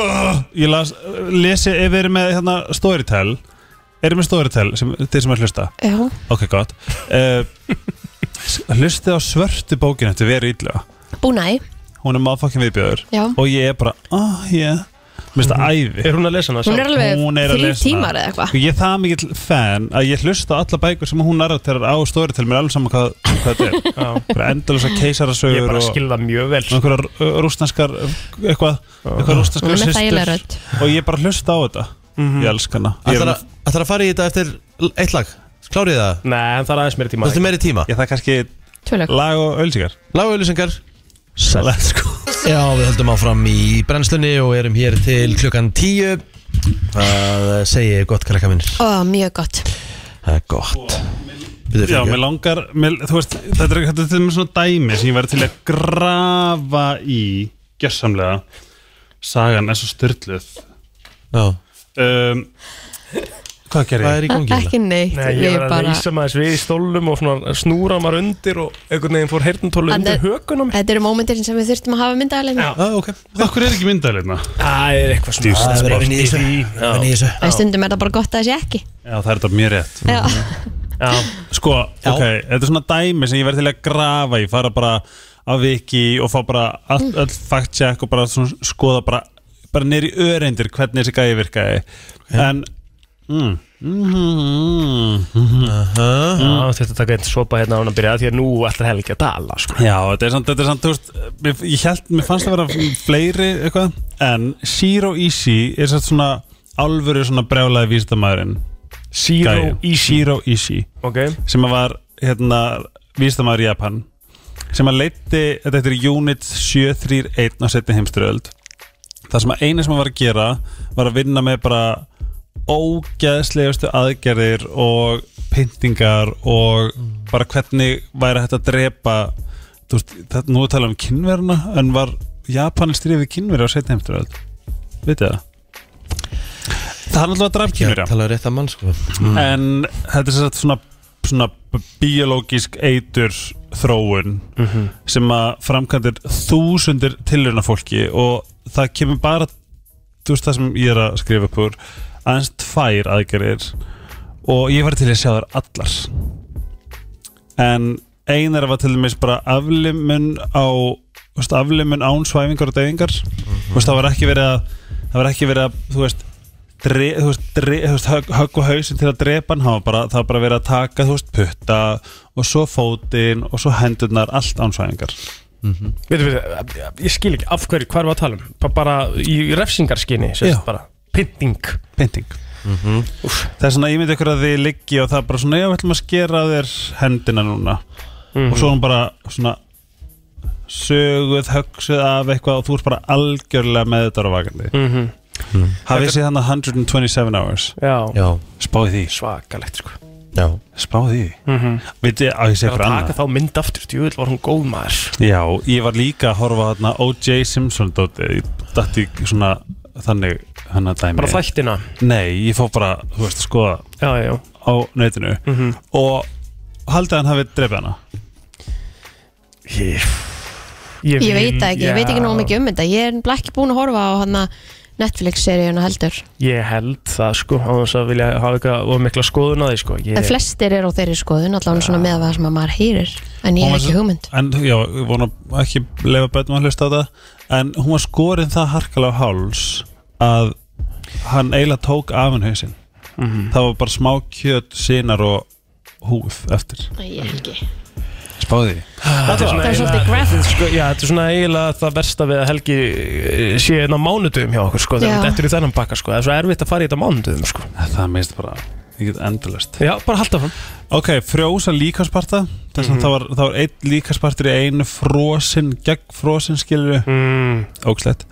S7: ég las, lesi, ef við erum með hérna, storytel, erum við storytel sem, þeir sem er að hlusta,
S2: Já,
S7: ok gott uh, hlusti á svörtu bókinu eftir veru illa
S2: búnæ,
S7: hún er maður fokkin viðbjörður
S2: já
S7: og ég er bara, ah, yeah Mér finnst
S3: Mhm.
S7: það æði
S3: Er hún að lesa hana?
S2: Hún er alveg
S7: Hún er að
S2: þrjú
S7: lesa.
S2: tímar eða eitthvað
S7: Sko, Ég er það mikill fan að ég hlusta á alla bækur sem hún narraterar á stóri til mér er alveg saman hvað, hvað þetta er
S3: Já.
S7: bara endalösa
S3: Ég er
S7: keisarasögur
S3: bara að
S7: og
S3: skilja það mjög vel. sko.
S7: einhverjar uh, rústneskar uh, eitthvað, eitthvað
S2: Hún
S7: rústneskar
S2: er með þægilega
S7: systur
S2: rödd
S7: og ég er bara að hlusta á þetta ég elska hana ég, er,
S1: Ætlar Mhm. að- ætlar að fara í þetta eftir l- eitt lag? Klárið það?
S3: Nei, en það er aðeins meiri tíma.
S1: Þetta er meiri tíma
S7: ég það er kannski
S2: Tvöleg
S7: lag og ölsingar
S1: Lagauðlýsingar
S7: let's go
S1: Já, við höldum áfram í brennslunni og erum hér til klukkan tíu Það segi ég gott, kallega minn
S2: Ó, mjög gott
S1: Það er gott Byrðu,
S7: Já, mér langar, mér, þú veist, þetta er, þetta er til mér svona dæmi sem ég væri til að grafa í gjössamlega sagan er svo styrluð
S1: Já,
S7: um, Hvað gerir ég?
S1: hvað er í gangi? eiginlega?
S2: Ekki neitt,
S3: Nei, ég
S2: við
S3: var að
S2: bara
S3: leysa maður við í stólum og svona snúra maður undir og einhvern veginn fór heyrnartólu
S2: En
S3: undir
S2: það-
S3: hökun á mig.
S2: Þetta eru mómentir sem við þurftum að hafa myndaðalegna
S3: Já.
S1: Já, Ah, ok
S7: Akkur er ekki myndaðleina?
S3: Það er eitthvað svona.
S1: Það er verið
S3: sport
S1: vinni í
S3: í
S1: þessu
S3: því.
S1: Vinni í þessu
S2: En stundum er það bara gott að það sé ekki
S7: Já, það er þetta mjög rétt
S2: Já,
S3: Já,
S7: Sko, ok, þetta er svona dæmi sem ég verði til að grafa í fara bara að viki og fá bara all, all fact check og bara svona skoða bara, bara neyri öreindir hvernig þessi gæði virkaði En mm, mm, mm,
S3: Já, þetta taka einn sopa hérna á hann að byrja því að nú ætlar Helgi að tala, sko.
S7: Já, þetta er samt, þetta er samt, þú veist mér- Ég held, mér fannst það að vera fleiri eitthvað En Zero Easy er satt svona alvöru svona brjálaði vísindamæðurinn
S3: Zero Easy.
S7: Zero Easy
S3: Ok.
S7: sem að var hérna, vísdamaður í Japan sem að leiti, þetta heitir Unit 731 á setni heimsturöld það sem að eina sem að var að gera var að vinna með bara ógeðslegustu aðgerðir og pyntingar og bara hvernig væri hægt að drepa þú veist, það, nú tala um kynveruna en var Japan strífið kynveri á setni heimsturöld vitið það? Það er náttúrulega draf
S1: Ég
S7: kynverja
S1: talaði rétt að mann sko
S7: en þetta er sem sagt svona, svona biológisk eitur þróun sem að framkvæmdir þúsundir tilurna fólki og það kemur bara þú veist það sem ég er að skrifa upp úr aðeins tvær aðgerðir og ég var til að sjá þær allar en einar var til dæmis bara aflimun á þú veist, aflimun án svæfingar og deyfingar þú veist það var ekki verið að það var ekki verið að þú veist dre, þú veist, dre, þú veist högg, högg og hausin til að drepa hann, hann var bara, það var bara verið að taka þú veist, putta og svo fótinn og svo hendurnar, allt ánsvæðingar
S3: Veitum við, eh, ég skil ekki af hverju, hvað er að tala um? Ba- Bara í refsingarskinni,
S7: Já.
S3: sérst bara. Pinning.
S7: pynting mm -hmm. það er svona, ég myndi ykkur að þið liggi og það er bara svona, já, við ætlum að skera af þér hendina núna og svo er hún bara svona söguð, högsuð af eitthvað og þú ert bara algjörlega með þetta á vakandi
S3: Mm -hmm.
S7: hafið séð hann að 127 hours
S3: Já.
S1: Já,
S7: spáði því,
S3: Svakalegt, sko.
S1: já
S7: spáði því
S3: Mm -hmm.
S7: veit ég að Mhm. ég sé
S3: Það
S7: fyrir
S3: var að
S7: annað
S3: taka þá mynd aftur, djúvill var hún góð maður.
S7: Já, ég var líka að horfa á þarna O.J. Simpson dótið, ég dætti svona þannig hann að dæmi
S3: Bara þættina.
S7: Nei, ég fór bara, þú veist, að skoða
S3: Já, já, já.
S7: á netinu og haldið að hann hafi drefið hana
S3: Ég,
S2: ég veit það ekki, ég veit ekki nóg mikið um þetta Ég er bara ekki búin að horfa á hana Netflix-seríuna heldur
S3: Ég held það sko, á þess að vilja hafa eitthvað of mikla skoðun að því sko ég,
S2: En flestir eru á þeirri skoðun, allavega svona með það sem að maður heyrir En ég
S7: Hún
S2: er
S7: var
S2: ekki
S7: svo-
S2: hugmynd
S7: En já, ég vona ekki leifa bætum að hlusta á það En hún var skorinn það harkalega á háls að hann eiginlega tók af hann hausinn Það var bara smá kjöt, sinar og húð eftir
S2: Nei, ég er ekki
S7: Spáði
S3: Þetta er
S2: Það
S3: svona
S2: er
S3: eiginlega-
S2: svolítið graphic.
S3: sko, Já, þetta er svona eiginlega það versta við að Helgi eh, sé einn á mánudum hjá okkur sko,
S2: Já.
S3: þegar þetta er í þennan bakka sko. það er svo erfitt að fara í þetta á mánudum sko.
S7: Það meist bara, ég get endalust
S3: Já, bara halda fram
S7: Ok, frjósa líkansparta Þess að það var, það var einn líkanspartur í einu frosin, gegn frosin skilur
S3: mm.
S7: ógslætt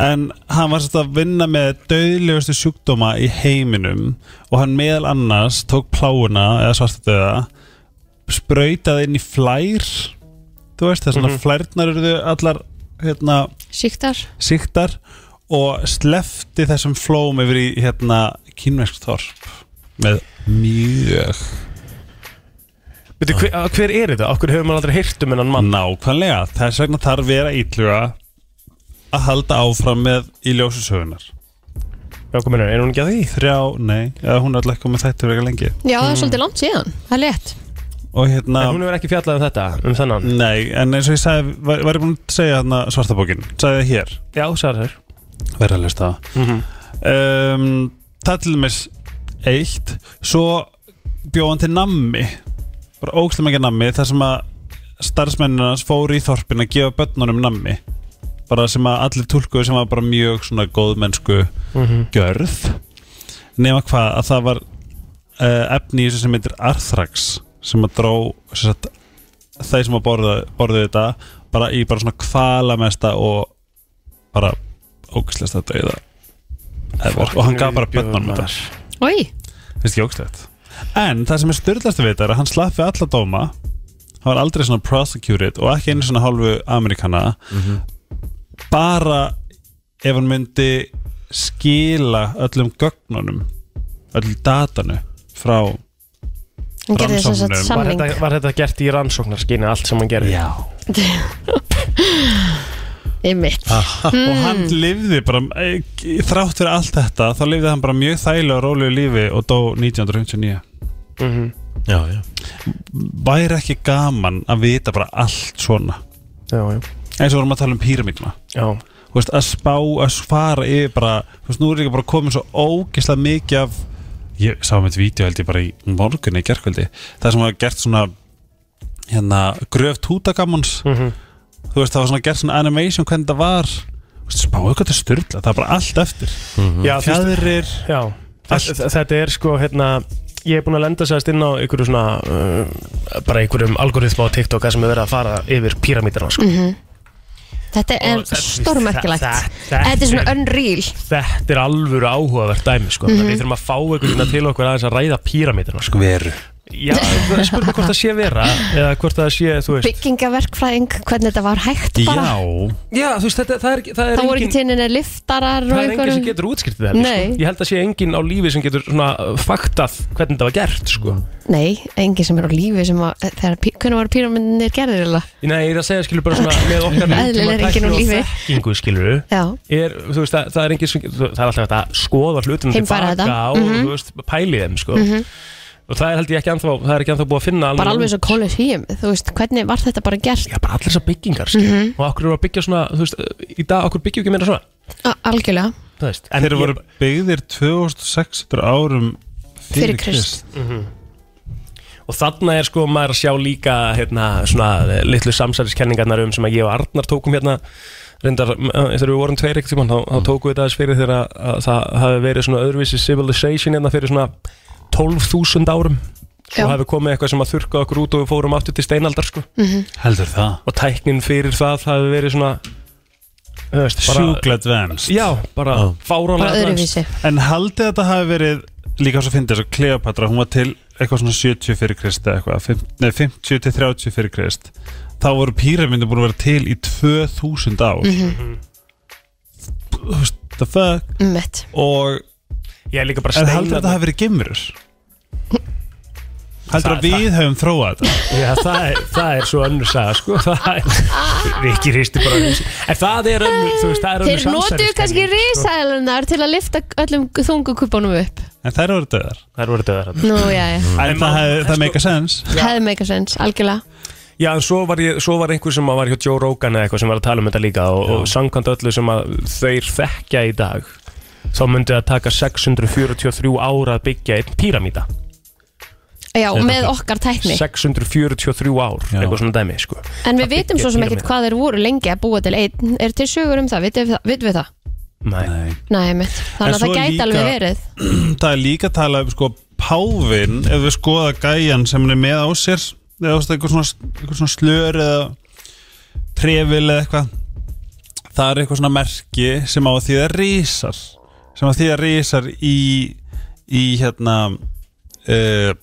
S7: en hann var svolítið að vinna með döðlegustu sjúkdóma í heiminum og hann meðal annars tók pláuna eða svartadöða sprautaði inn í flær þú veist þess að mm flærnar eru allar hérna,
S2: Sýktar?
S7: síktar og slefti þessum flóm yfir í hérna kínverkst þorp með mjög
S3: Veitu, hver, að- hver er þetta? Okkur hefur maður aldrei heyrt um hennan mann
S7: nákvæmlega þess vegna þarf vera ítluga að halda áfram með í ljósu sögunar
S3: Já, hvað meinar, er hún ekki að því?
S7: þrjá, nei, eða hún er alltaf ekki komið þættir eitthvað lengi
S2: Já,
S3: Mm.
S2: það er svolítið langt síðan. Það er létt.
S7: og hérna,
S3: En hún hefur ekki fjallað um þetta, um þennan
S7: nei, en eins og ég sagði var, var ég búin að segja hérna svartabókin sagði það hér,
S3: Já, sagði þér
S7: verða að hlusta á það.
S3: Mhm.
S7: um, það til dæmis eitt, svo bjóð hann til nammi bara ógslum ekki nammi, þar sem að starfsmennin hans fóru í þorpin að gefa börnunum nammi bara sem að allir tólkuðu sem var bara mjög svona góðmennsku gjörð nema hvað að það var uh, efni í þessu sem heitir Arthrax sem að dró sem sagt, þeir sem að borða, borðu þetta bara í bara svona kvalamesta og bara ógæslegt að dauða Eða var- og hann gaf bara bönnum þetta
S2: Oi,
S7: finnst ekki ógæslegt en það sem er styrlast við þetta er að hann slapp við alla dóma hann var aldrei svona prosecuted og ekki einu svona hálfu Amerikana Mhm. bara ef hann myndi skila öllum gögnunum öll datanu frá
S2: hann gerði þess að
S7: Rannsóknum.
S3: var,
S2: samning.
S3: þetta var þetta gert í rannsóknarskyni, allt sem hann gerði?
S7: já
S2: Í mitt.
S3: Ah.
S7: og hann lifði bara eh, þrátt fyrir allt þetta þá lifði hann bara mjög þægilega og rólegu lífi og dó 1959
S1: Já, já
S7: væri ekki gaman að vita bara allt svona
S3: Já, já,
S7: eins og vorum að tala um píramítuna
S3: já.
S7: Þú veist, að spá, að fara yfir bara þú veist, nú er líka bara komin svo ógeðslega mikið af ég sá með þetta vídeo held ég bara í morgunni í gerkvöldi það sem var gert svona hérna, gröft hútagammans
S3: Mhm.
S7: þú veist, það var svona gert svona animation hvernig það var Þú veist, spáðu hvað þetta er styrla, það er bara allt eftir
S3: já þú veist-
S7: fjæðrir,
S3: Já, þess, þetta er sko hérna Ég er búin að lenda sérst inn á einhverju svona uh, bara einhverjum algoritma á TikTok þar sem er verið að fara yfir píramídana sko.
S2: Þetta er
S3: Og þetta-
S2: Mm, stórmerkilegt.
S3: þetta- þetta
S2: Þetta er svona
S3: er-
S2: unreal.
S3: Þetta er alvöru áhugavert dæmi sko.
S2: Mhm.
S3: Við þurfum að fá einhverjum til okkur aðeins að ræða píramídana sko.
S7: veru
S3: Já, það spurði hvort það sé vera eða hvort það sé, þú veist
S2: Byggingaverkfræðing, hvernig þetta var hægt bara.
S7: já,
S3: Já, þú veist, þetta, það er, það er
S2: Það voru ekki tinninni liftarar og
S3: Það er enginn sem
S2: einhverjum.
S3: getur útskýrt þetta
S2: Nei.
S3: sko. Ég held að sé enginn á lífi sem getur svona uh, faktað hvernig þetta var gert sko.
S2: Nei, enginn sem er á lífi sem að, þegar, pí- hvernig voru píramindinir gerðir eða?
S3: Nei, ég er að segja skilur bara svona með okkar
S2: Eðlilega er enginn á
S3: nútíma tækni
S2: lífi.
S3: og þekkingu skilur
S2: Já,
S3: er, þú veist, það, það er engin sem- þú- það er alltaf hægt að skoða hlutum
S2: Heimfæra þetta.
S3: og
S2: Mhm.
S3: þú veist, pæli þeim sko. og það er held ég ekki anþá það er ekki anþá búið að finna
S2: bara alveg svo kólu hýjum. Þú veist, hvernig var þetta bara gert?
S3: já, bara allir þessar byggingar skil.
S2: Mhm.
S3: og okkur eru að byggja svona, þú veist, í dag okkur byggjum ekki meira svona
S2: A- Algjörlega.
S3: þú veist, en
S7: þeir voru byggðir 2600 árum
S2: Fyrir Krist.
S3: og þarna er sko maður að sjá líka hérna, svona eh, litlu samsæliskenningarnar um sem að ég og Arnar tókum hérna reyndar, eh, þegar við vorum tveir ekkert tíma þá, þá tókum við þetta aðeins fyrir þegar að, að það hafi verið svona öðruvísi civilization hérna fyrir svona 12.000 árum
S2: Já.
S3: svo hafi komið eitthvað sem að þurka okkur út og við fórum aftur til steinaldar sko.
S7: heldur það
S3: og tæknin fyrir það hafi verið svona þú veist, bara,
S7: sjúkla advanced
S3: já, bara
S1: Já.
S3: fárónlega
S2: Bara öðruvísi.
S7: En haldið að þetta hafi verið líka svo fyndið þess að Kleopatra, hún var til eitthvað svona 70 fyrir krist eða eitthvað, fimm- nei 50 til 30 fyrir krist þá voru píramindi búin að vera til í 2000 ár Þú veist, the fuck
S2: Ummitt.
S7: og
S3: ég er líka bara
S7: en haldið að þetta
S3: steinar
S7: hafi verið gemurur
S3: Það-
S7: heldur að við höfum þróað þetta
S3: Já, það, er, það er svo önnur saga sko. það er Rikki hristi bara hausinn. en það er önnur þú veist, það er önnur
S2: Þeir notuðu
S3: samsæliskenning,
S2: kannski
S3: sko.
S2: risaðalunar til að lifta öllum þungukupunum upp.
S7: en þær voru döðar
S3: þær voru döðar þarna.
S2: Nú, já, já.
S7: Mm. en sko- það, hef, það make a sense
S2: Hefði meika sens, algjörlega.
S3: Já, en svo var, ég, svo var einhver sem var hjá Joe Rogan eða eitthvað sem var að tala um þetta líka og, og samkvæmt öllu sem að þeir þekkja í dag þá myndi það taka 643 ára að byggja einn píramíta
S2: Já, með okkar tækni
S3: 643 ár,
S7: Já.
S3: eitthvað svona dæmi sko.
S2: En við vitum svo sem ekkert
S3: píramída.
S2: hvað þeir voru lengi að búa til einn Er til sögur um það, vitum við það? Vitum við það?
S3: Nei.
S2: Nei, mitt Þannig
S7: En
S2: að það
S7: svo
S2: gæti
S7: líka-
S2: alveg verið
S7: það er líka að tala um sko páfin ef við skoða gæjan sem hann er með á sér eða þú veist, eitthvað svona, eitthvað svona slör eða trefil eða eitthvað það er eitthvað svona merki sem á því að rísar sem á því að rísar í í hérna uh,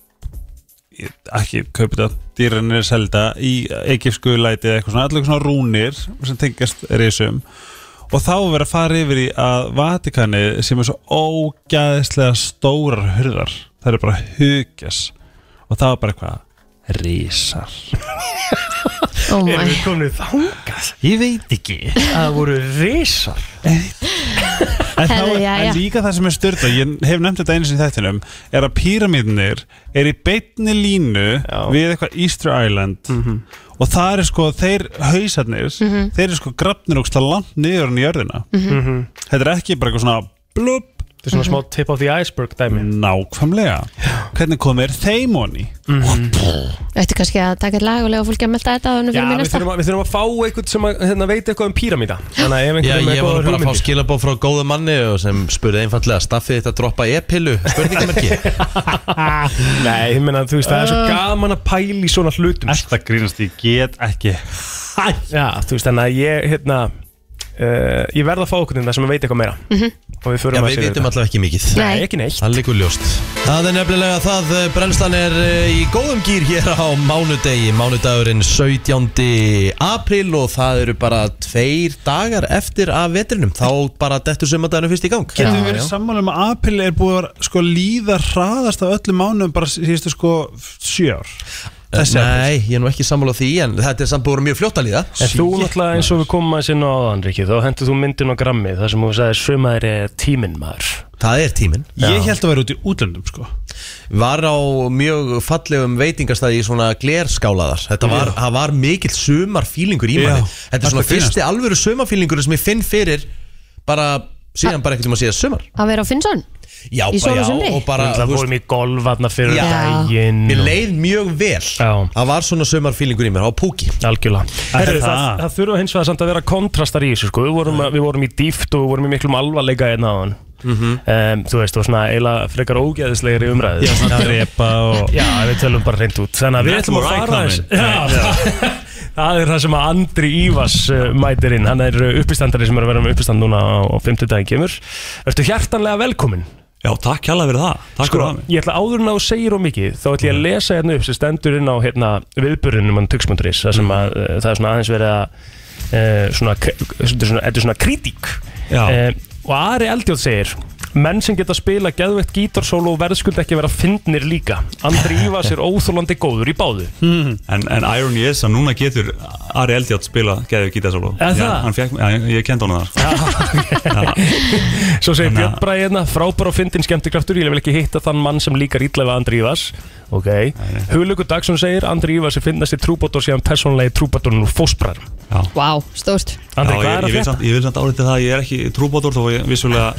S7: ekki kaupið að dýrarnir er selda í ekifsku læti eða eitthvað svona allir svona rúnir sem tengjast risum og þá verður að fara yfir í að Vatikani sem er svo ógæðislega stórar hurðar það eru bara hugjas og það er bara eitthvað risar
S2: Oh my
S3: komin þangað? Ég veit ekki Það voru risar
S7: en, þá,
S2: Herðu,
S7: er-
S2: jæja.
S7: en líka það sem er styrta ég hef nefnt þetta einu sinni í þættinum er að píramíðnir er í beitni línu við eitthvað Easter Island og það er sko þeir hausarnir þeir eru sko grafnir og langt niður en í jörðina þetta er ekki bara eitthvað svona blub
S3: Þetta er
S2: Mhm.
S3: svona smá tip of the iceberg dæmi
S7: nákvæmlega hvernig komir þeim honi
S2: Ættu kannski að taka eitt lag og lega fólki að melda þetta Þannig
S3: Já,
S2: fyrir mér
S3: við
S2: næsta
S3: þurfum, að, við þurfum að fá eitthvað sem að, hérna, veit eitthvað um píramíta Þannig að ef
S1: Já,
S3: einhverjum
S1: ég
S3: er
S1: var nú
S3: góður
S1: bara að fá
S3: hugmyndir
S1: skilabóð frá góðu manni og sem spurði einfallega staffið þetta að droppa e-pillu spurningamarki
S3: Ah, Nei, ég meina, þú veist, það er svo gaman að pæla í svona hlutum sko.
S7: Þetta grínast ég get ekki
S3: Já, þú veist, þannig að ég, hérna uh, Ég verð að fá okkur þetta sem veit eitthvað meira Og við
S1: Já,
S3: förum
S1: við vitum
S3: þetta
S1: allavega ekki mikið
S3: Mhm. Nei,
S2: Nei.
S3: ekki neitt
S1: Það liggur ljóst Það er nefnilega það, eh, brennslan er eh, í góðum gýr hér á mánudegi Mánudagurinn 17. apríl og það eru bara tveir dagar eftir af vetrinum Þá bara dettur sömandaginu fyrst í gang
S7: Getum
S1: Já,
S7: við verið
S1: já.
S7: sammála um að apil er búið að vera, sko, líða hraðast af öllum mánuðum bara síðustu sko sjö ár Þessi apríl.
S1: Eh, Nei, ég er nú ekki sammála því en þetta er samt búin mjög fljótt að líða
S3: En þú náttúrulega eins og við komum að sinna áðan, Riki Þá hendur þú myndin á grammi þar sem þú sagði Sumar er tíminn maður
S1: Það er tíminn
S7: Ég held að vera út í útlöndum sko
S1: var á mjög fallegum veitingastæði í svona glerskálaðar þetta var, það var mikill sumarfílingur í
S7: Já.
S1: manni þetta
S7: Þetta
S1: er svona
S7: er
S1: fyrsti alvöru sumarfílingur sem ég finn fyrir bara síðan bara ekkert um að síðan sumar
S2: Að vera á Finnsson
S1: já, bara,
S2: Í sól og
S1: já,
S2: sumri?
S1: og bara
S3: Það
S1: þú
S3: vorum í golfatna fyrir
S1: Já.
S3: daginn
S1: mér
S3: og-
S1: leið mjög vel
S3: Já.
S1: það var svona sumarfílingur í mér á púki
S3: Algjörlega Herru, það,
S7: það-
S3: það, þurfa hins vegar samt að vera kontrastar í þessu sko. við, vorum, við vorum í dýft og við vorum í miklum alvarleika einn á hann Þú veist, og svona eiginlega frekar ógeðislegri umræði Mhm. Já,
S7: Að drepa og
S3: Já, við tölum bara reynd út Þannig að við
S7: That's
S3: ætlum að
S7: where I
S3: fara
S7: come
S3: aðeins
S7: in.
S3: Já, Það er það sem að Andri Ívas uh, mætir inn Hann er uh, uppistandari sem er að vera með uppistand núna á, á 50 daginn kemur Ertu hjartanlega velkomin
S5: Já, takk hérlega fyrir það Takk
S3: Sko,
S5: fyrir það Mhm.
S3: ég ætla áður en að þú segir og mikið Þá ætla ég að lesa hérna upp sem stendur inn á hérna, viðbörunum hann tugsmunduris
S5: Mhm.
S3: Það sem að uh, það er svona aðeins verið að uh, svona, k- þetta er svona, þetta er svona kritík
S5: Já.
S3: Eh, Og Ari Eldjóð segir Menn sem geta spila geðveitt gítarsólu og verðskuld ekki vera fyndnir líka Andri Ívas er óþólandi góður í báðu
S5: En, en irony is að núna getur Ari Eldjátt spila geðið gítasólu
S3: Er það?
S5: Já, ég, ég kendi honum það
S3: Svo
S5: Þannig
S3: segir
S5: að-
S3: Björn Bræði hérna Frábær og fyndin skemmtikraftur, ég vil ekki hitta þann mann sem líkar illa við Andri Ívas Ok Hulugur Dagsson segir Andri Ívas er fyndnast í trúbátor síðan persónlega í trúbátorinn úr fósbræðum
S2: Vá, stórt
S3: Andri,
S5: Já,
S3: hvað
S5: ég,
S3: er
S5: ég,
S3: að
S5: vil
S3: frétta?
S5: samt, ég vil samt álítið það að ég er ekki trúbátur þó ég vissulega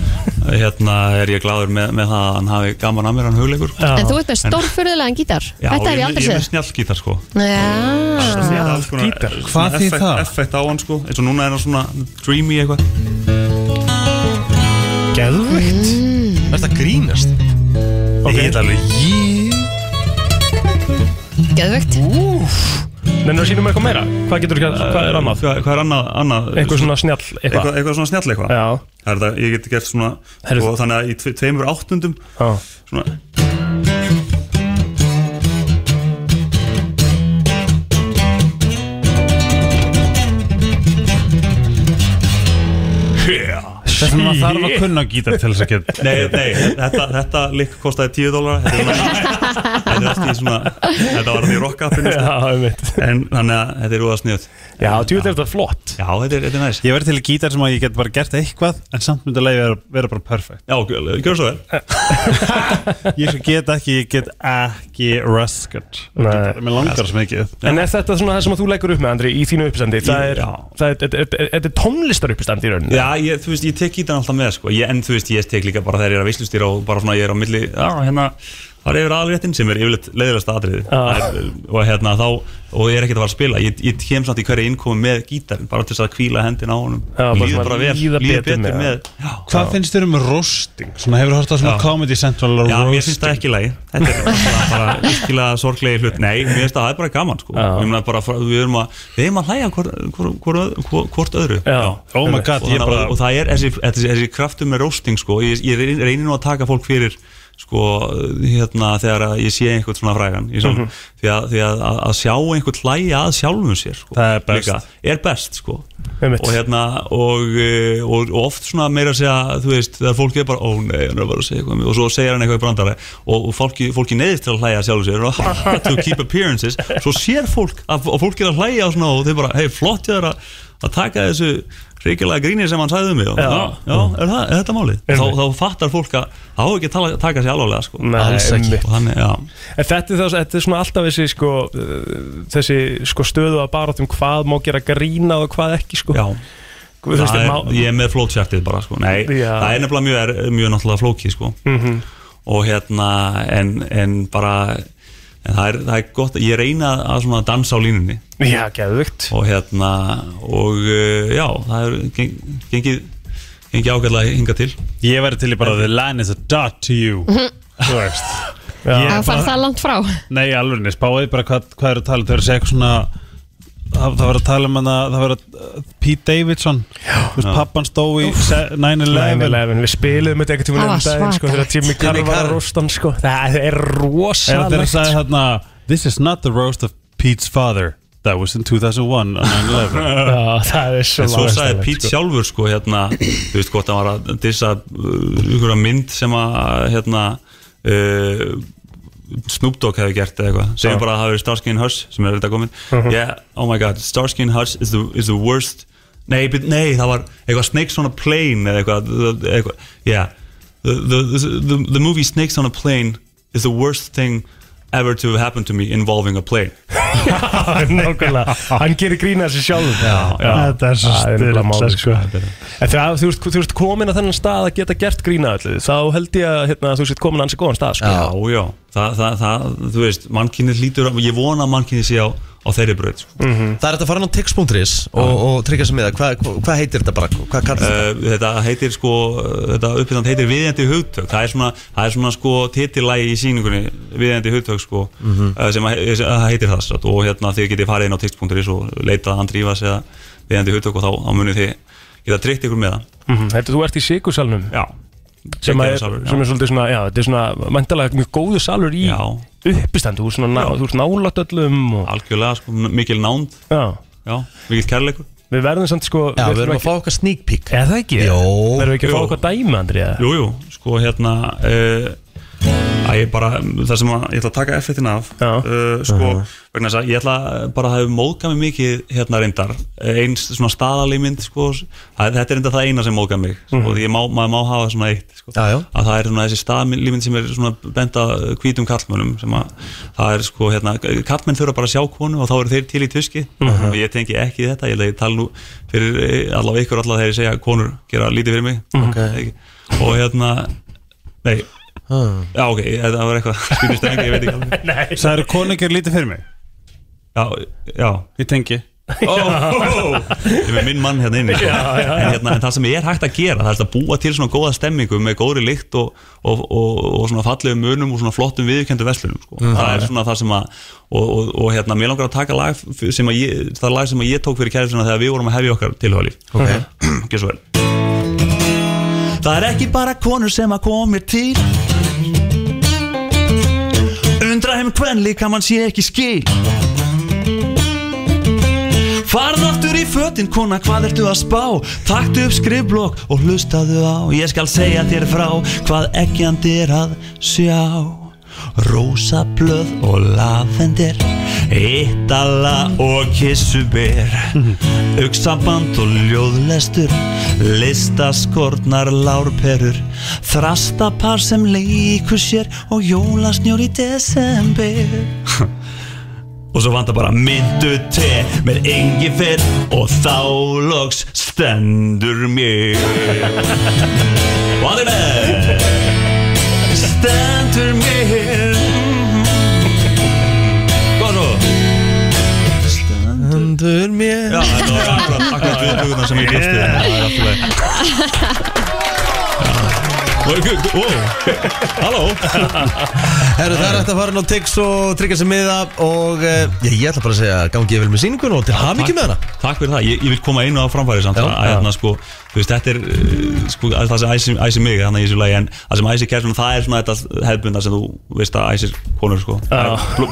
S5: hérna, er ég glæður með, með það að hann hafi gaman að mér hann hugleikur Já,
S2: En þú ert með stórfurðulegan gítar Þetta hef ég aldrei
S5: Ég er
S2: séð
S5: með snjallgítar sko
S2: Já,
S5: Ég er alls konar-
S3: gítar.
S5: svona
S7: Hvað þýð
S5: effekt-
S7: það?
S5: Effekt á hann sko eins og núna er hann svona dreamy eitthvað
S3: Geðvikt
S2: Mm.
S1: þetta grínast
S5: Ég er alveg
S2: geðvögt
S3: Nennir að sýnum eitthvað meira? Hvað getur þú ekki að, hvað er annað?
S5: Hvað, hvað er annað? annað
S3: Eitthvað svona snjall, eitthvað
S5: Eh, eitthvað, eitthvað svona snjall eitthvað
S3: Já,
S5: Það er það, ég get gert svona
S3: Herru.
S5: og þannig að í tve, tveimur áttundum
S3: já
S5: svona
S7: Þess að maður þarf að kunna á gítar til þess að geta
S5: Nei, nei, þetta, þetta lík kostaði 10 dólar Þetta er svona- þetta er allt í svona Þetta var því rock-upinu
S3: Já,
S5: sko.
S3: einmitt
S5: En þannig að þetta er úða snjöð
S3: Já, djúið er þetta flott
S5: Já, þetta er, þetta er næst
S7: Ég verið til í gítar sem að ég get bara gert eitthvað en samt myndi leiði vera, vera bara perfect
S5: Já, gjör- gjör svo vel
S7: Ég sko get ekki, ég get ekki raskat
S3: Nei.
S7: Mér Eh, langar sem ekki
S3: En er þetta svona það sem að þú leggur upp með, Andri, í þínu uppstandi? Það er, það er, þetta er, þetta er tónlistar uppstandi í rauninni
S5: Já, ég, þú veist, ég tek gítan alltaf með sko. ég, En þú veist, ég tek líka bara þegar ég er að veislustýra og bara svona ég er á milli Já, hérna,
S8: fara yfir aðalréttin sem er yfirleitt leiðilegsta atriði Það er, og hérna þá, og ég er ekkert að fara að spila ég, ég kem samt í hverja innkomi með gítarinn bara til þess að kvíla hendina á honum
S3: Já, bara svona
S8: líður bara vel,
S3: líða
S8: líður
S3: betur
S8: betur
S3: með
S8: með,
S3: það.
S8: já,
S7: Hvað finnst þér um roasting? Svona hefur hort á svona
S8: Já.
S7: Comedy Central og
S8: já, mér
S7: roast
S8: finnst það ekki lægi þetta er bara, bara virkilega sorglegi hlut nei, mér finnst það, það er bara gaman sko.
S3: Já.
S8: Ég meina bara, við erum að, við erum að hlæja hvort, hvort, hvort, hvort öðru
S3: Já.
S7: Oh my god,
S8: og, þannig,
S7: ég bara
S8: og, og það er þessi, þessi, þessi kraftur með roasting sko. ég, ég reyni- reyni nú að taka fólk fyrir sko, hérna, þegar að ég sé einhvern svona frægan í sálum. því, að, því að, að, að sjá einhvern hlæja að sjálfum sér sko,
S7: Það er best.
S8: er best sko.
S3: Einmitt.
S8: og, hérna, og, eh, og, og oft svona meira að segja þú veist, þegar fólki er bara, ó nei, hann er bara að segja eitthvað um mig," og svo segir hann eitthvað í brandara og, og fólki, fólki neyðist til að hlæja að sjálfum sér og, "Ha, ha, to keep appearances svo sér fólk, að, og fólk er að hlæja og, svona, og þeir bara, hei, flott ég er að að taka þessu reikilega gríni sem hann sagði um mig og,
S3: Já.
S8: já, já, er, það, er þetta málið þá, þá fattar fólk að það á ekki að tala, taka sér alvarlega sko.
S3: Nei, Alls ekki. einmitt.
S8: og þannig, já
S3: En þetta er, það, þetta er svona alltaf þessi, sko, uh, þessi sko, stöðu að bara um hvað má gera grínað og hvað ekki sko.
S8: Já,
S3: Þú veist,
S8: það er,
S3: má-
S8: ég er með flótsjartið bara sko. Nei,
S3: Já.
S8: það er nefnilega mjög, er, mjög náttúrulega flókið sko. -hmm. og hérna en, en bara en það, er, það er gott, ég reyna að svona dansa á línunni
S3: Já, geðvögt
S8: og hérna og uh, já, það er geng, gengið gengið ágæðlega hinga til
S7: Ég væri til í bara The line is a dot to you Þú veist Ég
S2: Það fara
S7: bara-
S2: það langt frá
S7: Nei, alveg neins, spáðið bara hvað, hvað er að tala um. Þau eru að segja eitthvað svona Það, það var að tala um hana, það var að uh, Pete Davidson, þú veist, pappan stó í se-
S8: hérna-
S7: 9-11
S3: 9-11, við spilum þetta ekkert tíma
S2: Það var
S3: um daginn sko, þegar
S2: svakalegt.
S3: Jimmy Carr
S9: Jimmy
S3: var
S9: Carr.
S3: að rosta hann sko. það er
S7: Er þeir
S3: rosalegt
S7: að segja þarna This is not the roast of Pete's father That was in 2001 on 9-11
S3: Já, það er
S8: En svo
S3: svo
S8: sagði Pete sjálfur sko hérna, þú veist hvort hann var að dissa uh, ykkur mynd sem að hérna uh, Snoop Dogg hefði gert eða eitthvað segjum bara að það hafi verið Starsky and Hutch sem er þetta komin yeah, oh my god, Starsky and Hutch is the, is the worst nei, but, nei, það var eitthvað Snakes on a Plane eða eitthvað, eitthvað yeah the, the, the, the movie Snakes on a Plane is the worst thing ever to have happened to me involving a plane
S3: Nákvæmlega, hann gerir grína sér sjálf
S7: Þetta er svo
S3: nefnilega málið,
S7: styrkt,
S3: sko. En þegar þú ert- þú ert komin að þennan stað að geta gert grína öllu þá held ég að hérna, þú sétt komin að hansi góðan stað sko.
S8: Já, já, það, það, það þú veist, mannkynið lítur, ég vona að mannkynið sé á, á þeirri braut sko.
S1: Það er þetta að fara inn á tix.is og, og tryggja sér með það Hvað hva heitir þetta bara? Hvað kallar þetta?
S8: uh, Þetta heitir sko, uh, þetta uppbyrðand heitir viðjandi hugtök, það er svona, það er svona sko titillægi í síningunni, viðjandi hugtök sko, uh, sem að, sem að heitir það satt, og hérna þið getið farið inn á tix.is og leitað Andri Ívas eða viðjandi hugtök og þá, þá munið þið geta tryggt ykkur með það
S3: Mhm, Þetta þú ert í Sigursalnum
S8: Já,
S3: sem, að er,
S8: Sigurðarsalur, já.
S3: sem er svolítið svona, já, þetta er svona mæntalega mjög góðu salur í
S8: Já.
S3: uppistand, þú ert svona, ná- þú ert nálat öllum og,
S8: algjörlega sko, mikil nánd,
S3: já,
S8: já, mikil kærleikur
S3: við verðum samt sko
S1: Já, við
S3: ætlum
S1: erum að fá okkar sneak peek
S3: Er það ekki?
S1: Jó.
S3: Verðum við ekki að fá
S8: Jú.
S3: okkar dæmi, Andri? eða?
S8: Jú, jú, sko hérna uh, að ég bara, það sem að ég ætla að taka effektin af
S3: Já.
S8: uh, sko, vegna þess að ég ætla bara að hafa móðgað mig mikið hérna reyndar eins svona staðalímynd sko, það, þetta er reyndar það eina sem móðgað mig sko, því ég má, maður má hafa svona eitt sko,
S1: Já, já.
S8: að það er svona þessi staðalímynd sem er svona benda hvítum kallmönnum sem að það er sko, hérna, kallmenn þurfa bara að sjá konu og þá eru þeir til í tuski og ég tengi ekki þetta, ég, ætla að ég tala nú fyrir allavega ykkur allavega þegar ég segja að konur gera lítið fyrir mig okay. og hérna nei,
S1: Ah.
S8: Já, ok, það var eitthvað skrýtist engi, ég veit ekki alveg
S7: Það eru konungir lítið fyrir mig
S8: Já, já
S7: Ég tengi
S8: Ég er með minn mann hérna inni sko. en, hérna, en það sem er hægt að gera, það er að búa til svona góða stemmingu með góðri lykt og, og, og, og svona fallegum munum og svona flottum viðurkendu verslunum sko. Það er svona það sem að og, og, og hérna, mér langar að taka lag f- sem að ég, það er lag sem að ég tók fyrir kærifsina þegar við vorum að hefja okkar tilhjóðalíf
S1: Ok.
S8: Gjör svo vel Það er ekki bara konur sem að komir til Undra heim hvern líka mann sé ekki skil Farð aftur í fötin, kona, hvað ertu að spá? Taktu upp skrifblokk og hlustaðu á Ég skal segja þér frá hvað ekkjandi er að sjá Rósablöð og lavender Ítala og kissuber Ugsamband og ljóðlestur Listaskornar lárperur Þrastapar sem leikur sér Og jólasnjór í desember Og svo vantar bara myndu te með engifer og þá loks stendur mér. Og hann er með. Stendur mér.
S5: viðbúðuna sem ég bjóst við þannig að það er allt í lagi. Já. Ó, ó, Halló
S1: Herru, það er hægt að fara inn á Tix og tryggja sér miða og uh, ég, ég ætla bara að segja gangi ég vel með síningun og til hamingi með hana
S5: Takk fyrir það, ég, ég vil koma einu á framfæri samt
S1: Já,
S5: að, að,
S1: já.
S5: hérna, sko, þú veist, þetta er uh, sko, að það sem æsir æsi mig þannig í þessu lagi en það sem æsir kærsuna það er svona þetta hefðbunda sem þú veist að æsir konur sko,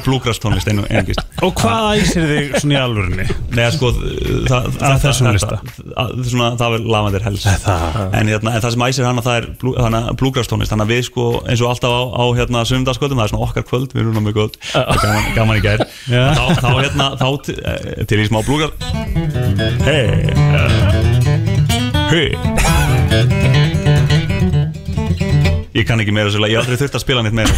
S5: blúgrast tónlist einu einungist
S7: Og hvað æsir þig svona í alvörunni?
S5: Nei, sko, þa- þa-
S7: Af
S5: þa-
S7: þessum
S5: þa-
S7: lista.
S5: þa- þa- svona, Það er lavandir helst en, hérna, en það sem æsir hana, það er blú, hana, blúgrafstónlist Þannig að við sko, eins og alltaf á, á hérna, sumdagskvöldum Það er svona okkar kvöld, við erum námið kvöld gaman, gaman í gær
S7: Já.
S5: Þá, þá, hérna, þá til, eh, til í smá blúgraf Hei Hei Ég kann ekki meira svolítið, ég hef aldrei þurft að spila neitt meira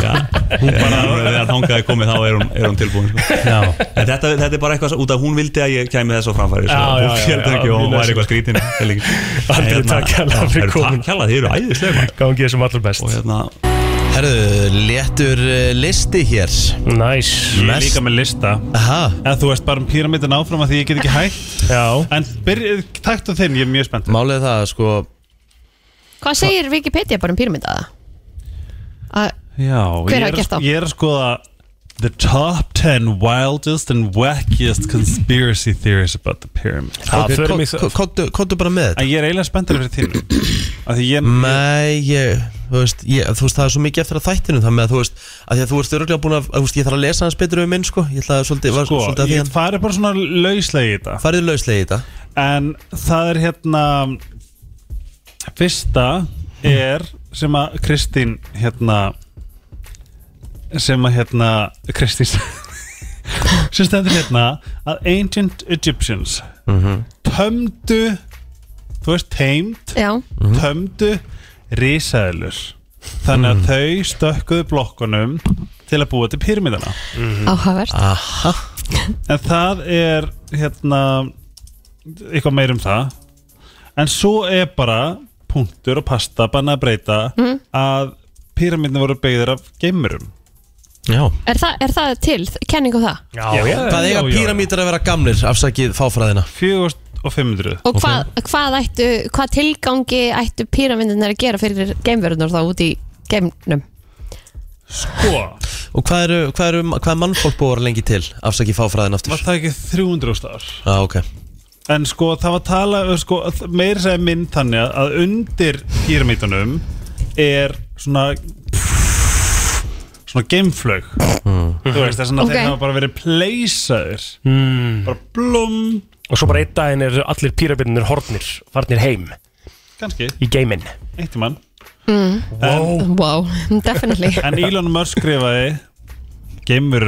S5: Já, Hún bara, þegar þangaði komið þá er hún, er hún tilbúin sko. En þetta, þetta er bara eitthvað svo- út af hún vildi að ég kæmi þess á framfæri sko.
S3: Já, já,
S5: Hún
S3: já,
S5: fjöldi
S3: já,
S5: ekki og hún
S3: mjög
S5: væri eitthvað skrítin
S3: Andri,
S5: Andri,
S3: takk kærlega fyrir komin.
S5: Takk hella, þið eru æðislega maður.
S3: Gangi þessum allir best
S5: Og hérna,
S1: Herru, léttur eh, listi hér
S3: Næs
S8: Mm.
S7: Ég er
S1: Mest-
S7: líka með lista
S1: Aha,
S7: En þú veist bara um píramítin áfram að því ég get ekki hægt
S3: Já
S7: En byrjið, takt á þinn, ég er mjög spennt
S1: málið er það sko
S2: Hvað segir Wikipedia bara um píramítaða? Að-
S7: Já,
S2: Hver hafi
S7: ég er,
S2: gert þá?
S7: ég er að skoða The top 10 wildest and wackiest conspiracy theories about the pyramid
S3: Ok, förum í það.
S1: Kottu bara með þetta
S7: En ég er eiginlega spenntur fyrir þínu Af því ég
S1: Nei, ég, þú veist, ég, þú veist, það er svo mikið eftir að þættinu þannig að þú veist, að því að þú veist öruglega búin að, að þú veist, ég þarf að lesa hans betur um minn, sko, ég ætla að svolítið, var,
S7: Sko,
S1: svolítið að því
S7: ég
S1: hann
S7: farið bara svona lauslega í þetta
S1: farið lauslega í þetta
S7: En það er hérna Fyrsta er sem að Kristín hérna sem að hérna Kristín sem stendur hérna að Ancient Egyptians
S1: Mhm.
S7: tömdu þú veist teimt
S2: Já,
S1: Mhm.
S7: tömdu risaðilur þannig
S1: Mhm.
S7: að þau stökkuðu blokkunum til að búa til pyramidana
S2: áhugavert
S1: Aha,
S7: En það er hérna eitthvað meir um það en svo er bara punktur og pasta banna að breyta að píramidin voru byggðir af geimurum
S1: já
S2: Er, þa er það til, kenning um það?
S3: Já, já
S1: Hvað eiga píramítar að vera gamlir, afsakið fáfræðina
S7: 4500
S2: Og hvað, hvað, ættu, hvað tilgangi ættu píramítunar að gera fyrir geimverðunar þá út í geimnum?
S7: sko,
S1: Og hvað eru, hvað eru, hvað er mannfólk búið að vera lengi til, afsakið fáfræðina aftur
S7: var það ekki 300 ár
S1: Já, ok
S7: en sko það var tala sko, meir segja mynd þannig að- að undir píramítunum er svona svona geimflög þú veist þess að
S2: Ok.
S7: þeir hafa bara verið pleysaður bara blum
S3: Og svo bara einn daginn eru allir pírabirnir hornir Farnir heim
S7: kannski,
S3: í geiminn
S7: eitt í mann
S2: Wow, definitely
S7: en Elon Musk skrifaði geimur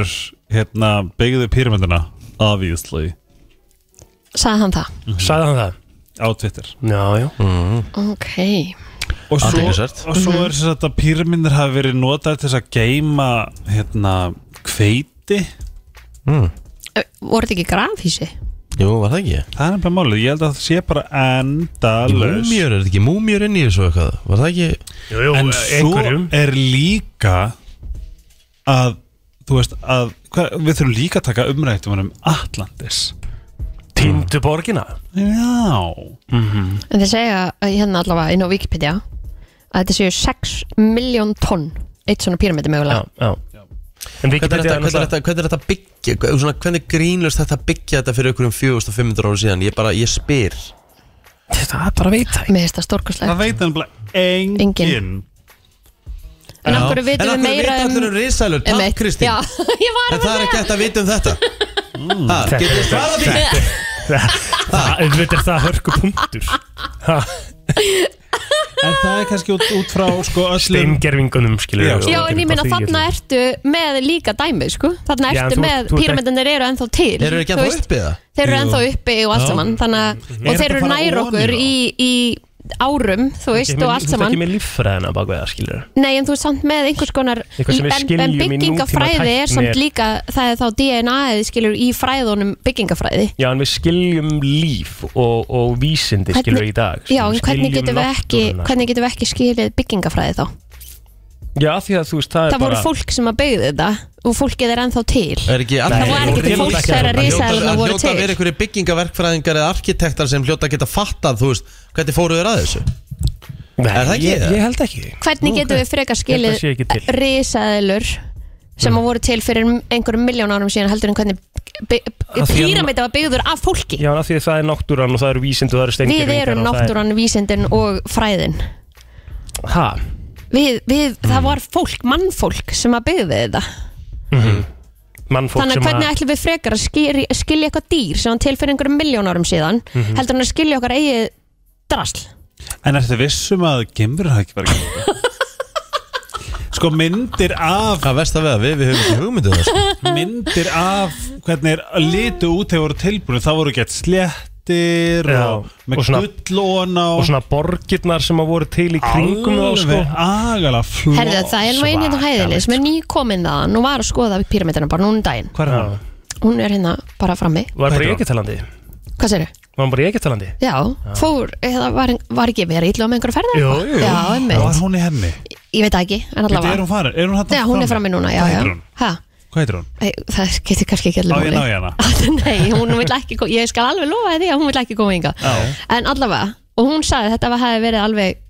S7: hérna, byggðu píramindina obviously
S2: Sagði hann það?
S8: Mhm.
S3: Sæði hann það?
S7: á Twitter
S3: Já, já
S2: Ok
S7: og svo, Mhm.
S1: Athyglisvert.
S7: og svo er þess að píramindir hafi verið notaði til þess að geima hérna, hveiti
S2: Ö, Voru þetta ekki grafhísi?
S1: Jú, var það ekki?
S7: það er nefnilega málið, ég held að það sé bara endalaus
S1: Múmjör, er þetta ekki múmjör inn í þessu eitthvað? Var það ekki?
S3: Jú, jú,
S7: en svo
S3: einhverjum
S7: er líka að þú veist að hva, við þurfum líka að taka umrættum um Atlantis
S3: Týndu borgina
S7: já
S2: En þeir segja uh, hérna allavega inn á Wikipedia að þetta séu 6 miljón tonn eitt svona píramíti mögulega
S3: já En
S1: Hvernig er
S3: Wikipedia
S1: þetta, hvernig
S3: er
S1: er
S3: náttúrulega
S1: þetta, hvernig er þetta að byggja? hva- Svona, hvernig er grínlust þetta að byggja þetta fyrir okkur um 4500 ára síðan? Ég bara, ég spyr
S3: Það er bara að vita
S2: Mér finnst það stórkostlegt
S7: Það veit hann bara engin,
S2: Enginn. En okkur vitum við meira
S1: En okkur veitum allir um risalur,
S2: um
S1: takk
S2: eitt.
S1: Kristín
S2: Já, ég var
S1: En
S2: að
S1: það er ekki hægt að vita um þetta Ha, getur þið svarað því?
S3: Það er það hörku punktur
S7: En það er kannski út, út frá sko, öllum
S3: Steingervingunum, skilur
S7: Já,
S3: við,
S2: Já,
S3: og-
S2: en ég minna þarna ertu með líka dæmi, sko Þarna
S3: Já, en
S2: ertu
S3: þú-
S2: með,
S3: þú ert
S2: píramindinir eru ennþá til
S1: Eru ekki
S2: þú
S1: að það
S2: veist.
S1: uppið það?
S2: Þeir eru
S7: Jú.
S2: ennþá uppi og allt saman Þannig að,
S7: Er
S2: og þeir
S7: þetta
S2: eru
S7: bara
S2: nær
S7: ofan í
S2: okkur
S7: þá?
S2: í, í árum, þú veist, og allt
S3: Þú ert
S2: saman
S3: ekki með líffræðina bak við það, skilur
S2: Nei, en þú er samt með einhvers konar
S3: Eitthvað sem við
S2: en,
S3: skiljum
S2: en
S3: í
S2: byggingafræði
S3: nútímatækni
S2: er samt
S3: er-
S2: líka það er þá DNA-ið skilur í fræðunum byggingafræði
S3: Já, en við skiljum líf og, og vísindi skilur í dag sko.
S2: Já, en hvernig getum, við ekki, hvernig getum við ekki skilið byggingafræði þá?
S3: Já, því að þú veist, það er
S2: Það voru
S3: bara Eh,
S2: fólk sem að byggði þetta og fólkið er ennþá til
S1: Er ekki
S2: Það var ekki til
S3: hljóta
S2: fólk
S3: ekki
S2: þegar
S3: að-
S2: að risaðalarna voru
S1: Það hljóta að vera
S2: til
S1: einhverju byggingaverkfræðingar eða arkitektar sem hljóta að geta fattað, þú veist, hvernig fóruð þér að þessu?
S3: Nei,
S1: Er það ekki
S3: ég,
S1: það?
S3: ég held ekki
S2: Hvernig getum við frekar skilið
S3: Ég held að sé ekki til. Mm.
S2: risaðalur sem að voru til fyrir einhverjum miljón árum síðan heldur en hvernig
S3: Af því að-
S2: píramita var byggður af fólki
S3: Já, af því að það er náttúran og það eru vísindu og það eru
S2: Við
S3: stengir
S2: erum náttúran, vísindin og fræðin
S3: Hæ?
S2: Við, við,
S3: Mm.
S2: það var fólk, mannfólk sem að byggði þetta
S3: Mannfólk
S2: Þannig að
S3: sem
S2: hvernig ætlum við frekar að skilja, skilja eitthvað dýr sem hann til fyrir einhverjum miljón árum síðan
S3: Mhm.
S2: heldur hann að skilja okkar eigið drasl
S7: En ertu vissum að gemurinn hafa ekki verið gemurinn? Sko myndir af
S1: Hvað vest að veða, við, við höfum ekki um hugmyndið þessu
S7: myndir af hvernig er litu út þegar voru tilbúinu það voru gett sléttir
S3: Já,
S7: og með
S3: og svona-
S7: gullóna
S3: Og svona borgirnar sem að voru til í kringum þá, sko
S7: alveg agala flott
S2: Herðu það er nú einn hérna á hæðinni sem er nýkominn þaðan og var að skoða píramidana bara núna um daginn
S7: Hvað er það?
S2: hún er hérna bara frammi
S3: Var bara í ekkertalandi
S2: Hvað séru?
S3: Var hann bara í ekkertalandi
S2: Já, fór, eða var, var ekki verið illa með einhverju ferðar?
S3: Jú,
S2: eitthvað?
S3: jú.
S2: Já,
S7: Var
S2: einmitt,
S7: hún í henni?
S2: ég veit það ekki, en
S7: Býttu, Er
S2: allavega
S7: hún farin? Er hún hann
S2: Já, hún er frammi núna, já,
S7: Hvað
S2: já
S7: heitir hún?
S2: ha,
S7: Hvað heitir hún?
S2: ei, Það getur kannski ekki allir
S7: Á ég ná ég hana?
S2: Nei, hún vil ekki koma, ég skal alveg lofa því að hún vil ekki koma hinga En allavega, og hún sagði að þetta var- hefði verið alveg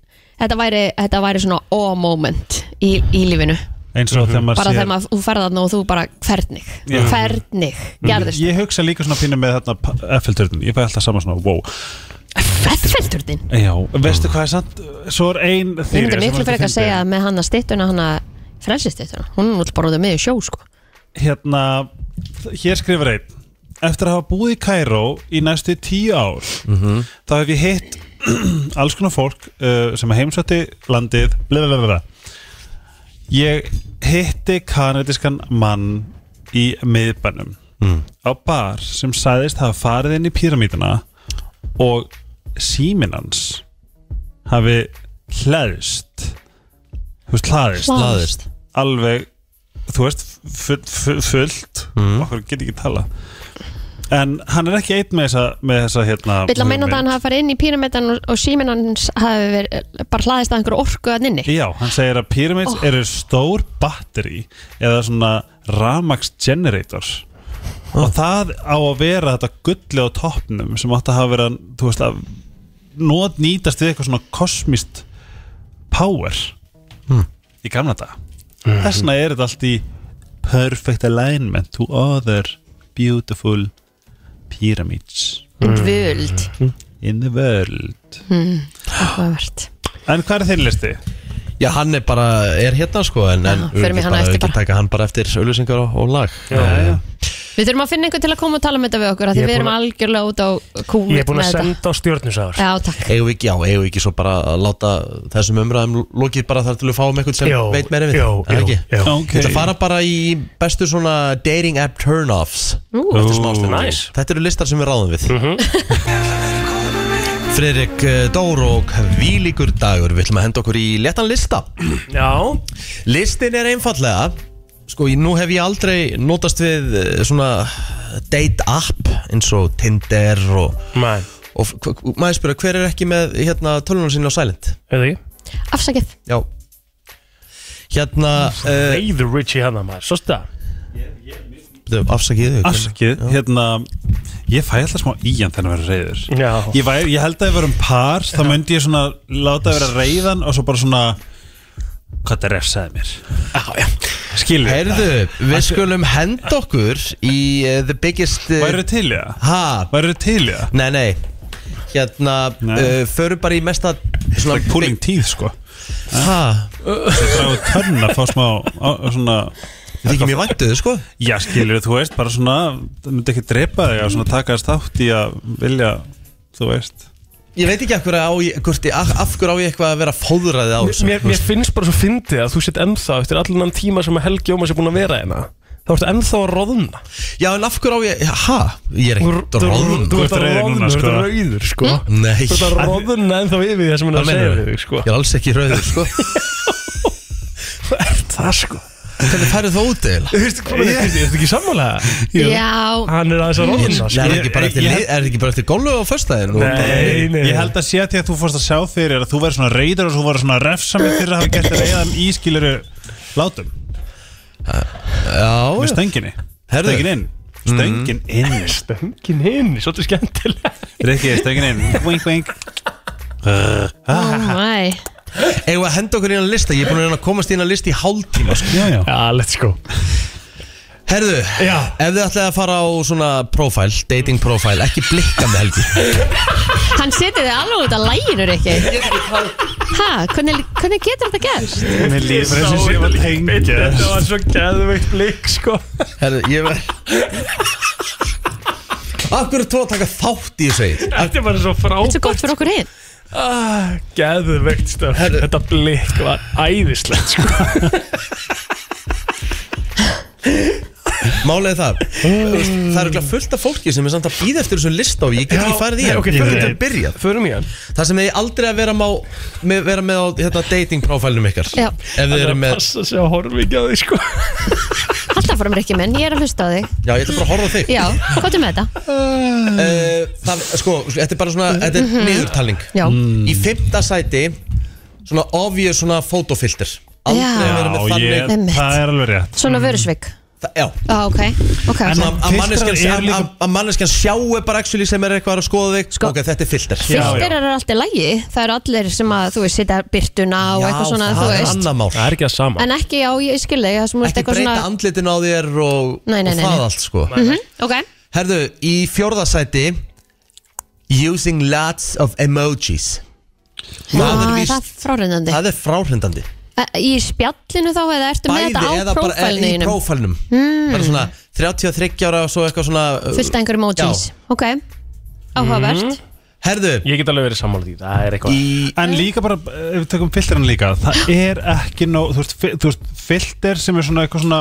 S2: Þetta væri, þetta væri svona oh moment í, í lífinu
S7: Eins og þegar maður
S2: Bara
S7: sér
S2: þegar maður þú ferð þarna og þú bara hvernig
S7: Já. Mm-hmm.
S2: Hvernig gerðist
S7: Ég hugsa líka svona pínu með þarna Eiffelturnin, ég fæ alltaf saman svona wow.
S2: Fellur þinn
S7: Já, veistu hvað er sant? Svo er ein
S2: Ég
S7: þýri
S2: myndi miklu frekar að segja að með hann að stittuna hann að frelsistittuna, hún er náttúrulega bara út af miðju sjó sko.
S7: Hérna, hér skrifur einn Eftir að hafa búið í Kairó í næstu tíu ár þá hef ég hitt alls konar fólk uh, sem heimsvætti landið blablabla Ég hitti kanadískan mann í miðbænum á bar sem sæðist hafa farið inn í píramítuna og síminn hans hafi hlæðist þú veist hlæðist
S1: Hlaðist.
S7: alveg þú veist full, full, fullt okkur get ekki tala en hann er ekki einn með þessa, með þessa hérna
S2: Vill að meina
S7: hugmynd.
S2: það að hann hafi farið inn í píramættan og, og síminn hans hafi verið eh, bara hlaðist að einhverju orku að nynni.
S7: Já, hann segir að pyramids eru stór batteri eða svona ramax generator og það á að vera þetta gulli á toppnum sem átt að hafa verið að, þú veist að nót nýtast við eitthvað svona kosmist power
S1: Hm.
S7: í gamla dag
S1: Mhm.
S7: þess vegna er þetta allt í perfect alignment to other beautiful pyramids
S3: Mm.
S2: Völd.
S7: in the world
S2: Áhugavert.
S7: En hvað er þinn listi?
S1: Já, hann er bara, er hérna sko En, en
S2: Já, förum í
S1: við
S2: hana
S1: bara-
S2: eftir
S1: ekki
S2: bara.
S1: taka hann bara eftir auðlýsingar og, og lag
S3: Já, já
S2: Við þurfum að finna einhvern til að koma og tala með þetta við okkur af
S3: Ég
S2: því
S3: er
S2: við erum
S3: búin
S2: algjörlega út á kúl
S3: Ég er búin
S2: með
S3: að
S2: þetta.
S3: senda á stjórnusáður
S2: Já, takk.
S1: Eigum við ekki, já, eigum við ekki svo bara að láta þessum umræðum lokið bara þar til við fáum eitthvað sem veit meira við
S3: Jó,
S1: Er
S3: jó,
S1: ekki?
S3: jó
S1: Ég ætla að fara bara í bestu svona dating app turn-offs
S2: Ú,
S3: Næs
S1: Þetta eru listar sem við ráðum við Friðrik eh, Dór og Vílíkur dagur Við ætlum að henda okkur í letan lista
S3: Já
S1: Listin er einfallega Sko, ég- nú hef ég aldrei notast við eh, svona date app eins og Tinder og,
S3: Nei
S1: og f- hva- maður spyrja hver er ekki með hérna, tölunar sinni á Silent
S3: Hefði ég
S2: afsakið.
S1: Já Hérna, uh,
S3: Reyður Richie hann að maður Svost það
S1: afsakið þau
S7: Afsakið, hérna Ég fæ alltaf smá ían þegar hann verður reyður
S3: Já.
S7: ég, væri, ég held að ég verður um par Þá myndi ég svona láta að vera reyðan Og svo bara svona Hvað þetta refsaði mér Skilur, hey,
S1: Heyrðu, við skulum henda okkur í uh, The Biggest eh,
S7: væru til í það?
S1: Ha,
S7: Væru til í það?
S1: nei, nei Hérna,
S7: Nei.
S1: uh, förum bara í mesta
S7: Svona púling tíð sko
S1: Ha,
S7: Ég dragu törn að fá smá á, svona
S1: þetta er ekki mjög væntuð, sko
S7: Já skilur, þú veist, bara svona Það myndi ekki drepa þig að svona taka þess þátt í að vilja Þú veist
S1: Ég veit ekki af hverju á ég, hvort ég, af, af hverju á ég eitthvað að vera fóðræði á þessu
S3: mér, mér finnst bara svo fyndið að þú sett ennþá eftir allan þann tíma sem að Helgi Ómas er búin að vera hérna þá ertu ennþá að roðna
S1: Já, en af hverju á ég, ha, ég er ekkert
S3: þú-
S1: róðum
S3: Þú ert
S7: Þú ert
S3: að
S7: reiður
S3: roðna,
S7: núna,
S3: þú ert að
S7: sko.
S3: rauður sko
S1: Nei,
S3: Þú ert að
S1: það
S3: roðna ennþá yfir því það sem hann er að segja
S1: meinar
S3: við þig sko
S1: Ég er alls ekki rauður, sko
S3: Þú ert það sko
S1: Hvernig færðu þú út eða?
S3: Þú veist, hvað er þetta? Þú veist ekki sammálega?
S2: Já,
S3: Hann er aðeins að roðna
S1: Nei,
S3: sko
S1: er ekki bara
S7: Ég-
S1: eftir,
S7: ég-
S1: lið- er ekki bara eftir golfu á föstudaginn?
S3: Nei, nei
S7: Ég held að sé að því að þú fórst að sjá fyrir að þú verður svona reyður og þú verður svona refsamið fyrir að hafa gert þér eða um ískiluru Látum, með
S1: Já,
S7: stönginni
S1: Herðu.
S7: Stöngin inn Stöngin inn
S3: Stöngin hinn, svolítið skemmtileg
S7: Rikki, stöngin inn Wink, wink
S3: Ah.
S2: Oh my
S1: eigum við að henda okkur í hann lista Ég er búin að reyna að komast í hann lista í hálftíma sko.
S7: Já, já
S3: Já, let's go
S1: Herðu,
S3: Já.
S1: ef þið ætlaði að fara á svona profile, dating profile Ekki blikkandi helgi
S2: Hann setur þig alveg út að læginur ekki Hæ, hvernig, hvernig getur þetta gerst?
S7: Mér líður eins og sé að tengja
S3: Þetta var svo gæðveikt blik, sko
S1: Herðu, ég var Akkur er þú að taka þátt í þessu Egill?
S3: Þetta var svo
S2: Þetta er svo gott
S3: frábært
S2: fyrir okkur hinn
S3: ah, Gæðveikt stöf
S1: Herðu.
S3: Þetta blik var æðislegt, sko
S1: Málið er það Þú veist, Það er eitthvað fullt af fólki sem er samt að býða eftir þessu lista og ég get ekki farið í hann
S3: Ok,
S1: Ég
S3: förum
S1: get
S3: í
S1: að byrja
S3: hann Förum í hann
S1: Það sem þið aldrei að vera, má, með, vera með á hérna, dating profilnum ykkar
S2: Já.
S1: Ef þið
S3: Það er
S1: eru
S3: að
S1: með
S3: passa sig að horfa ekki að því, sko
S2: Alltaf fórum ekki menn, ég er að hlusta á þig
S1: Já, ég ætla bara að horfa á þig
S2: Já, hvað er með þetta?
S1: uh, það, Sko, þetta er bara svona Þetta
S2: Mhm.
S1: er niðurtalning
S2: Já,
S7: Mm.
S1: Í fimmta sæti Svona obvious svona fotofilter Aldrei
S2: Já.
S1: að vera með
S7: Já,
S1: þannig
S7: ég,
S2: Einmitt.
S7: það er alveg rétt
S2: svona vörusvik
S1: það, Já
S2: Já, ok, ok
S1: Svona
S2: svona-
S1: að- að
S7: filtrar
S1: manneskjan
S7: eru
S1: sjá-
S7: líka-
S1: að- að manneskjan sjáu bara actually sem er eitthvað að skoða þig
S2: Sko-
S1: Ok, þetta er filter
S2: Filter eru alltaf lægi, það eru allir sem að, þú veist, setja byrtuna og eitthvað svona, þú
S1: það er
S2: veist
S1: annað mál
S3: Það er ekki að sama
S2: En ekki, já, ég skil þig, það sem þú veist
S1: Ekki
S2: eitthvað
S1: breyta
S2: svona
S1: andlitin á þér og,
S2: Nei, nei,
S1: og
S2: nei,
S1: það
S2: nei.
S1: allt sko
S2: Mhm, Ok,
S1: Herðu, í fjórðasæti Using lots of emojis Það er
S2: Ah,
S1: víst-
S2: það er frárendandi
S1: Það er fráhrindandi
S2: Eh, Í spjallinu þá eða ertu með þetta á
S1: eh, í
S2: prófælniðinum
S1: prófælnum mm. Bara svona 33 ára og svo eitthvað svona uh,
S2: Fullt af einhverjum emojis
S1: Já. Mhm.
S2: Ok, áhugavert
S1: Herðu,
S3: Ég get alveg verið sammála því, það er eitthvað
S1: í
S7: En líka bara, eh, ef við tökum filterinn líka Það er ekki nóg, þú veist, fi- þú veist filter sem er svona eitthvað svona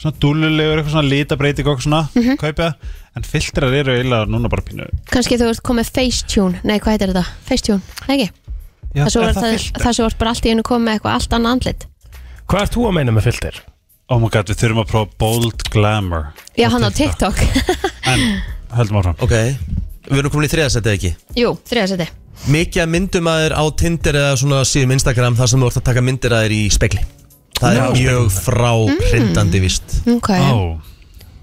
S7: svona dúlulegur, eitthvað svona litabreiting og eitthvað svona,
S2: Mhm.
S7: kaupa en filterar eru eiginlega núna bara pínu
S2: Kanski þú ert komið Facetune Nei, hvað heitir þetta? Facetune, Nei, ekki?
S7: Já,
S2: Það sem
S7: er
S2: var- það-
S7: filter?
S2: það sem vart bara allt í einu komið með eitthvað allt annað andlit
S3: Hvað ert þú að meina með filter?
S7: Oh my god, við þurfum að prófa bold glamour
S2: Já, hann á TikTok
S7: En, höldum áfram
S1: Ok, við erum komin í þriðasæti ekki
S2: Jú, þriðasetti
S1: Mikið að myndum að þér á Tinder eða svona síðum Instagram þar sem þú ert að taka myndir að þér í spekli Það er mjög
S2: Hmm.
S1: fráhrindandi vist
S2: Ok,
S7: Ó,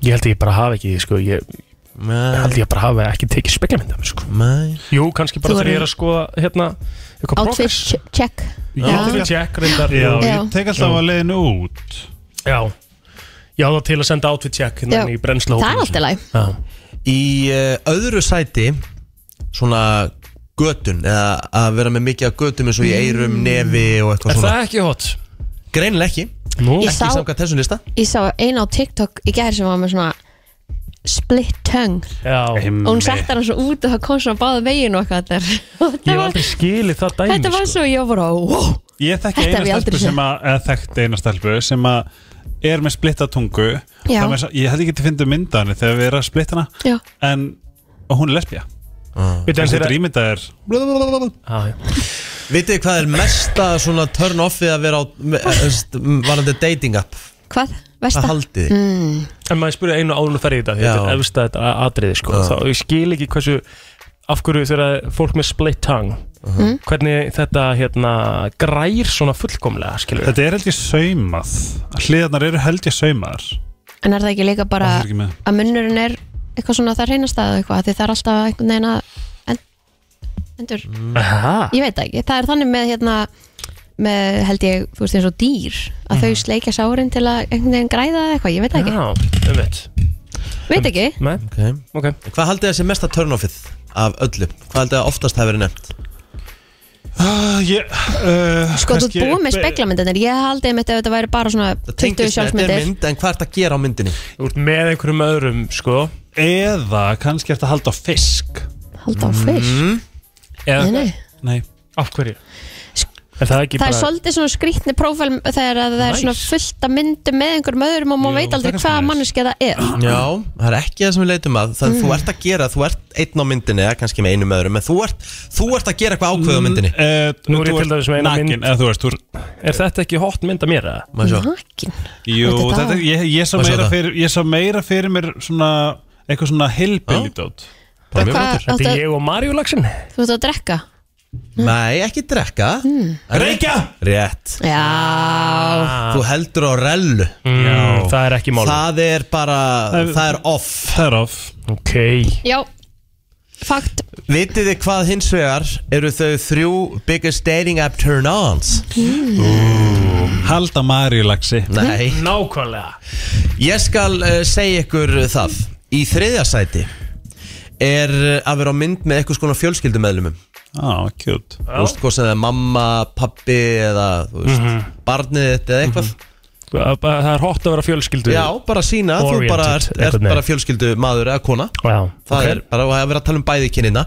S3: Ég held að ég bara hafi ekki, sko Ég
S1: Mæ,
S3: held ég bara hafi ekki tekið speklamyndum, sko
S1: mæ
S3: Jú, kannski bara
S2: Þú
S3: þegar ég
S2: eru-
S3: er að skoða, hérna Eitthvað
S2: outfit
S3: progress
S2: ch- check
S3: Outfit check, reyndar
S7: já,
S3: Já,
S2: Já.
S7: ég tek alltaf að leiðinu út
S3: já Ég á það til að senda outfit check hérna
S2: Já.
S3: inn í brennsla
S2: Það er allt í lagi
S3: Já,
S1: Í eh, öðru sæti Svona götun eða að vera með mikið af götum eins og í
S2: Hmm.
S1: eirum, nefi og eitthvað
S3: Er
S1: svona
S3: það ekki hot?
S1: Greinileg ekki,
S3: Nú,
S2: Ég
S1: ekki
S2: sá,
S1: samkvæmt þessum lista
S2: ég sá eina á TikTok í gær sem var með svona split tongue
S3: já Ég
S2: og hún settar hann svo út og það kom svona báða veginn og eitthvað þetta er- og þetta
S3: hef
S2: var,
S3: aldrei skilið það dæmi
S2: þetta var
S3: sko.
S2: svo ég var bara wow.
S7: Ég þekki
S2: Þetta
S7: eina
S2: hef ég aldrei
S7: stelpu
S2: séð.
S7: sem að, eða þekkt eina stelpu sem að er með splitta tungu
S2: Já.
S7: Það með þess að- Ég held ekki til að finna mynda henni þegar við erum að splitta hana
S2: Já,
S7: en og hún er lesbía
S3: Veitu, en
S7: Þessi
S3: þegar-
S7: drýmynda er
S3: Já, já.
S1: Vitið þið hvað er mesta svona turn off við að vera á me- eh, st- m- varandi dating app
S2: hvað? Vesta?
S1: Það haldið þið
S3: En maður spurði einu áðun og ferði í þetta því
S1: Já.
S3: Þetta er efsta þetta a- atriði sko Þá ég skil ekki hversu Af hverju þegar fólk með split tongue
S2: Mm.
S3: Hvernig þetta hérna Grær svona fullkomlega skilur
S7: Þetta er held ég saumað Hliðarnar eru held ég saumaðar
S2: En er það ekki líka bara
S7: Það er ekki með.
S2: að munnurinn er eitthvað svona það reynast að eitthvað því það er alltaf einhvern veginn að en, endur,
S3: Aha.
S2: ég veit það ekki það er þannig með hérna með held ég, þú veist eins og dýr að þau sleikja sárin til að einhvern veginn græða eða eitthvað, ég veit það ekki,
S3: Já, um veit
S2: veit ekki
S3: Nei,
S1: okay.
S3: ok
S1: Hvað haldið þessi mesta turn offið af öllu? Hvað haldið það oftast hafi verið nefnt?
S3: Ah,
S7: uh, ég, uh,
S2: sko þú
S7: kannski-
S2: búið með speklamyndinir, ég haldið mitt ef þetta væri bara svona
S1: Það
S2: 20
S1: tengist þetta er
S2: sjálfsmyndir
S1: mynd en hvað er þetta að gera á myndinni?
S3: Þú ert með einhverjum öðrum sko
S7: Eða kannski eftir að halda á fisk
S2: halda á fyrst,
S3: Eða,
S2: nei nei
S7: Nei
S3: Af hverju? Er það ekki
S2: það er
S3: bara
S2: svolítið svona skrítni prófæl þegar að það er
S3: Nice.
S2: svona fullt að myndu með einhverjum öðrum og maður
S7: Jú,
S2: veit aldrei
S7: það er
S2: hvaða
S7: nice.
S2: manneski það er
S1: Já, það er ekki það sem við leitum að Það þú ert að gera, þú ert einn á myndinni eða kannski með einum öðrum, en þú ert, þú ert að gera eitthvað ákveð á myndinni
S7: uh,
S3: Nú er ég til dæmis með eina mynd.
S7: Eða þú veist, þú er
S3: Er þetta ekki hot mynd að mér eða?
S1: Má ég sjá?
S2: nakin
S7: Jú,
S2: Þetta er
S7: þetta,
S2: það.
S7: ég, ég, sá
S1: Má ég sjá
S7: meira
S1: það?
S7: fyrir, ég sá meira fyrir mér svona eitthvað svona hillbilly dót
S1: Bara mjög
S2: Hvað-
S1: flottur.
S2: Áttu
S3: Þetta
S2: að-
S3: er ég og Mario lagsin
S2: þú ert að drekka
S1: Nei, ekki drekka mm.
S3: Reykja!
S1: Rétt
S2: Já,
S1: Þú heldur á rellu
S3: Já, það er ekki málum
S1: Það er bara,
S7: Það-
S1: Mm. það er off
S7: Það er off
S3: Ok
S2: já Fakt
S1: Vitið þið hvað hins vegar eru þau þrjú biggest dating app turn-ons?
S7: Halda Maríulaxi
S1: Nei
S3: Nákvæmlega
S1: Ég skal uh, segja ykkur það Í þriðja sæti er eh, að vera á mynd með eitthvað skona fjölskyldumeðlumum Þú
S7: Á, kjút
S1: veist, hvað sem það er mamma, pappi eða þú veist,
S3: Mhm.
S1: barnið þitt eða eitthvað
S3: Það það er hott að vera fjölskyldu
S1: Já, bara sína, þú
S3: Oriented,
S1: bara ert, ert
S3: einhvern veginn.
S1: bara fjölskyldumaður eða kona
S3: Já
S1: Það
S3: ok.
S1: er bara að vera að tala um bæði kynina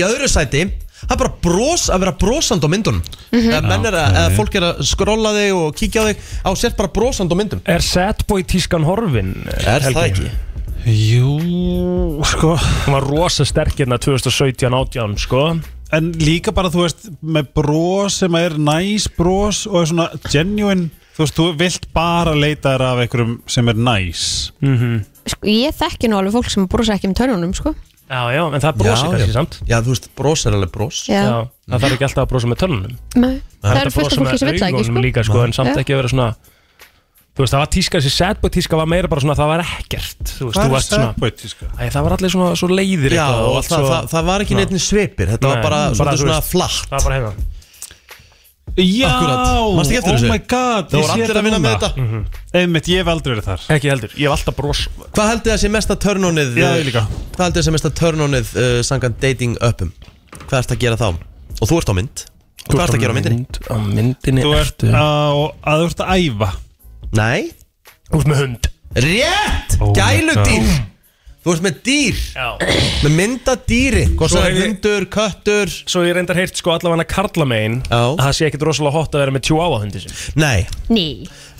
S1: Í öðru sæti Það er bara bros, að vera brosand á myndunum mm -hmm. er að, að fólk er að skrolla þig og kíkja á þig á sér bara brosand á myndum
S3: Er Sadboy tískan horfin?
S1: Er það ekki?
S7: Jú, sko
S3: Hún var rosa sterk hérna 2017-18 sko
S7: En líka bara, þú veist, með bros sem er næs nice bros og er svona genuine Þú veist, þú vilt bara leita þér af einhverjum sem er næs nice.
S2: sko, Ég þekki nú alveg fólk sem brosa ekki um törnunum sko.
S3: Já, já, en það brosi kannski samt
S1: Já, þú veist, bros er alveg bros
S2: Já,
S3: Já, það þarf ekki alltaf að brosa með tönnunum
S2: Nei. Það eru fullt af fólki sem vill það ekki
S3: augunum
S2: sko.
S3: líka sko En
S2: Já.
S3: samt ekki að vera svona Þú veist, það var tíska, þessi Sadboy tíska var meira bara svona Það var ekkert Þú veist, þú
S7: Hvað er
S3: varst svona
S7: sætbætíska?
S3: Æ, það var allir svona svo leiðir
S1: Já,
S3: eitthvað
S1: og
S3: allt
S1: það,
S3: svo-
S1: það, það var ekki neitt svipir Þetta var
S3: Nei,
S1: bara,
S3: bara,
S1: bara
S3: þú
S1: svona
S3: veist,
S1: flatt
S3: Það var bara hérna. heima
S7: Já,
S1: Akkurat. Manstu ekki eftir
S7: oh
S1: þessu?
S7: my god
S1: Það voru allir að vinna með þetta
S7: Einmitt, ég hef aldrei verið þar
S3: Ekki heldur, ég hef alltaf bros
S1: Hvað heldur þessi mesta törnónið eh,
S7: Já, ég líka.
S1: Hvað heldur þessi mesta törnónið uh, Sangan dating uppum Hvað ert að gera þá? Og þú ert á mynd Og hvað ert að gera á myndinni?
S3: Mynd, á myndinni
S7: Þú ert
S3: ertu-
S7: á, að þú ert að æfa
S1: Nei
S3: Þú ert með hund
S1: Rétt!
S7: Oh my
S1: Gæludýr! Þú ert með dýr,
S3: Já
S1: með mynda dýri Hvað
S3: Svo
S1: sem er
S3: hef ég-
S1: hundur, köttur
S3: Svo ég reyndar heyrt sko allavega karlamegin
S1: Já.
S3: að það sé ekkit rosalega hot að vera með tjú áa hundi sin
S1: Nei,
S2: Ný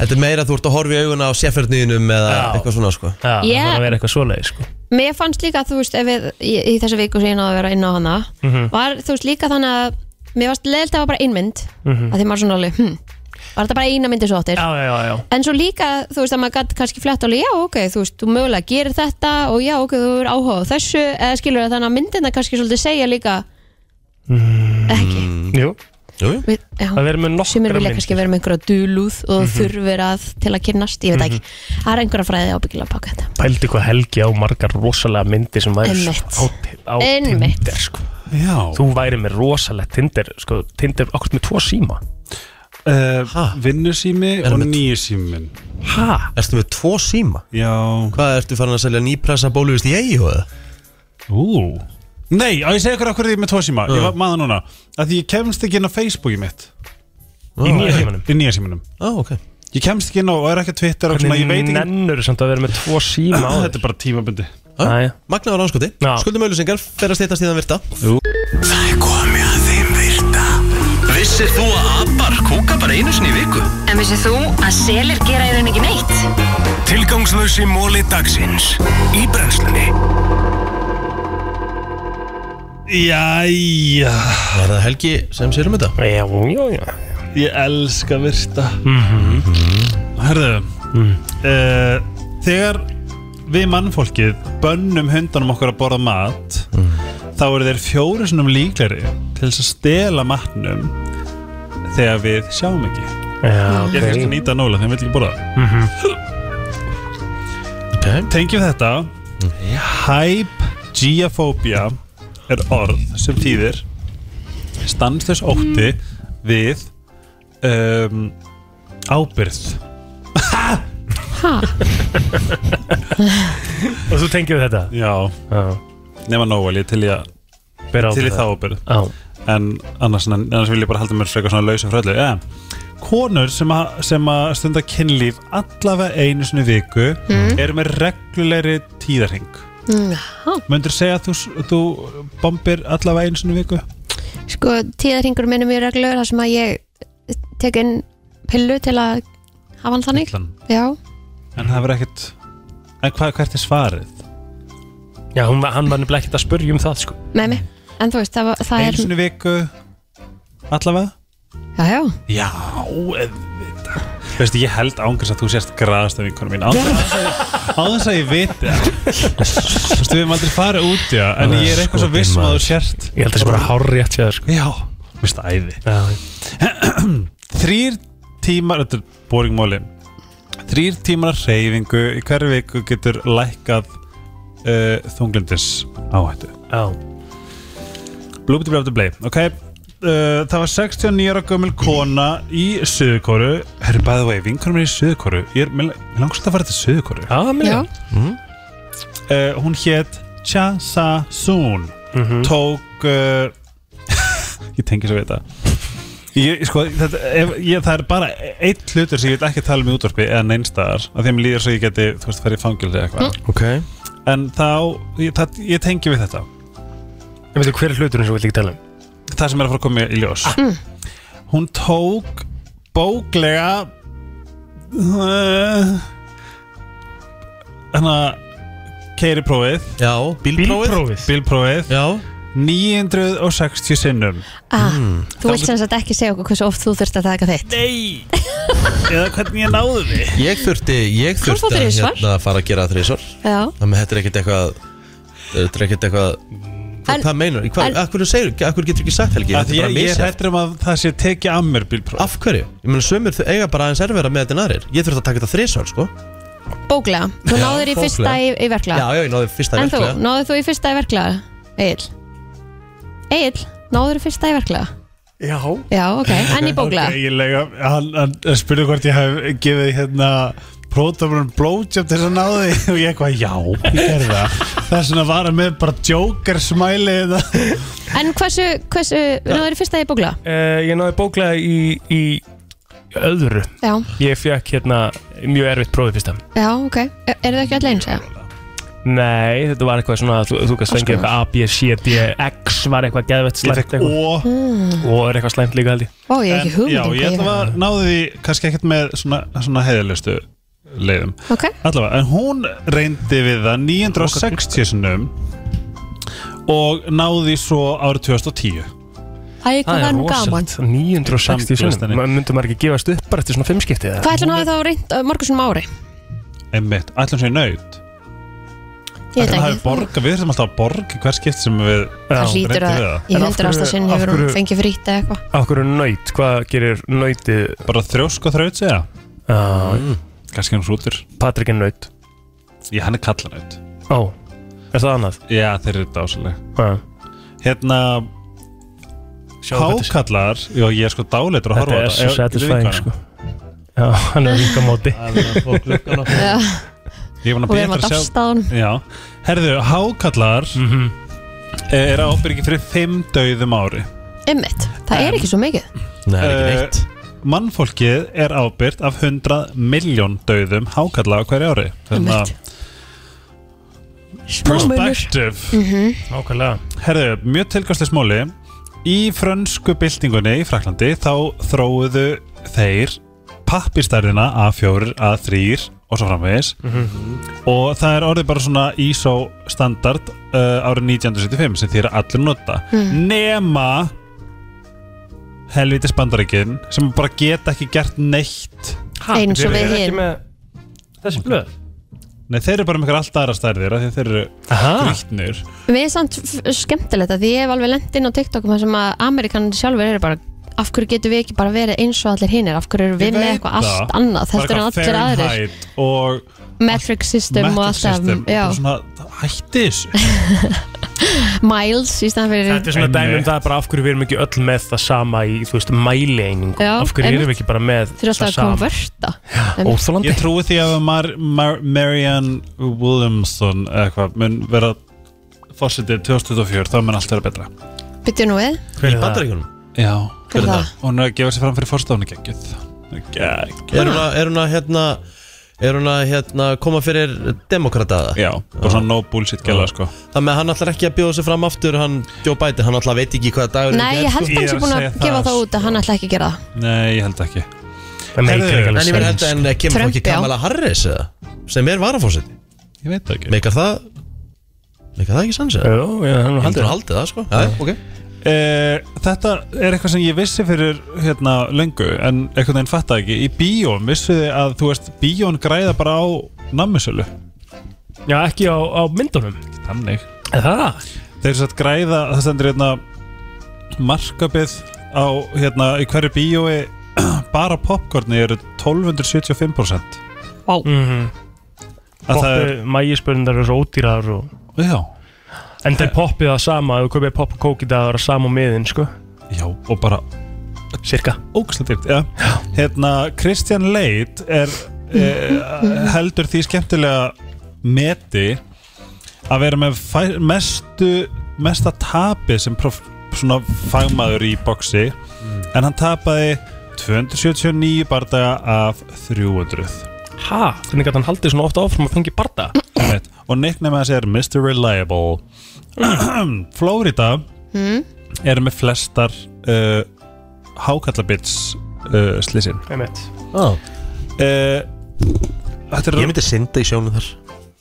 S1: þetta er meira að þú ert að horfa í auguna á sérferðniðinum eða
S3: Já.
S1: eitthvað svona sko
S3: Já, það
S2: Yeah.
S3: þarf að vera eitthvað svoleiði sko
S2: Mér fannst líka, þú veist, ef við í, í þessa viku sem ég náði að vera inn á hana
S3: Mhm.
S2: var, þú veist, líka þannig að mér varst leiðilt að það var bara einmynd mm -hmm. að því maður svona alveg, hm, var þetta bara eina myndi svo áttir
S3: Mhm. Já, já, já, já
S2: en svo líka, þú veist, að maður gæti kannski flett alveg, já, ok, þú veist, þú mögulega gerir þetta og já, ok, þú er áhuga á þessu eða skilur það þannig að myndina kannski svolítið segja líka ekki
S3: Mm. Jú,
S1: Jú, jú
S2: við, já,
S3: Mhm. það verður sko. með
S2: sumir
S3: nokkra
S2: vilja kannski vera með einhverja dulúð og
S3: Mhm.
S2: þurfir að til að kynnast, ég veit ekki það er einhverja fræði ábyggilega að baka þetta
S3: Pældi hvað helgi á margar rosalega myndi sem væri svo
S2: Einmitt.
S3: á, á
S2: Einmitt.
S3: Tinder sko
S7: Já
S3: Þú væri með rosalegt Tinder sko, Tinder okkur með tvo síma
S7: uh, Vinnusími
S1: Verður
S7: og
S1: með-
S7: nýjusímin
S3: Ha?
S1: Ertu með tvo síma?
S7: Já
S1: Hvað ertu farin að selja nýpressa bóluvist í eigi hóða?
S7: Ú Nei, á ég segja ykkur okkur því með tvo síma Ég
S1: Uh.
S7: var maður núna Að því ég kemst ekki inn á Facebooki mitt
S3: Í nýja heiminum
S7: Í nýja símanum
S1: Á, ok
S7: Ég kemst ekki inn á og er ekki á Twitter og svona Ég veit
S3: Hvernig
S7: ekki Ah,
S3: nennur samt að vera með tvo síma á
S7: Þetta
S3: þér? Ah,
S7: er bara tímabundi
S3: Jæja.
S1: Magnaður ánskoti
S3: Já.
S1: Skuldum auðlusingar Fer að stýttast í þann virta
S5: Það er komið að þeim virta Vissir þú að abar kúka bara einu sinni í viku?
S10: En vissið þú að selir gera í raun ekki neitt?
S5: Tilgangslösi móli dagsins Í brennslunni
S7: Jæja
S1: Það er það Helgi sem sér um þetta
S3: Já, já, já
S7: Ég elska virta Mhm. Mm. Herðu uh, Þegar við mannfólkið Bönnum hundanum okkur að borða mat Þá eru þeir fjóru sinum líkleri Til þess að stela matnum Þegar við sjáum ekki
S3: Já,
S7: Ég er kannski að
S3: ok
S7: nýta nóla þegar við viljum ekki borða það
S1: Ok
S7: Tengjum þetta Hypgeophobia er orð sem þýðir stanslös ótti við um, ábyrð
S2: ha,
S3: Og þú tengið þetta?
S7: Já,
S3: Já,
S7: nema nóvel, ég til í, að-
S3: bera á
S7: til í þá ábyrð
S3: Já,
S7: en annars, annars vil ég bara halda mér frekar svona lausa fröllu ja. Konur sem að, sem að stunda kynlíf allavega einu sinni í viku eru með reglulegri tíðarhing
S2: Mm, ha.
S7: Möndur segja að þú, þú bombir allavega einu sinni í viku?
S2: sko, tíðarhingur minnum mjög reglugur þar sem að ég tek inn pillu til að hafa hann þannig
S7: Allan.
S2: já,
S7: En það verður ekkert En hvað, hvert er svarið?
S3: já hún, var- hann var nefnilega ekkert að spurja um það sko
S2: með mig en þú veist, það, var- það er
S7: Einu sinni í viku Allavega?
S2: já, já,
S7: Já, auðvitað Veistu, ég held ángrís að þú sést graðast af vinkunum mín Áður þess að ég viti það Veistu, við hefum aldrei farið út, já En ég er eitthvað svo
S1: Skotin
S7: viss um að
S1: maður.
S7: þú sért
S3: Ég held að það sé bara hár rétt sér sko
S7: Já Mér finnst það æði Þrýr tímar Þetta er boring málin Þrýr tímar reyfingu í hverju viku getur lækkað uh, þunglindis áhættu Já Blúbiti blöfti blei Ok Uh, það var 69 ára gömul kona í Suðukoru Herri, by the way, vinkonum er í Suðukoru Ég er, mér mér langar svolítið að fara til Suðukoru Já,
S2: mér Já.
S7: mm. uh, Hún hétt Cha Sa Soon
S3: Mhm.
S7: Tók uh, Ég tengi svo við þetta ég, sko, þetta, ef, ég, Það er bara einn hlutur sem ég vil ekki tala um í útvarpi eða neinstaðar, af því að mér líður svo ég geti þú veist, farið í fangilsi eða eitthvað
S1: okay.
S7: En þá, ég, það, ég tengi við þetta
S3: Ég veit, hver er hluturinn sem við líka tala um?
S7: Það sem er að fara að koma í ljós Hún tók bóklega uh, Þannig að keiri prófið Já,
S9: bílprófið.
S7: Bílprófið, Já 960 sinnum
S2: Ah, Þú vilt sem sagt ekki segja okkur hversu oft þú þurft að taka þitt
S7: Nei Eða hvernig ég náði því
S9: Ég þurfti, ég
S2: Hann fór
S9: þurfti að
S2: þrisvar.
S9: hérna, fara að gera þrísvar
S2: Já.
S9: Þannig að þetta er ekkert eitthvað Þetta er ekkert eitthvað Hvað,
S2: En-
S9: hvað meinar, hvað,
S2: en-
S9: af hverju segir, af hverju getur ekki sagt Helgi
S7: Af því
S9: Þetta er bara
S7: ég- ég er
S9: misjafnt.
S7: hræddur um að það sé tekið af mér bílpróf
S9: Af hverju? Ég meina sömur þau eiga bara aðeins erfæra með þetta en aðrir Ég þurfti að taka þetta þrísvar sko
S2: Bóklega, þú
S9: Já,
S2: náður í
S9: bóklega.
S2: fyrsta í, í
S9: Já,
S2: verklega
S9: já, ég náði fyrsta
S2: En þú,
S9: verklega
S2: náður þú í fyrsta í verklega? Egil Egil, náður í fyrsta í verklega?
S3: Já
S2: Já, ok, en í bóklega
S7: okay, ég lega, hann, hann spurði hvort ég hef gefið hérna pródómurinn blowjob til þess að náði og ég eitthvað já, ég gerði það þess vegna var hann með bara joker hérna. smæli þetta
S2: En hversu, hversu, náður í fyrsta í bóklega?
S3: Eh, ég náði bóklega í, í öðru
S2: Já,
S3: Ég fekk hérna mjög erfitt prófið fyrsta
S2: já, ok Er, er það ekki allir eins, eða?
S3: Nei, þetta var eitthvað svona að þú, þú kannst fengið eitthvað A, B, C, D, X var eitthvað geðvett
S7: Ég
S3: slæmt
S7: fekk
S3: eitthvað
S7: ó
S2: Mm.
S3: Og er eitthvað slæmt líka held ég
S2: Ó, ég hef ekki hugmynd
S7: já,
S2: um hvað
S7: ég
S2: ég
S7: ætla
S2: var
S7: að náði því kannski ekkert með svona, svona heiðalustu leiðum
S2: Ok,
S7: allavega, en hún reyndi við það 960 sinnum og náði svo árið 2010
S2: æg, hvað var nú gaman
S3: 960 sinnum Ma- Myndi maður ekki gefast upp bara eftir svona fimm skipti
S2: Hvað ætla náður þá reynd uh, morgunsum ári?
S7: einmitt, ætlum sér nöyt
S2: Ég veit
S7: Ætli hann hafi
S2: ekki
S7: borgað, við þurfum alltaf að borga hver skipt sem við
S2: Það hlýtur
S7: reyndum
S2: að
S7: við það.
S2: í hundrasta sinn hefur hún fengið frýtt eða eitthvað
S3: Af hverju nöyt, hvað gerir nöytið?
S7: Bara þrjósk og þraut segja
S3: Mm. Já
S7: Kannski hann hrútur
S3: Ah, Patrik er nöyt
S7: Já, hann er kallanaut
S3: Ó, er það annað?
S7: Já, þeir eru dásalega Hérna
S3: Sjáðu þetta-
S7: Hákallar Já, ég er sko dáleitur
S3: Þetta
S7: að horfa á
S3: er svo
S7: Ef-
S3: satisfying
S7: getur
S3: sko Já, hann er líka móti
S2: Já.
S7: Ég var
S2: Og við erum að dasta á honum.
S7: Já, herðu, hákallar
S3: Mhm,
S7: Er að ábyrgi fyrir fimm dauðum ári
S2: Einmitt, það er ekki svo mikið
S7: Nei, það er ekki neitt Mannfólkið er ábyrgt af 100 miljón dauðum hákalla á hverju ári Hérna, Þannig að
S2: munur.
S7: Perspective
S2: Mhm.
S3: Nákvæmlega
S7: Herðu, mjög tilgastlega smáli Í frönsku byltingunni í Fraklandi þá þróuðu þeir pappistærðina A4, A3 og svo framvegis og það er orðið bara svona ISO standard uh, árið 1975 sem þeir allir nota
S2: Hmm.
S5: Mhm.
S7: nema helvitis bandaríkin sem bara geta ekki gert neitt
S3: Ha,
S2: Eins og
S7: þeir
S2: við
S7: eru
S2: hinn
S3: Þessi blöð
S7: Nei, þeir eru bara með einhverja allt aðra stærðir af því að þeir eru
S2: Ah,
S7: grýtnir
S2: Við erum samt f- skemmtilegt að því ég hef alveg lent inn á TikTok um það sem að Amerikanin sjálfur eru bara af hverju getum við ekki bara verið eins og allir hinnir af hverju erum við með eitthvað allt annað
S7: Bara
S2: heldur en
S7: eitthvað
S2: allir aðrir
S7: Fahrenheit og
S2: metric system og
S7: metric
S2: allt af
S7: system.
S2: já,
S7: Bara svona, hætti þessu
S2: miles í staðan fyrir
S3: Þetta er svona dæmi um það bara af hverju við erum ekki öll með það sama í, þú veist, mæleiningu
S2: Já,
S3: Af hverju
S2: einmitt.
S3: erum við ekki bara með
S2: Þeir eru alltaf að konverta
S3: Óþolandi
S7: Ég trúi því að Mar Mar Marianne Williamson eða eitthvað mun vera fórsetið 2024, þá mun allt vera betra
S2: Byttu nú við
S7: Hver er það? Já,
S2: Hver er það?
S7: Hún er að gefa sig fram fyrir fórstofni geggjöð
S9: Er hún að, er hún að hérna Er hún að hérna, koma fyrir demokrataða?
S7: Já, bara svona no bullshit gæla sko
S9: Það með hann ætlar ekki að bjóða sig fram aftur Hann Joe Biden, hann ætlar veit ekki hvaða dagur
S2: Nei, ég held hann sé búin að gefa það út að hann ætla ekki að gera það
S7: Nei, ég held ekki
S3: Það meikar ekki alveg
S9: En ég verð
S3: sens,
S9: held að en kemur þá
S2: Trump,
S9: ekki
S2: já.
S9: Kamala Harris eða Sem er varafósiti
S7: Ég veit það ekki
S9: Meikar það Meikar það ekki sanns
S1: Eh,
S9: eða?
S3: Jó, já, hann
S9: Ég heldur að
S3: haldið
S9: haldi það sko Já, ok
S7: Eh, þetta er eitthvað sem ég vissi fyrir hérna lengu en einhvern veginn fattaði ekki í bíón vissu þið að þú veist bíón græða bara á nammisölu
S3: Já, ekki á, á myndunum
S7: þannig
S3: Það?
S7: þeir satt græða það stendur hérna markabið á, hérna, í hverju bíói bara popcorni eru 1275%
S2: Vá
S7: Að það
S3: Mhm. Poppi,
S7: er-
S3: mægispörnundar eru svo ódýrar og
S7: Já
S3: En það er poppið það sama, ef þú kaupir popp og kókið það er sama á miðin, sko
S7: Já, og bara
S3: Cirka
S7: Ógæslega dyrt, já Hérna, Christian Leit er eh, heldur því skemmtilega meti að vera með fæ, mestu mesta tapi sem prof, svona fagmaður í boksi en hann tapaði 279 bardaga af 300
S3: Ha, hvernig gæti hann haldið svona ofta áfram að fengi barda?
S7: Einmitt. og nickname hans er Mr. Reliable Florida
S2: Mm.
S7: er með flestar uh, hákallabits uh, slisin
S3: Einmitt
S7: oh.
S1: Ah.
S7: uh, Þetta er
S1: Ég myndi synda í sjónu þar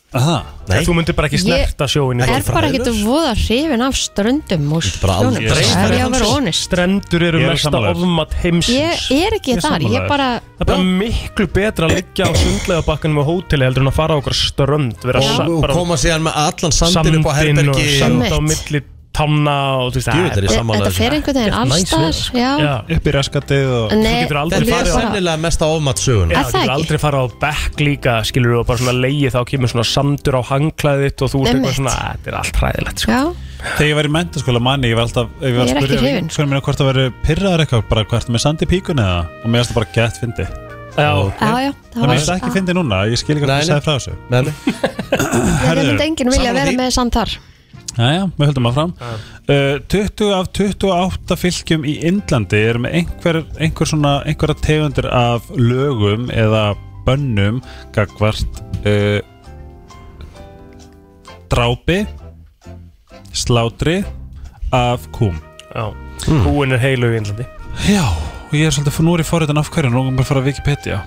S7: Aha.
S1: Nei.
S3: Þú myndir bara ekki snerta sjóin
S2: er bara ekkert voða hrifin af ströndum og sjónum
S3: aldrei
S2: það er ég að vera honest
S3: Strendur eru
S7: Ég er
S3: mesta
S7: sammála þér.
S3: ofmat heimsins
S2: Ég er ekki þar, ég
S3: sammála
S2: bara-
S3: þér. Það er bara miklu betra að liggja á sundlega bakkanum á hóteli heldur en að fara á okkur strönd vera
S1: Og-
S3: sa-
S1: og
S3: bara-
S1: koma síðan með allan sandinn upp á
S3: Sandinn og
S1: herbergi
S3: Sand
S1: og-
S3: á milli tanna og þú veist
S1: Djöfull er ég
S3: bara-
S1: sammála
S2: Þetta fer einhvern veginn
S3: Þetta er næs
S2: allstaðar,
S3: veður, sko.
S2: já.
S7: upp í raskatið og
S2: Nei, Þú getur aldrei þetta er farið á-
S1: sennilega mesta ofmatt sögun
S2: Er
S3: Já, þú
S2: það
S3: getur
S2: ekki?
S3: aldrei fara á bekk líka skilur og bara svona leið þá kemur svona sandur á hangklæðið þitt og þú veist
S2: Einmitt.
S3: eitthvað svona "Æ, þetta er allt hræðilegt sko.
S2: Já,
S7: Þegar ég var í mentaskóla manni ég var alltaf ég var
S2: Ég er
S7: að
S2: ekki
S7: spyrja
S2: hrifin,
S7: vinkonum mína hvort það veri pyrraðar eitthvað bara hvað ertu með sandi í píkunni eða og mér erstu bara gett fyndi
S3: Já,
S2: já, já
S7: Það mér erstu ekki fyndi núna ég skil ekki hvað
S1: Nei,
S7: það
S1: nei.
S7: sagði frá þessu
S1: Nei, nei.
S2: Það myndi enginn vilja
S1: Sammála
S2: vera
S1: því.
S2: með samt þar
S7: Jæja, við höldum að fram uh, 20 af 28 fylgjum í Indlandi eru með einhver, einhver svona, einhverja tegundir af lögum eða bönnum gagvart uh, drápi slátri af kúm
S3: já. Húin er heilu í Índlandi
S7: Já, og ég er svolítið fyrir núri fóriðan af hverju nú erum bara að fara að Wikipedia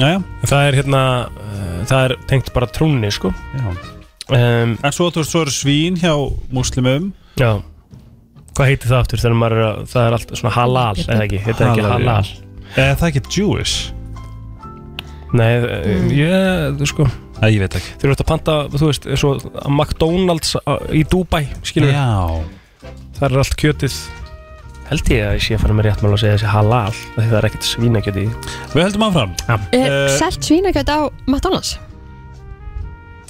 S7: Jæja,
S3: Það er hérna uh, það er tengt bara trúnni sko.
S7: já
S3: um,
S7: En svo, þú veist, svo eru svín hjá múslimum
S3: Já Hvað heitir það aftur þegar maður er að það er allt svona halal eða ekki, heitir það ekki
S7: Halal, já.
S3: halal
S7: Eða það ekki Jewish?
S3: Nei, mm. ég, þú sko
S7: Æ, ég veit ekki
S3: Þeir eru að panta, þú veist, eins og að McDonalds á- í Dubai, skilur við
S7: Já
S3: Það er allt kjötið Held ég að ég sé að fara með rétt mál að segja þessi halal Þegar það er ekkert svínakjötið í því.
S7: Við höldum áfram
S2: Er
S7: Eh,
S2: Selt svínakjöt á McDonalds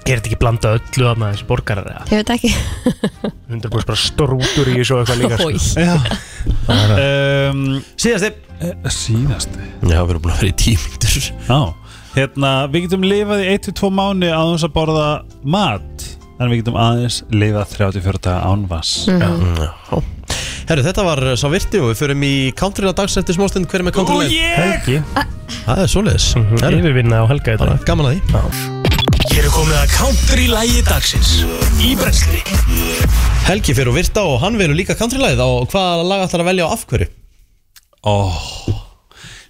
S3: Er þetta ekki blanda öllu þarna þessi borgarar eða?
S2: Ég veit ekki
S3: Hundur búið bara strútur í þessu og eitthvað líka sko.
S7: Já
S3: Það er-
S7: um,
S1: Síðasti
S7: Síðasti
S1: Já, við erum búin að vera í tímyndur
S7: Já Hérna, við getum lifað í 1-2 mánu án þess að borða mat En við getum aðeins lifað 34 daga án vass
S1: Herru, þetta var eh, sá virti og við förum í countryna dags eftir smástund Hver er með countryna?
S3: Helgi
S1: Það er svoleiðis
S3: Mhm.
S1: Herru,
S3: Yfirvinna á Helga í
S1: bara
S3: dag
S1: gaman að því
S5: Hér er komið að country lægi dagsins Í brensli
S1: Helgi fyrir og virta og hann velur líka countrylæð og hvaða lag ætlar að velja og af hverju?
S7: Ó Oh.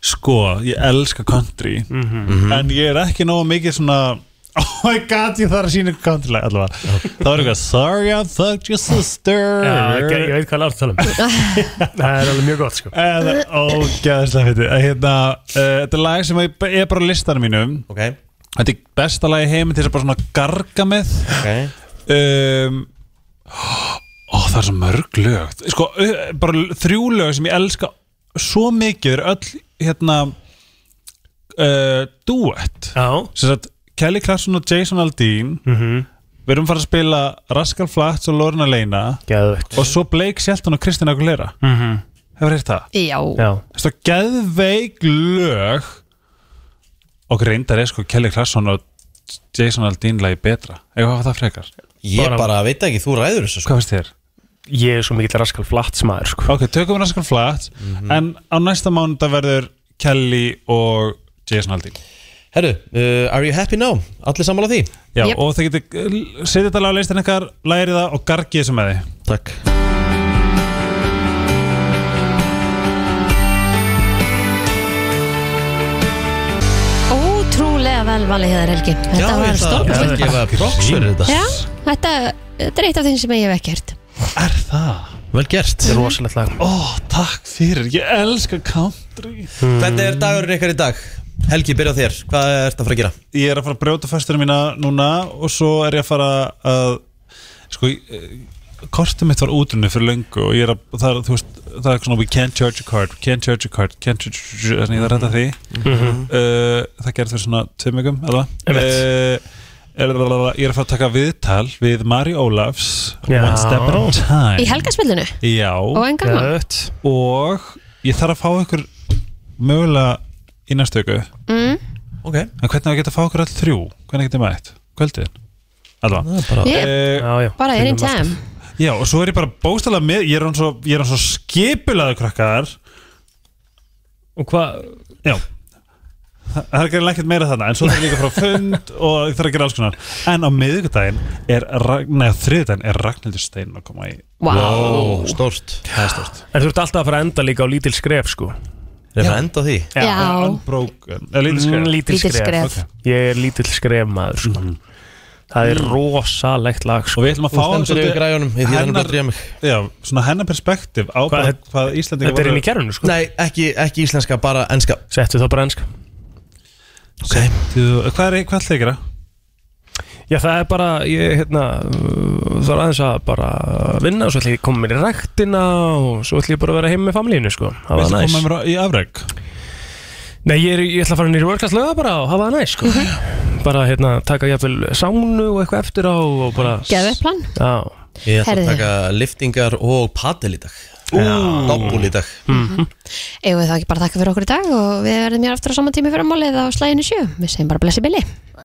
S7: Sko, ég elska country En ég er ekki nógu mikið svona Oh my god, ég þarf að sína ykkur country lag allavega Það var eitthvað Sorry I fucked your sister
S3: Já, ég ég veit hvað lárt tala um Það er alveg mjög gott sko
S7: Eða, ógæðislega fyndi hérna, uh, Þetta er lag sem ég b- er bara á listanum mínum
S1: Ok,
S7: Þetta er besta lag í heiminn til þess að bara svona garga með
S1: ok
S7: um, Ó, það er svo mörg lög Sko, ö- bara þrjú lög sem ég elska svo mikið er öll hérna uh, duett
S3: Já,
S7: sem sagt, Kelly Clarkson og Jason Aldean
S3: Mhm.
S7: við erum farið að spila Rascal Flats og Lorna Leina
S3: geðvögt
S7: og svo Blake Shelton og Kristina Aguilera Hefur heyrt það?
S2: Já,
S3: Já,
S7: Þetta er geðveik lög og reyndar er sko Kelly Clarkson og Jason Aldean lagi betra eða hvað var það frekar?
S1: Ég
S3: Bara-
S1: bara, veit ekki, þú ræður þessu sko.
S7: Hvað finnst þér?
S3: ég er svo mikill raskal flatt smaður sko
S7: Ok, tökum við raskan flat En á næsta mánuða verður Kelly og Jason Aldean
S1: Herru, uh, are you happy now? Allir sammála því?
S7: Já,
S2: Yep.
S7: og þið getur uh, Setið þetta lag á listin ykkar, lærið það og gargið þessu með því
S1: Takk
S2: ótrúlega vel valið hér Helgi Þetta var stórkostlegt
S1: Ég var props fyrir þetta
S2: Já, þetta, þetta er eitt af þeim sem ég hef ekki hert
S7: Er það?
S1: Vel gert
S3: Þetta er rosalegt lag
S7: Ó, takk fyrir, ég elska country
S1: Hvernig er dagurinn ykkar í dag? Helgi, byrja á þér, hvað er þetta að fara að gera?
S7: Ég er að fara að brjóta föstunum mína núna og svo er ég að fara að sko, eh, kortið mitt var útrunni fyrir löngu og ég er að, það er, þú veist, það er eitthvað svona we can't charge a card, we can't charge a card can't charge, þannig ég þarf að redda því
S3: Mhm.
S7: uh, það gerði þau svona tveim vikum, eða
S3: Einmitt.
S7: uh, er, ég er að fara að taka viðtal við Mari Ólafs
S3: Já.
S7: One Step at a Time
S2: Í helgaspillinu?
S7: Já
S2: Og en gaman.
S7: Og ég þarf að fá ykkur mögulega í næstu viku
S2: Mm.
S9: Ok
S7: En hvernig á að geta að fá okkur all þrjú? Hvernig getið mætt? Kvöldið? Alltaf
S2: bara- Yeah. Bara any time.
S7: Já, og svo er ég bara bóstalega með Ég er hann svo, ég er hann svo skipulaðu krakkar
S3: Og hvað?
S7: Já Þa- Það er ekki ekkert meira þarna En svo þarf ég líka frá fund Og ég þarf að gera alls konar En á miðvikudaginn er Ragn- Nei, á þriðudaginn er Ragnhildur Stein að koma í
S2: Vá. Vá,
S1: stórt
S7: Það er stórt
S3: En þú ert alltaf að fara að enda líka á lítil skref sko
S1: Það er að enda á því
S3: Já. Já.
S7: Unbroken Eh, eða Lítil skref
S3: Mm, Lítil skref, Ég er lítil skref maður sko Það er rosalegt lag sko
S7: Og við ætlum að fá svolítið hennar- Já, svona hennar perspektíf á
S3: Hvað-
S7: hvað, hvað Íslandingar
S3: þetta er inn í kerfinu, sko?
S7: Nei,
S9: ekki, ekki íslenska, bara enska
S3: Settu þá bara enska
S7: okay. Hvað er hvað ætlaði að gera?
S3: Já það er bara ég, hérna, uh, Það er aðeins að bara vinna og svo ætlum ég að koma mér í ræktina og svo ætlum ég bara að vera heim með famlíinu sko Það var
S7: Viltu
S3: næs
S7: koma mér á- í afreg?
S3: Nei ég, er, ég ætla að fara nýri workast löga bara og hafa það næs sko Bara hérna taka jafnvel sánu og eitthvað eftir á og bara
S2: Geðveikt plan.
S3: Já
S1: Ég ætla
S2: Herðu.
S1: að taka liftingar og padel í dag Doppul í dag
S2: Eigum við þá ekki bara að þakka fyrir okkur í dag og við verðum hér aftur á saman tími fyrir málið á slæginu sjö. Við segjum bara blessi billi.